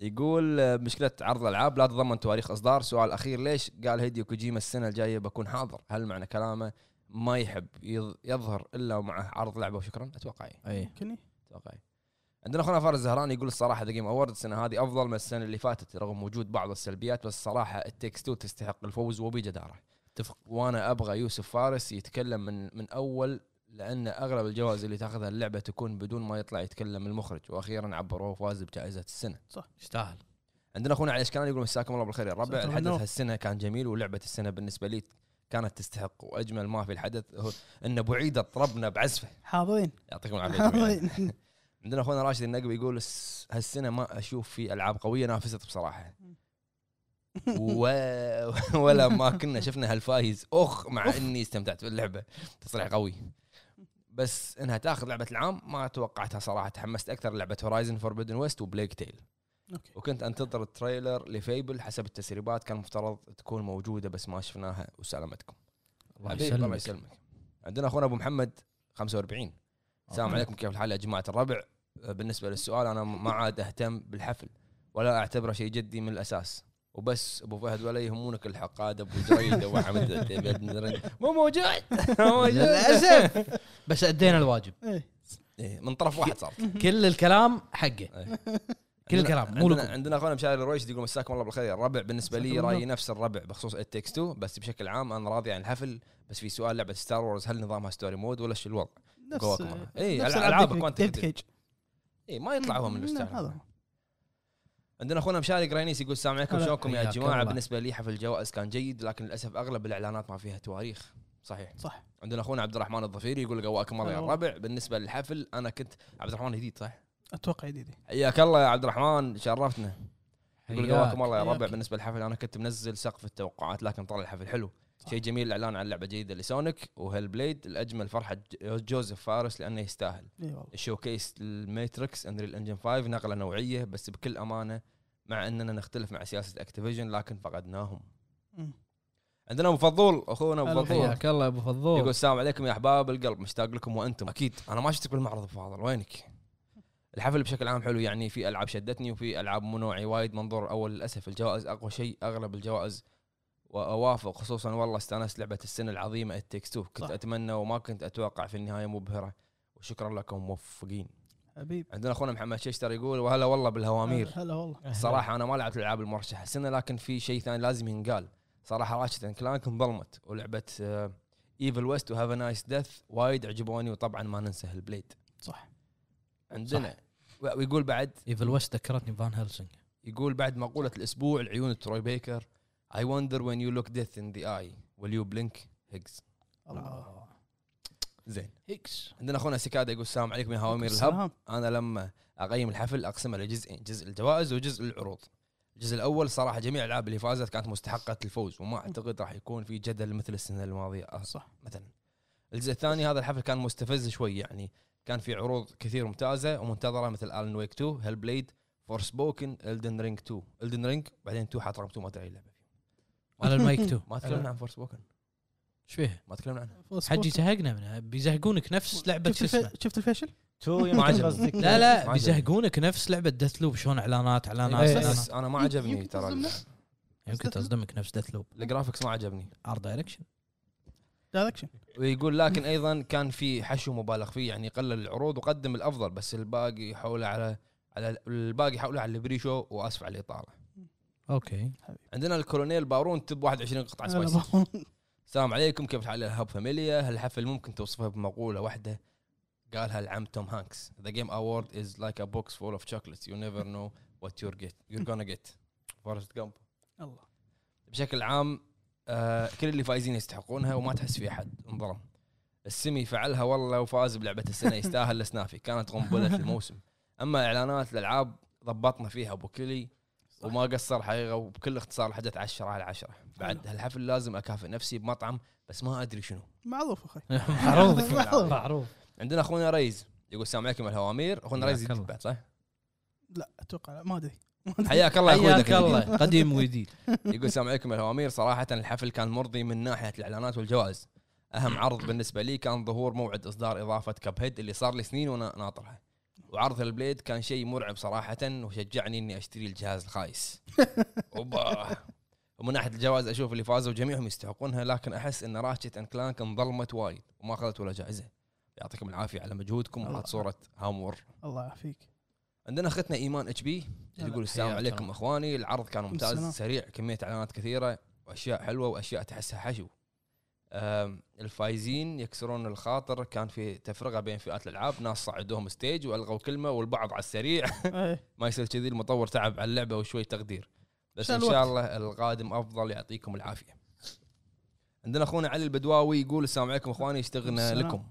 Speaker 1: يقول آه، مشكله عرض الالعاب لا تتضمن تواريخ اصدار سؤال اخير ليش قال هيديو كوجيما السنه الجايه بكون حاضر هل معنى كلامه ما يحب يظ- يظهر الا مع عرض لعبه وشكرا اتوقع إيه،
Speaker 5: اي
Speaker 2: يمكنني
Speaker 1: اتوقع إيه. عندنا اخونا فارس الزهراني يقول الصراحه ذا جيم اوورد السنه هذه افضل من السنه اللي فاتت رغم وجود بعض السلبيات بس الصراحه التكس تو تستحق الفوز وبجداره اتفق وانا ابغى يوسف فارس يتكلم من من اول لان اغلب الجوائز اللي تاخذها اللعبه تكون بدون ما يطلع يتكلم المخرج واخيرا عبروه فاز بجائزه السنه
Speaker 5: يستاهل
Speaker 1: عندنا اخونا علي اشكان يقول مساكم الله بالخير يا الربع
Speaker 2: مساكم
Speaker 1: الحدث
Speaker 2: النور.
Speaker 1: هالسنه كان جميل ولعبه السنه بالنسبه لي كانت تستحق واجمل ما في الحدث هو ان ابو عيد طربنا بعزفه
Speaker 2: حاضرين
Speaker 1: يعطيكم العافيه جميعاً.
Speaker 2: حاضرين
Speaker 1: عندنا اخونا راشد النقبي يقول "الس- هالسنه ما اشوف في العاب قويه نافست بصراحه و... ولا ما كنا شفنا هالفايز اخ مع اني استمتعت باللعبه تصريح قوي بس انها تاخذ لعبه العام ما توقعتها صراحه تحمست اكثر لعبه هورايزن فوربدن ويست وبليك تيل
Speaker 2: اوكي
Speaker 1: وكنت انتظر التريلر لفيبل حسب التسريبات كان مفترض تكون موجوده بس ما شفناها وسلامتكم
Speaker 5: الله
Speaker 1: حبيبي، الله
Speaker 5: يسلمك
Speaker 1: يسلمك عندنا اخونا ابو محمد 45 السلام عليكم كيف الحال يا جماعه الربع بالنسبه للسؤال انا ما عاد اهتم بالحفل ولا اعتبره شيء جدي من الاساس وبس ابو فهد ولا يهمونك الحقاد ابو جريد ابو حمد مو موجود مو موجود
Speaker 5: للاسف بس ادينا الواجب
Speaker 2: إيه.
Speaker 1: إيه، من طرف واحد صار
Speaker 5: كل الكلام حقه كل الكلام، مو
Speaker 1: عندنا,
Speaker 5: لكم.
Speaker 1: عندنا اخونا مشاري الرويش يقول مساكم الله بالخير يا الربع بالنسبه لي
Speaker 2: مساكم
Speaker 1: رايي
Speaker 2: النور.
Speaker 1: نفس الربع بخصوص التكس 2 بس بشكل عام انا راضي عن الحفل بس في سؤال لعبه ستار وورز هل نظامها ستوري مود ولا شو الوضع؟
Speaker 2: نفس
Speaker 1: جواكم الله. إيه،
Speaker 2: نفس
Speaker 1: ألعاب
Speaker 2: ألعاب
Speaker 1: كوانتم
Speaker 2: ديفيد
Speaker 1: ديفيد.
Speaker 2: كيج
Speaker 1: اي إيه، ما يطلع هو من
Speaker 2: هذا
Speaker 1: الستايل
Speaker 2: هو.
Speaker 1: عندنا اخونا مشاري قرينيس يقول السلام عليكم
Speaker 2: هلا.
Speaker 1: شلونكم يا
Speaker 5: حياك
Speaker 1: جماعه
Speaker 5: الله.
Speaker 1: بالنسبه لي حفل الجوائز كان جيد لكن للاسف اغلب الاعلانات ما فيها تواريخ صحيح
Speaker 2: صح
Speaker 1: عندنا اخونا عبد الرحمن الظفيري يقول قواكم الله يا
Speaker 2: هلا
Speaker 5: أيوه.
Speaker 1: الربع بالنسبه للحفل انا كنت عبد الرحمن جديد صح؟
Speaker 2: اتوقع جديد
Speaker 1: حياك الله يا عبد الرحمن شرفتنا يقول
Speaker 5: حياك.
Speaker 1: قواكم الله يا ربع
Speaker 2: حياك.
Speaker 1: بالنسبه للحفل انا كنت منزل سقف التوقعات لكن طلع الحفل حلو
Speaker 2: صح.
Speaker 1: شيء جميل الاعلان عن لعبه جيده لسونيك وهيل بليد الاجمل فرحه ج- جوزيف فارس لانه يستاهل
Speaker 2: اي والله
Speaker 1: الشوكيس الماتريكس انريل انجن 5 نقله نوعيه بس بكل امانه مع اننا نختلف مع سياسه اكتيفيجن لكن فقدناهم
Speaker 2: مم.
Speaker 1: عندنا ابو فضول اخونا ابو
Speaker 2: هلا
Speaker 1: فضول
Speaker 2: وحياك.
Speaker 5: حياك الله يا ابو فضول
Speaker 1: يقول السلام عليكم يا احباب القلب مشتاق لكم وانتم اكيد انا ما شفتك بالمعرض ابو فاضل وينك الحفل بشكل عام حلو يعني في العاب شدتني وفي العاب مو نوعي وايد منظور اول للاسف الجوائز اقوى شيء اغلب الجوائز واوافق خصوصا والله استانست لعبه السنه العظيمه التكستو كنت
Speaker 2: صح.
Speaker 1: اتمنى وما كنت اتوقع في النهايه مبهره وشكرا لكم موفقين
Speaker 2: حبيب
Speaker 1: عندنا اخونا محمد ششتر يقول وهلا والله بالهوامير
Speaker 2: هلا والله
Speaker 1: صراحه انا ما لعبت الالعاب المرشحه السنه لكن في شيء ثاني لازم ينقال صراحه راشد كلانك انظلمت ولعبه ايفل ويست وهاف نايس ديث وايد عجبوني وطبعا ما ننسى البليد
Speaker 2: صح
Speaker 1: عندنا و- ويقول بعد
Speaker 5: ايفل ويست ذكرتني فان هيلسنج
Speaker 1: يقول بعد مقوله الاسبوع العيون تروي بيكر I wonder when you look death in the eye will you blink هيجز
Speaker 2: الله
Speaker 1: آه. زين
Speaker 5: هيكس
Speaker 1: عندنا اخونا سكادا يقول السلام عليكم يا هوامير الهب
Speaker 2: السلام.
Speaker 1: انا لما اقيم الحفل اقسمه لجزئين جزء الجوائز وجزء العروض الجزء الاول صراحه جميع الالعاب اللي فازت كانت مستحقه الفوز وما اعتقد راح يكون في جدل مثل السنه الماضيه أه،
Speaker 2: صح
Speaker 1: مثلا الجزء الثاني هذا الحفل كان مستفز شوي يعني كان في عروض كثير ممتازه ومنتظره مثل الن ويك 2 هيل بليد فور سبوكن الدن رينج 2 الدن رينج بعدين 2 حاط رقم 2 ما ادري اللعبه
Speaker 5: على المايك 2
Speaker 1: ما تكلمنا عن فور سبوكن
Speaker 5: ايش فيها؟
Speaker 1: ما تكلمنا عنها
Speaker 5: حجي زهقنا منها بيزهقونك نفس لعبه
Speaker 2: شفت
Speaker 5: شو
Speaker 2: الف-
Speaker 5: اسمه
Speaker 2: شفت الفيشل؟
Speaker 4: تو
Speaker 1: ما
Speaker 4: يمكن
Speaker 1: عجبني.
Speaker 4: قصدك
Speaker 5: لا
Speaker 1: ما
Speaker 5: لا
Speaker 1: عجبني.
Speaker 5: بيزهقونك نفس لعبه ديث لوب شلون اعلانات اعلانات
Speaker 4: إيه.
Speaker 5: إعلانات.
Speaker 1: بس انا ما
Speaker 2: يمكن-
Speaker 1: عجبني
Speaker 2: يمكن
Speaker 1: ترى
Speaker 2: تصدمنا.
Speaker 1: ال-
Speaker 5: يمكن تصدمك نفس ديث لوب
Speaker 1: الجرافكس ما عجبني
Speaker 5: ار دايركشن
Speaker 2: دايركشن
Speaker 1: ويقول لكن ايضا كان في حشو مبالغ فيه يعني قلل العروض وقدم الافضل بس الباقي حوله على على الباقي حوله على البريشو واسف على الاطاله
Speaker 5: اوكي
Speaker 1: عندنا الكولونيل بارون تب 21 قطعه سبايسي السلام عليكم كيف حال الهب فاميليا هالحفل ممكن توصفها بمقوله واحده قالها العم توم هانكس ذا جيم اوورد از لايك ا بوكس فول اوف شوكليتس يو نيفر نو وات يور جيت يور جونا جيت فورست جامب
Speaker 2: الله
Speaker 1: بشكل عام آه كل اللي فايزين يستحقونها وما تحس في احد انظلم السمي فعلها والله وفاز بلعبه السنه يستاهل السنافي كانت قنبله الموسم اما اعلانات الالعاب ضبطنا فيها ابو كلي وما قصر حقيقه وبكل اختصار الحدث 10 على 10 بعد
Speaker 2: حلو.
Speaker 1: هالحفل لازم اكافئ نفسي بمطعم بس ما ادري شنو
Speaker 2: معروف اخوي
Speaker 5: معروضك
Speaker 2: معروض.
Speaker 5: معروف
Speaker 1: عندنا اخونا ريز يقول السلام عليكم الهوامير اخونا ريز
Speaker 5: حياك الله.
Speaker 1: يدز بعد صح؟
Speaker 2: لا اتوقع لا، ما ادري
Speaker 1: حياك الله يا اخوي
Speaker 5: حياك
Speaker 1: دكتور.
Speaker 5: الله قديم وجديد
Speaker 1: يقول السلام عليكم يا الهوامير صراحة الحفل كان مرضي من ناحية الإعلانات والجوائز أهم عرض بالنسبة لي كان ظهور موعد إصدار إضافة كاب هيد اللي صار لي سنين وأنا ناطرها وعرض البليد كان شيء مرعب صراحة وشجعني إني أشتري الجهاز الخايس أوبا ومن ناحية الجوائز أشوف اللي فازوا جميعهم يستحقونها لكن أحس إن راتشت أند كلانك انظلمت وايد وما أخذت ولا جائزة يعطيكم العافية على مجهودكم
Speaker 2: الله.
Speaker 1: وعلى صورة هامور
Speaker 2: الله يعافيك
Speaker 1: عندنا اختنا ايمان اتش بي
Speaker 2: هلا.
Speaker 1: تقول السلام
Speaker 5: حياك
Speaker 1: عليكم
Speaker 5: الله.
Speaker 1: اخواني العرض كان ممتاز
Speaker 2: السلام.
Speaker 1: سريع كميه اعلانات كثيره واشياء حلوه واشياء تحسها حشو أم، الفايزين يكسرون الخاطر كان في تفرقه بين فئات الالعاب ناس صعدوهم ستيج والغوا كلمه والبعض على السريع
Speaker 2: إيه.
Speaker 1: ما يصير كذي المطور تعب على اللعبه وشوي تقدير بس
Speaker 2: شال
Speaker 1: ان شاء
Speaker 2: وقت.
Speaker 1: الله القادم افضل يعطيكم العافيه عندنا اخونا علي البدواوي يقول السلام عليكم اخواني اشتغلنا
Speaker 2: السلام.
Speaker 1: لكم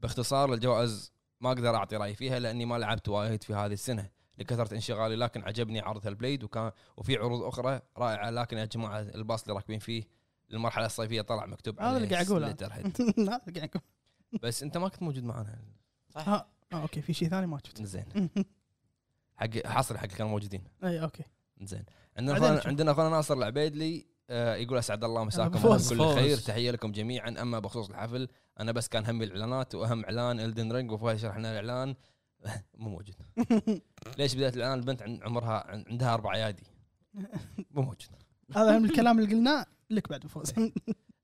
Speaker 1: باختصار الجوائز ما اقدر اعطي راي فيها لاني ما لعبت وايد في هذه السنه لكثره انشغالي لكن عجبني عرض البليد وكان وفي عروض اخرى رائعه لكن يا جماعه الباص اللي راكبين فيه المرحله الصيفيه طلع مكتوب
Speaker 2: هذا اللي
Speaker 1: عليه
Speaker 2: قاعد أقوله.
Speaker 1: Letterhead.
Speaker 2: لا قاعد أقول.
Speaker 1: بس انت ما كنت موجود معنا
Speaker 2: ها آه، اوكي في شيء ثاني ما شفته
Speaker 1: زين حق حصري حق اللي كانوا موجودين
Speaker 2: اي اوكي
Speaker 1: زين عندنا
Speaker 2: بعدين
Speaker 1: أخونا
Speaker 2: نشوف.
Speaker 1: عندنا اخونا ناصر العبيدلي آه، يقول اسعد الله مساكم
Speaker 2: فوز،
Speaker 1: بكل
Speaker 5: فوز.
Speaker 1: خير تحيه لكم جميعا اما بخصوص الحفل انا بس كان همي الاعلانات واهم اعلان الدن رينج وفهد شرحنا الاعلان مو موجود ليش بدات الاعلان البنت عن- عمرها عن- عندها اربع ايادي مو موجود
Speaker 2: هذا من الكلام اللي قلناه لك بعد فوز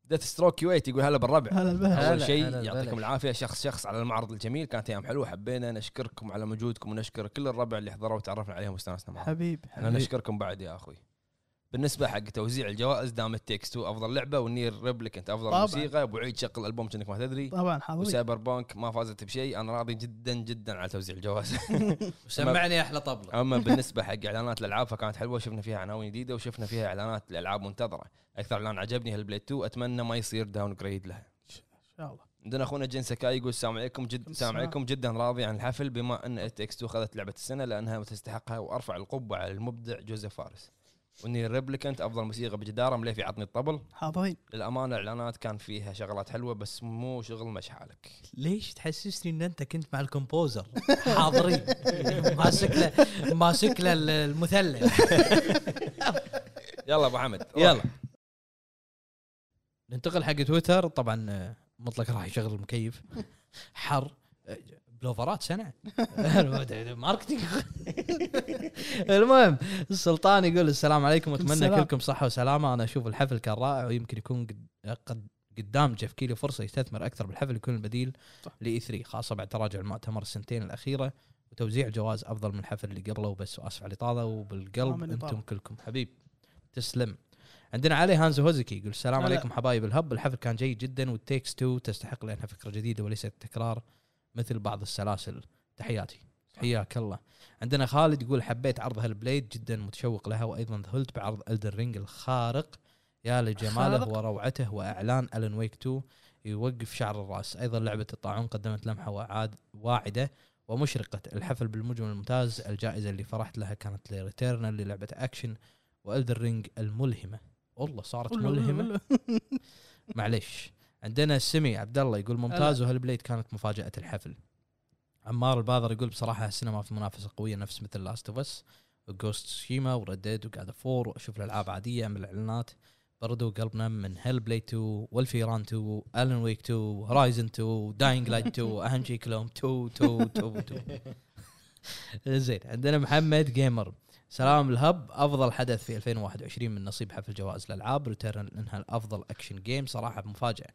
Speaker 1: ديث ستروك كويت يقول هلا بالربع
Speaker 2: هذا البهر
Speaker 5: هلا،
Speaker 1: اول شيء
Speaker 5: هلا،
Speaker 1: يعطيكم
Speaker 5: بلاش.
Speaker 1: العافيه شخص شخص على المعرض الجميل كانت ايام حلوه حبينا نشكركم على مجهودكم ونشكر كل الربع اللي حضروا وتعرفنا عليهم واستانسنا معهم
Speaker 2: حبيب
Speaker 1: احنا نشكركم بعد يا اخوي بالنسبه حق توزيع الجوائز دام التكس 2 افضل لعبه والنير ريبليكنت افضل
Speaker 2: طبعاً.
Speaker 1: موسيقى ابو عيد شق الالبوم كأنك ما تدري
Speaker 2: طبعا حاضرين
Speaker 1: وسايبر بانك ما فازت بشيء انا راضي جدا جدا على توزيع الجوائز
Speaker 5: سمعني احلى طبله
Speaker 1: اما بالنسبه حق اعلانات الالعاب فكانت حلوه شفنا فيها عناوين جديده وشفنا فيها اعلانات لالعاب منتظره اكثر اعلان عجبني هالبليد 2 اتمنى ما يصير داون جريد لها
Speaker 2: ان شاء الله
Speaker 1: عندنا اخونا جين سكاي يقول السلام عليكم جد السلام عليكم جدا راضي عن الحفل بما ان اتكس 2 اخذت لعبه السنه لانها تستحقها وارفع القبه على المبدع جوزيف فارس واني ريبليكنت افضل موسيقى بجداره مليفي عطني الطبل
Speaker 2: حاضرين
Speaker 1: للامانه الاعلانات كان فيها شغلات حلوه بس مو شغل مش حالك
Speaker 5: ليش تحسسني ان انت كنت مع الكومبوزر حاضرين ماسك له ماسك له المثلث
Speaker 1: يلا ابو حمد
Speaker 5: يلا ننتقل حق تويتر طبعا آه، مطلق راح يشغل المكيف حر آه، بلوفرات سنه ماركتينج المهم السلطان يقول السلام عليكم اتمنى
Speaker 2: السلام.
Speaker 5: كلكم صحه وسلامه انا اشوف الحفل كان رائع ويمكن يكون قد- قد قدام جيف كيلي فرصه يستثمر اكثر بالحفل يكون البديل
Speaker 2: صح.
Speaker 5: لاي 3 خاصه بعد تراجع المؤتمر السنتين الاخيره وتوزيع جوائز افضل من الحفل اللي قبله وبس واسف على الاطاله وبالقلب
Speaker 2: آمن الإطالة.
Speaker 5: انتم كلكم حبيب تسلم عندنا علي هانز هوزكي يقول السلام
Speaker 2: هلا.
Speaker 5: عليكم حبايب الهب الحفل كان جيد جدا والتيكس تو تستحق لانها فكره جديده وليست تكرار مثل بعض السلاسل تحياتي حياك الله عندنا خالد يقول حبيت عرض هالبليد جدا متشوق لها وايضا ذهلت بعرض الدر رينج الخارق يا لجماله
Speaker 2: خارق.
Speaker 5: وروعته واعلان الن ويك 2 يوقف شعر الراس ايضا لعبه الطاعون قدمت لمحه وعاد واعده ومشرقه الحفل بالمجمل الممتاز الجائزه اللي فرحت لها كانت لريتيرنال للعبه اكشن والدر رينج الملهمه والله صارت ملهمه معليش عندنا السمي عبد الله يقول ممتاز وهالبليد كانت مفاجاه الحفل عمار الباذر يقول بصراحه هالسينما في منافسه قويه نفس مثل لاست اوف اس وجوست شيما وردد وقاعد فور واشوف الالعاب عاديه من الاعلانات بردوا قلبنا من هيل بليد 2 والفيران 2 الن ويك 2 هورايزن 2 داينج لايت 2 اهم شيء كلهم 2 2 2 2 زين عندنا محمد جيمر سلام الهب افضل حدث في 2021 من نصيب حفل جوائز الالعاب ريتيرن انها الافضل اكشن جيم صراحه مفاجاه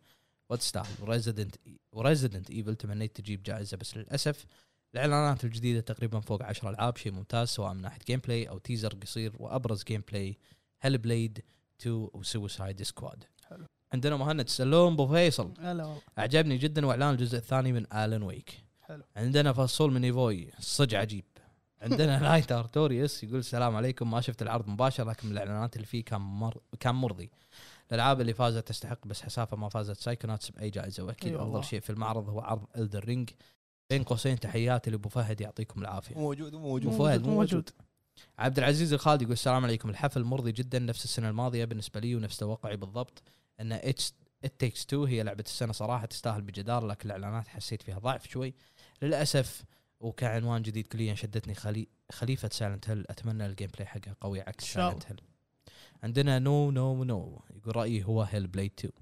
Speaker 5: وتستاهل وريزدنت وريزدنت ايفل E- تمنيت تجيب جائزه بس للاسف الاعلانات الجديده تقريبا فوق 10 العاب شيء ممتاز سواء من ناحيه جيم بلاي او تيزر قصير وابرز جيم بلاي هل بليد 2 وسوسايد سكواد
Speaker 2: حلو.
Speaker 5: عندنا مهند سلوم ابو فيصل
Speaker 2: هلا والله
Speaker 5: اعجبني جدا واعلان الجزء الثاني من الن ويك
Speaker 2: حلو.
Speaker 5: عندنا فصول من ايفوي صج عجيب عندنا نايت ارتوريوس يقول السلام عليكم ما شفت العرض مباشر لكن من الاعلانات اللي فيه كان مر... كان مرضي الالعاب اللي فازت تستحق بس حسافه ما فازت سايكوناتس باي جائزه واكيد
Speaker 2: أي
Speaker 5: أيوة
Speaker 2: والله.
Speaker 5: افضل شيء في المعرض هو عرض الدر رينج بين قوسين تحياتي لابو فهد يعطيكم العافيه
Speaker 1: موجود موجود
Speaker 5: مو
Speaker 2: موجود،
Speaker 5: فهد، مو
Speaker 2: موجود.
Speaker 5: موجود. عبد العزيز الخالد يقول السلام عليكم الحفل مرضي جدا نفس السنه الماضيه بالنسبه لي ونفس توقعي بالضبط ان اتش ات تيكس 2 هي لعبه السنه صراحه تستاهل بجدار لكن الاعلانات حسيت فيها ضعف شوي للاسف وكعنوان جديد كليا شدتني خلي خليفه سايلنت هيل اتمنى الجيم بلاي حقها قوي عكس
Speaker 2: إن شاء الله.
Speaker 5: سايلنت هيل عندنا نو نو نو يقول رايي هو هيل بلاي 2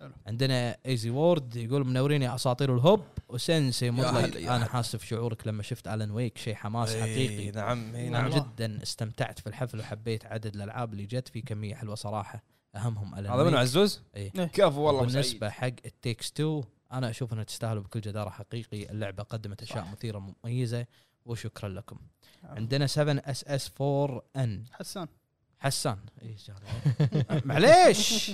Speaker 2: حلو.
Speaker 5: عندنا ايزي وورد يقول منورين يا اساطير الهوب وسنسي مطلق
Speaker 1: هلا، يا
Speaker 5: انا حاسس بشعورك لما شفت الن ويك شيء حماس حقيقي
Speaker 1: نعم إي
Speaker 5: نعم
Speaker 1: نعم
Speaker 5: جدا استمتعت في الحفل وحبيت عدد الالعاب اللي جت في كميه حلوه صراحه اهمهم الن
Speaker 1: هذا منو
Speaker 5: ويك
Speaker 1: عزوز؟
Speaker 5: إيه.
Speaker 1: كفو والله
Speaker 5: بالنسبه حق التيكس 2 انا اشوف انها تستاهل بكل جداره حقيقي اللعبه قدمت اشياء مثيره مميزه وشكرا لكم
Speaker 1: نعم.
Speaker 5: عندنا 7 اس اس 4 ان
Speaker 2: حسان
Speaker 5: حسان إيه، شهر. معليش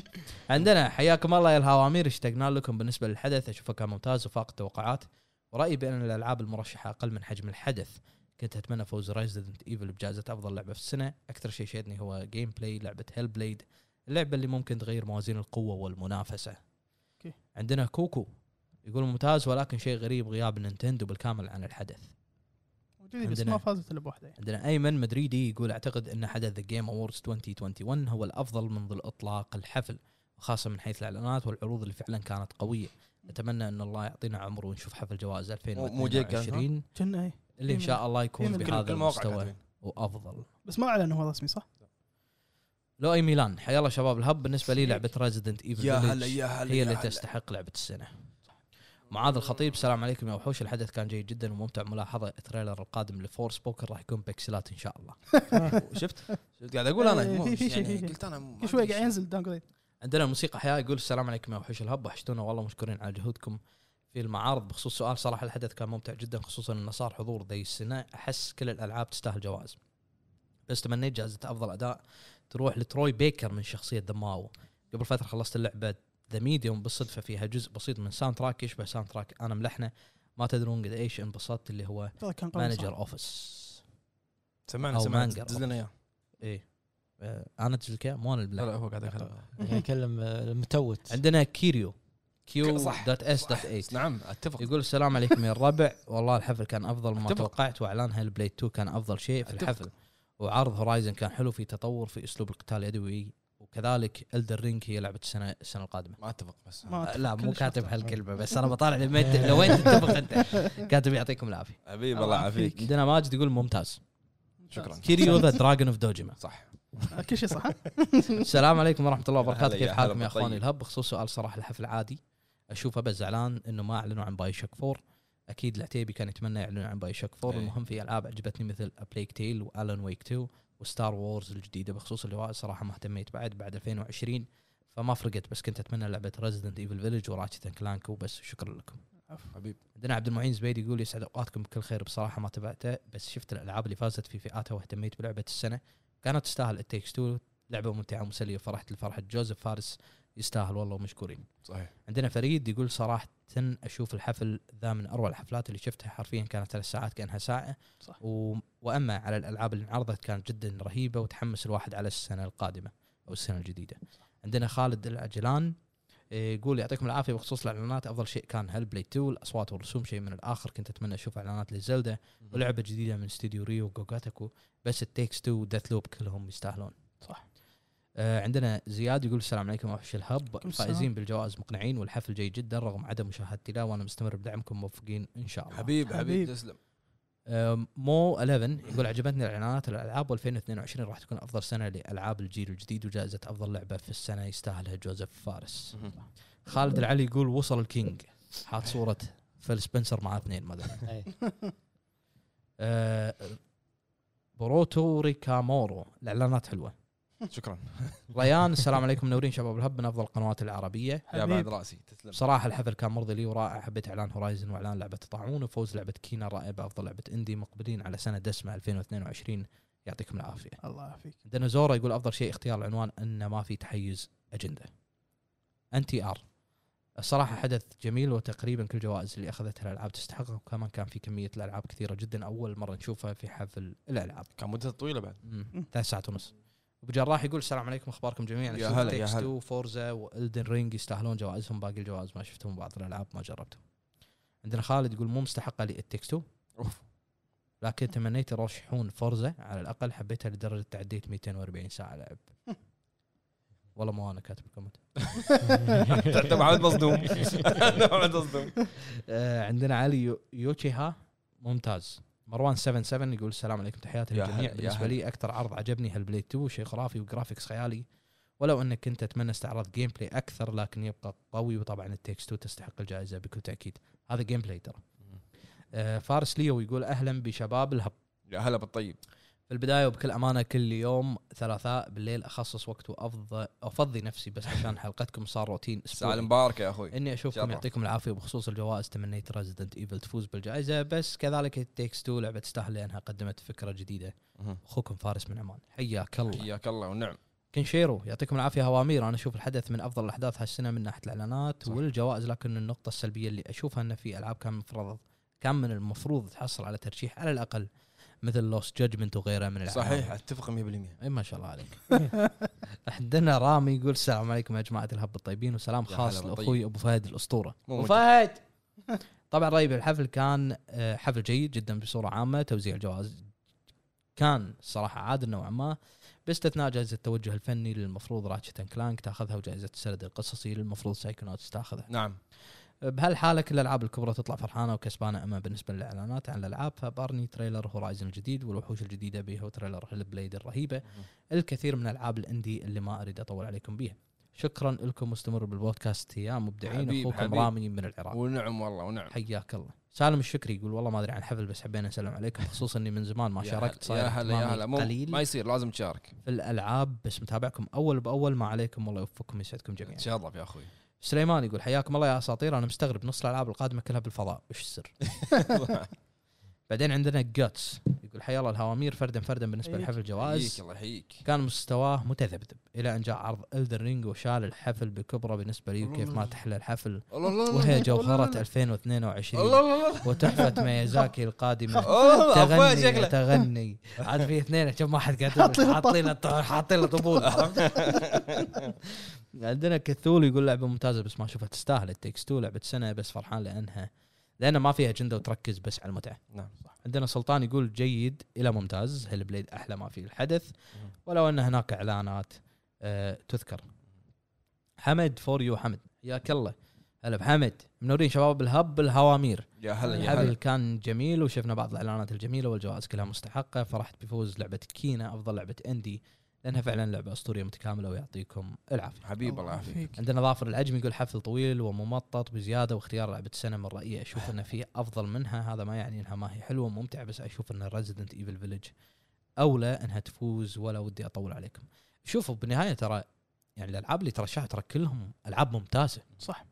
Speaker 5: عندنا حياكم الله يا الهوامير اشتقنا لكم بالنسبه للحدث اشوفه كان ممتاز وفاق التوقعات ورايي بان الالعاب المرشحه اقل من حجم الحدث كنت اتمنى فوز ريزدنت ايفل بجائزه افضل لعبه في السنه اكثر شيء شدني هو جيم بلاي لعبه هيل بليد اللعبه اللي ممكن تغير موازين القوه والمنافسه
Speaker 2: أوكي.
Speaker 5: عندنا كوكو يقول ممتاز ولكن شيء غريب غياب نينتندو بالكامل عن الحدث
Speaker 2: موجودة بس
Speaker 5: عندنا.
Speaker 2: ما فازت الا بواحده يعني.
Speaker 5: عندنا ايمن مدريدي يقول اعتقد ان حدث ذا جيم اووردز 2021 هو الافضل منذ الاطلاق الحفل وخاصه من حيث الاعلانات والعروض اللي فعلا كانت قويه اتمنى ان الله يعطينا عمر ونشوف حفل جوائز
Speaker 1: مو جيك كان، إيه،
Speaker 5: 2022
Speaker 2: كنا اي
Speaker 5: اللي ان شاء الله يكون
Speaker 2: إيمن.
Speaker 1: كل
Speaker 5: بهذا
Speaker 1: كل مواقع
Speaker 5: المستوى
Speaker 1: كاتبين.
Speaker 5: وافضل
Speaker 2: بس ما اعلن هو رسمي صح؟
Speaker 5: لو اي ميلان حيا الله شباب الهب بالنسبه لي لعبه ريزدنت
Speaker 1: يا هلا
Speaker 5: ايفل
Speaker 1: يا هلا
Speaker 5: هي
Speaker 1: يا
Speaker 5: اللي
Speaker 1: هلا.
Speaker 5: تستحق لعبه السنه معاذ الخطيب السلام عليكم يا وحوش الحدث كان جيد جدا وممتع ملاحظه التريلر القادم لفورس بوكر راح يكون بيكسلات ان شاء الله
Speaker 1: شفت؟ شفت قاعد اقول انا
Speaker 2: إيه،
Speaker 1: مو-
Speaker 2: في- في شيء،
Speaker 1: يعني
Speaker 2: في شيء.
Speaker 1: قلت انا ما
Speaker 2: كل شوي
Speaker 1: أدري
Speaker 2: قاعد ينزل داون جريد
Speaker 5: عندنا الموسيقى حياة يقول السلام عليكم يا وحوش الهب وحشتونا والله مشكورين على جهودكم في المعارض بخصوص سؤال صراحة الحدث كان ممتع جدا خصوصا انه صار حضور ذي السنة احس كل الالعاب تستاهل جوائز بس تمنيت جائزة افضل اداء تروح لتروي بيكر من شخصية دماو قبل فترة خلصت اللعبة ذا ميديوم بالصدفة فيها جزء بسيط من ساوند تراك يشبه ساوند تراك انا ملحنه ما تدرون قد ايش انبسطت اللي هو
Speaker 2: ترى كان قوي
Speaker 5: مانجر
Speaker 2: صح.
Speaker 5: اوفيس
Speaker 1: سمعنا
Speaker 5: أو
Speaker 1: سمعنا
Speaker 5: مانجا.
Speaker 1: دز لنا اياه
Speaker 5: ايه آه، انا تجلك مو انا
Speaker 1: لا
Speaker 5: الملحن
Speaker 1: لا هو قاعد يخرب
Speaker 4: يتكلم آه، متوت
Speaker 5: عندنا كيريو كيو
Speaker 1: صح.
Speaker 5: دوت اس دوت اي
Speaker 1: نعم اتفق
Speaker 5: يقول السلام عليكم يا الربع والله الحفل كان افضل مما
Speaker 1: أتفق.
Speaker 5: توقعت واعلان هالبليد 2 كان افضل شيء في
Speaker 1: أتفق.
Speaker 5: الحفل وعرض هورايزن كان حلو في تطور في اسلوب القتال اليدوي وكذلك الدر رينج هي لعبه السنه السنه القادمه
Speaker 1: ما اتفق بس
Speaker 2: ما أتفق،
Speaker 5: لا مو
Speaker 2: كلش
Speaker 5: كاتب
Speaker 2: أتفق.
Speaker 5: هالكلمه بس انا بطالع لمين- لوين تتفق انت كاتب يعطيكم العافيه
Speaker 1: حبيبي
Speaker 2: الله
Speaker 1: الله يعافيك
Speaker 5: عندنا ماجد يقول ممتاز
Speaker 1: شكرا
Speaker 5: كيريو ذا دراجون اوف دوجيما
Speaker 1: صح
Speaker 2: آه، كل شيء صح ها؟
Speaker 5: السلام عليكم ورحمه الله وبركاته
Speaker 1: هلا يا
Speaker 5: كيف حالكم
Speaker 1: هلا
Speaker 5: يا اخواني
Speaker 1: بالطيب.
Speaker 5: الهب بخصوص سؤال صراحه الحفل عادي اشوفه بس زعلان انه ما اعلنوا عن باي شك فور اكيد العتيبي كان يتمنى يعلنون عن باي شوك 4
Speaker 1: إيه.
Speaker 5: المهم في العاب عجبتني مثل بليك تيل والان ويك 2 وستار وورز الجديده بخصوص اللواء صراحه ما اهتميت بعد بعد 2020 فما فرقت بس كنت اتمنى لعبه ريزدنت ايفل فيلج وراتشت كلانك وبس شكرا لكم
Speaker 1: حبيب
Speaker 5: عندنا عبد المعين زبيدي يقول يسعد اوقاتكم بكل خير بصراحه ما تبعته بس شفت الالعاب اللي فازت في فئاتها واهتميت بلعبه السنه كانت تستاهل التيكس تو لعبه ممتعه ومسليه فرحت لفرحه جوزيف فارس يستاهل والله ومشكورين
Speaker 1: صحيح
Speaker 5: عندنا فريد يقول صراحه اشوف الحفل ذا من اروع الحفلات اللي شفتها حرفيا كانت ثلاث ساعات كانها ساعه
Speaker 2: صح.
Speaker 5: و... واما على الالعاب اللي انعرضت كانت جدا رهيبه وتحمس الواحد على السنه القادمه او السنه الجديده عندنا خالد العجلان إيه، يقول يعطيكم العافيه بخصوص الاعلانات افضل شيء كان هل بلاي 2 الاصوات والرسوم شيء من الاخر كنت اتمنى اشوف اعلانات لزلدة ولعبه جديده من استديو ريو وجوجاتكو بس التيكس 2 وديث لوب كلهم يستاهلون
Speaker 2: صح.
Speaker 5: آه عندنا زياد يقول السلام عليكم اوفيشال الهب
Speaker 2: السلام.
Speaker 5: فائزين بالجوائز مقنعين والحفل جيد جدا رغم عدم مشاهدتي له وانا مستمر بدعمكم موفقين ان شاء الله
Speaker 1: حبيب حبيب
Speaker 2: حبيب.
Speaker 1: تسلم
Speaker 5: آه، مو 11 يقول عجبتني الاعلانات الالعاب و2022 راح تكون افضل سنه لالعاب الجيل الجديد وجائزه افضل لعبه في السنه يستاهلها جوزيف فارس خالد العلي يقول وصل الكينج حاط صوره فيل سبنسر مع اثنين مثلا
Speaker 4: إيه.
Speaker 5: آه، بروتو ريكامورو الاعلانات حلوه
Speaker 1: شكرا
Speaker 5: ريان السلام عليكم منورين شباب الهب من افضل القنوات العربيه
Speaker 1: يا بعد
Speaker 2: حبيب
Speaker 1: راسي تسلم
Speaker 5: بصراحه الحفل كان مرضي لي ورائع حبيت اعلان هورايزن واعلان لعبه الطاعون وفوز لعبه كينا رائع بافضل لعبه اندي مقبلين على سنه دسمه 2022 يعطيكم العافيه
Speaker 2: الله يعافيك
Speaker 5: عندنا زورا يقول افضل شيء اختيار العنوان انه ما في تحيز اجنده ان تي ار الصراحه حدث جميل وتقريبا كل الجوائز اللي اخذتها الالعاب تستحقها وكمان كان في كميه الالعاب كثيره جدا اول مره نشوفها في حفل الالعاب
Speaker 1: كان مدته طويله بعد
Speaker 5: مم. ثلاث ساعات ونص ابو جراح يقول السلام عليكم اخباركم جميعا
Speaker 1: يا
Speaker 5: أشوف
Speaker 1: هلا، يا
Speaker 5: Takes
Speaker 1: هلا.
Speaker 5: Two، فورزا والدن رينج يستاهلون جوائزهم باقي الجوائز ما شفتهم بعض الالعاب ما جربتهم عندنا خالد يقول مو مستحقه للتكستو
Speaker 1: اوف
Speaker 5: لكن تمنيت يرشحون فورزا على الاقل حبيتها لدرجه تعديت 240 ساعه لعب والله مو انا كاتب الكومنت
Speaker 1: انت محمد مصدوم أنت محمد مصدوم
Speaker 5: آه، عندنا علي يو- يوتشيها ممتاز مروان 77 يقول السلام عليكم تحياتي
Speaker 1: يا هلا،
Speaker 5: للجميع
Speaker 1: يا
Speaker 5: بالنسبه
Speaker 1: هلا.
Speaker 5: لي اكثر عرض عجبني هالبليد 2 شيء خرافي وجرافيكس خيالي ولو انك كنت اتمنى استعراض جيم بلاي اكثر لكن يبقى قوي وطبعا التكس 2 تستحق الجائزه بكل تاكيد هذا جيم بلاي ترى آه، فارس ليو يقول اهلا بشباب الهب
Speaker 1: يا هلا بالطيب
Speaker 5: في البدايه وبكل امانه كل يوم ثلاثاء بالليل اخصص وقت وافضي افضي نفسي بس عشان حلقتكم صار روتين
Speaker 1: الساعه
Speaker 5: اسبوعي
Speaker 1: المباركه يا اخوي
Speaker 5: اني اشوفكم
Speaker 1: جرب.
Speaker 5: يعطيكم العافيه وبخصوص الجوائز تمنيت ريزدنت ايفل تفوز بالجائزه بس كذلك تيكس تو لعبه تستاهل لانها قدمت فكره جديده
Speaker 1: مهم.
Speaker 5: اخوكم فارس من عمان حياك الله
Speaker 1: حياك الله ونعم
Speaker 5: كنشيرو يعطيكم العافيه هوامير انا اشوف الحدث من افضل الاحداث هالسنه من ناحيه الاعلانات
Speaker 1: صح.
Speaker 5: والجوائز لكن النقطه السلبيه اللي اشوفها ان في العاب كان المفروض كان من المفروض تحصل على ترشيح على الاقل مثل لوست جادجمنت وغيرها من الالعاب
Speaker 1: صحيح اتفق 100%
Speaker 5: اي ما شاء الله عليك عندنا رامي يقول السلام عليكم يا جماعه الهب الطيبين وسلام
Speaker 1: يا
Speaker 5: خاص
Speaker 1: هلا بالطيب.
Speaker 5: لاخوي ابو فهد الاسطوره
Speaker 1: مو
Speaker 5: أبو
Speaker 1: موجود.
Speaker 5: فهد طبعا رأيي الحفل كان آه، حفل جيد جدا بصوره عامه توزيع الجوائز كان صراحة عادل نوعا ما باستثناء جائزة التوجه الفني اللي المفروض راتشت كلانك تاخذها وجائزة السرد القصصي اللي المفروض سايكونوتس تاخذها
Speaker 1: نعم
Speaker 5: بهالحالة كل الألعاب الكبرى تطلع فرحانة وكسبانة أما بالنسبة للإعلانات عن الألعاب فبارني تريلر هورايزن الجديد والوحوش الجديدة به وتريلر هالبليد الرهيبة الكثير من ألعاب الأندي اللي ما أريد أطول عليكم بها شكرا لكم واستمروا بالبودكاست يا مبدعين
Speaker 1: حبيب-
Speaker 5: أخوكم
Speaker 1: حبيب.
Speaker 5: رامي من العراق
Speaker 1: ونعم والله ونعم
Speaker 5: حياك الله سالم الشكري يقول والله ما ادري عن الحفل بس حبينا نسلم عليكم خصوصا اني من زمان ما
Speaker 1: يا
Speaker 5: شاركت
Speaker 1: هلا،
Speaker 5: صاير
Speaker 1: يا هلا يا
Speaker 5: اهتمامي
Speaker 1: هلا مو
Speaker 5: قليل
Speaker 1: ما يصير لازم تشارك
Speaker 5: في الالعاب بس متابعكم اول باول ما عليكم والله يوفقكم يسعدكم جميعا
Speaker 1: تشرف يا اخوي
Speaker 5: سليمان يقول حياكم الله يا اساطير انا مستغرب نص الالعاب القادمه كلها بالفضاء وش السر بعدين عندنا جاتس يقول حيا الله الهوامير فردا فردا بالنسبه
Speaker 2: حيك.
Speaker 5: لحفل
Speaker 1: يحييك
Speaker 5: الجوائز
Speaker 1: الله يحييك
Speaker 5: كان مستواه متذبذب الى ان جاء عرض الدر رينج وشال الحفل بكبره بالنسبه لي وكيف ما تحلى الحفل
Speaker 1: الله الله الله
Speaker 5: وهي
Speaker 2: الله-
Speaker 5: جوهره
Speaker 2: الله.
Speaker 5: 2022
Speaker 1: الله الله
Speaker 5: وتحفه ميازاكي القادمه
Speaker 1: الله الله
Speaker 5: تغني
Speaker 1: شكله
Speaker 5: تغني عاد في اثنين كم واحد قاعد
Speaker 2: حاطين له
Speaker 5: حاطين له طو- حاطين له طبول عندنا كثول يقول لعبه ممتازه بس ما اشوفها تستاهل التكس تو لعبه سنه بس فرحان لانها لانها ما فيها اجنده وتركز بس على المتعه
Speaker 1: نعم
Speaker 5: عندنا سلطان يقول جيد الى ممتاز هل بليد احلى ما في الحدث ولو ان هناك اعلانات آه تذكر حمد فور يو حمد حياك الله هلا بحمد منورين شباب الهب الهوامير
Speaker 1: يا هلا يا
Speaker 5: الحفل
Speaker 1: طيب، هلا
Speaker 5: كان جميل وشفنا بعض الاعلانات الجميله والجوائز كلها مستحقه فرحت بفوز لعبه كينا افضل لعبه اندي لانها فعلا لعبه اسطوريه متكامله ويعطيكم العافيه
Speaker 1: حبيب الله يعافيك
Speaker 5: عندنا ظافر العجمي يقول حفل طويل وممطط بزياده واختيار لعبه السنه من رايي اشوف ان في افضل منها هذا ما يعني انها ما هي حلوه وممتعه بس اشوف ان ريزدنت ايفل فيلج اولى انها تفوز ولا ودي اطول عليكم شوفوا بالنهايه ترى يعني الالعاب اللي ترشحها ترى كلهم العاب ممتازه
Speaker 2: صح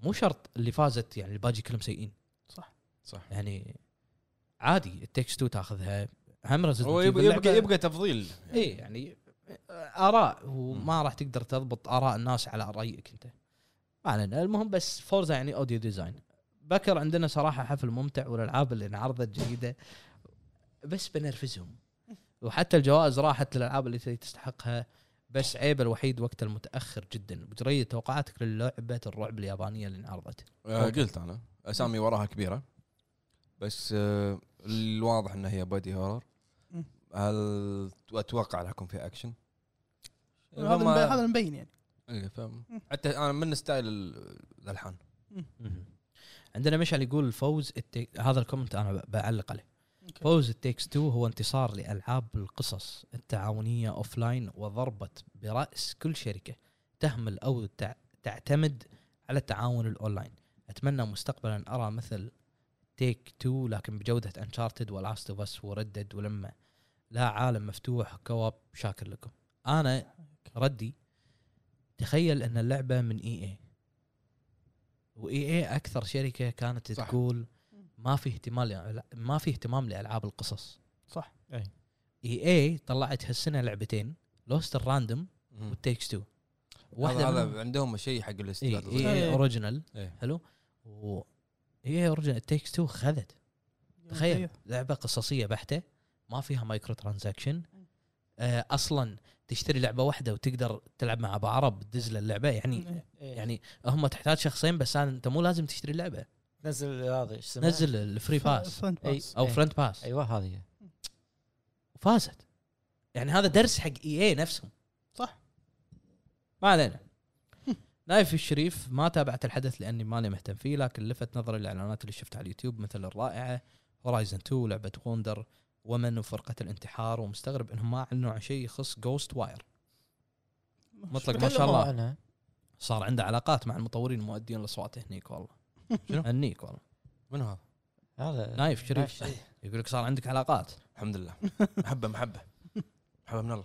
Speaker 5: مو شرط اللي فازت يعني الباقي كلهم سيئين
Speaker 2: صح
Speaker 1: صح
Speaker 5: يعني عادي التكست تو تاخذها هم ريزدنت
Speaker 1: هو يبقى يبقى, يبقى تفضيل
Speaker 5: اي يعني اراء وما راح تقدر تضبط اراء الناس على رايك انت ما علينا المهم بس فورزا يعني اوديو ديزاين بكر عندنا صراحه حفل ممتع والالعاب اللي انعرضت جيده بس بنرفزهم وحتى الجوائز راحت للالعاب اللي تستحقها بس عيب الوحيد وقت المتاخر جدا وجريد توقعاتك للعبه الرعب اليابانيه اللي انعرضت
Speaker 1: آه قلت انا اسامي وراها كبيره بس آه الواضح انها هي بادي هورر
Speaker 2: مم.
Speaker 1: هل اتوقع راح يكون في اكشن
Speaker 2: هذا المبين-
Speaker 1: فما-
Speaker 2: هذا المبين يعني
Speaker 1: إيه، فاهم. حتى انا من ستايل ال- الالحان
Speaker 5: مهم. عندنا مشعل يقول فوز التيك... هذا الكومنت انا ب- بعلق عليه
Speaker 2: أوكي.
Speaker 5: فوز التيكس 2 هو انتصار لالعاب القصص التعاونيه اوف لاين وضربت براس كل شركه تهمل او تع... تعتمد على التعاون الاونلاين اتمنى مستقبلا ارى مثل تيك 2 لكن بجوده انشارتد ولاست اوف اس وردد ولما لا عالم مفتوح كواب شاكر لكم انا ردي تخيل ان اللعبه من اي اي واي اي اكثر شركه كانت
Speaker 1: صح.
Speaker 5: تقول ما في اهتمام ما في اهتمام لالعاب القصص
Speaker 2: صح
Speaker 5: اي اي طلعت هالسنه لعبتين لوست الراندوم والتيكس تو
Speaker 1: واحده
Speaker 5: واحده
Speaker 1: هذا عندهم شيء حق الاستيل
Speaker 5: اي اي
Speaker 2: إيه.
Speaker 5: اوريجينال
Speaker 1: إيه.
Speaker 5: حلو و إيه، اي اوريجينال تيكس تو خذت
Speaker 2: أيوه.
Speaker 5: تخيل لعبه قصصيه بحته ما فيها مايكرو ترانزاكشن آه، اصلا تشتري لعبه واحده وتقدر تلعب مع ابو عرب تدز له اللعبه يعني
Speaker 2: إيه.
Speaker 5: يعني هم تحتاج شخصين بس انت مو لازم تشتري اللعبه
Speaker 4: نزل هذا ايش اسمه
Speaker 5: نزل الفري باس
Speaker 2: فن
Speaker 4: أي.
Speaker 2: باس.
Speaker 5: او فرنت باس
Speaker 4: ايوه هذه
Speaker 5: وفازت يعني هذا درس حق اي اي نفسهم
Speaker 2: صح.
Speaker 5: ما علينا نايف الشريف ما تابعت الحدث لاني ماني مهتم فيه لكن لفت نظري الاعلانات اللي شفتها على اليوتيوب مثل الرائعه هورايزن 2 لعبه وندر ومن وفرقه الانتحار ومستغرب انهم ما اعلنوا عن شيء يخص جوست واير مطلق ما شاء الله
Speaker 4: الله
Speaker 5: صار عنده علاقات مع المطورين المؤدين الاصوات هنيك والله
Speaker 1: شنو؟
Speaker 5: هنيك والله
Speaker 1: منو هذا؟
Speaker 4: هذا
Speaker 5: نايف
Speaker 4: نايف
Speaker 5: شريف
Speaker 4: شريف.
Speaker 5: يقول لك صار عندك علاقات
Speaker 1: الحمد لله محبه محبه محبه من الله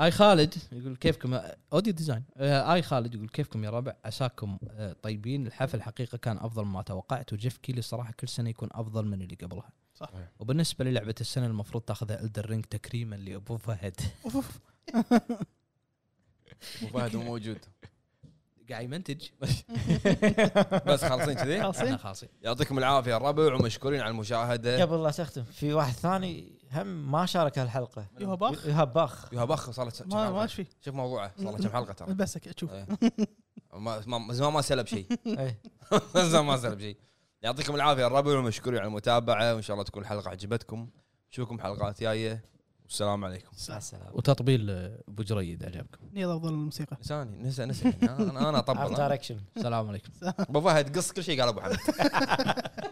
Speaker 5: اي خالد يقول كيفكم اوديو ديزاين آه، اي خالد يقول كيفكم يا ربع عساكم آه، طيبين الحفل حقيقه كان افضل ما توقعت وجيف كيلي صراحه كل سنه يكون افضل من اللي قبلها
Speaker 2: صح.
Speaker 5: وبالنسبه للعبه السنه المفروض تاخذها الدر رينج تكريما لابو فهد
Speaker 2: أوف، أوف.
Speaker 1: ابو فهد مو موجود
Speaker 5: قاعد يمنتج
Speaker 1: بس خالصين كذي
Speaker 2: خالصين؟
Speaker 5: أنا خالصين
Speaker 1: يعطيكم العافيه الربع ومشكورين على المشاهده
Speaker 4: قبل لا تختم في واحد ثاني هم ما شارك هالحلقه
Speaker 2: يوها باخ
Speaker 4: يهب باخ
Speaker 1: يا بخ صارت كم
Speaker 2: ما ما
Speaker 1: حلقه
Speaker 2: ايش في
Speaker 1: شوف موضوعه صار له كم حلقه ترى
Speaker 2: بس شوف
Speaker 1: إيه. ما ما- زمان ما سلب شيء
Speaker 4: إيه.
Speaker 1: زمان ما سلب شيء يعطيكم العافيه الربع ومشكورين على المتابعه وان شاء الله تكون الحلقه عجبتكم نشوفكم حلقات جايه والسلام عليكم
Speaker 4: مع السلامه
Speaker 5: وتطبيل آه، ابو جريد عجبكم
Speaker 2: نيل افضل الموسيقى
Speaker 1: نساني نسى نسى انا انا اطبل
Speaker 4: دايركشن
Speaker 5: السلام عليكم
Speaker 1: ابو فهد قص كل شيء قال ابو حمد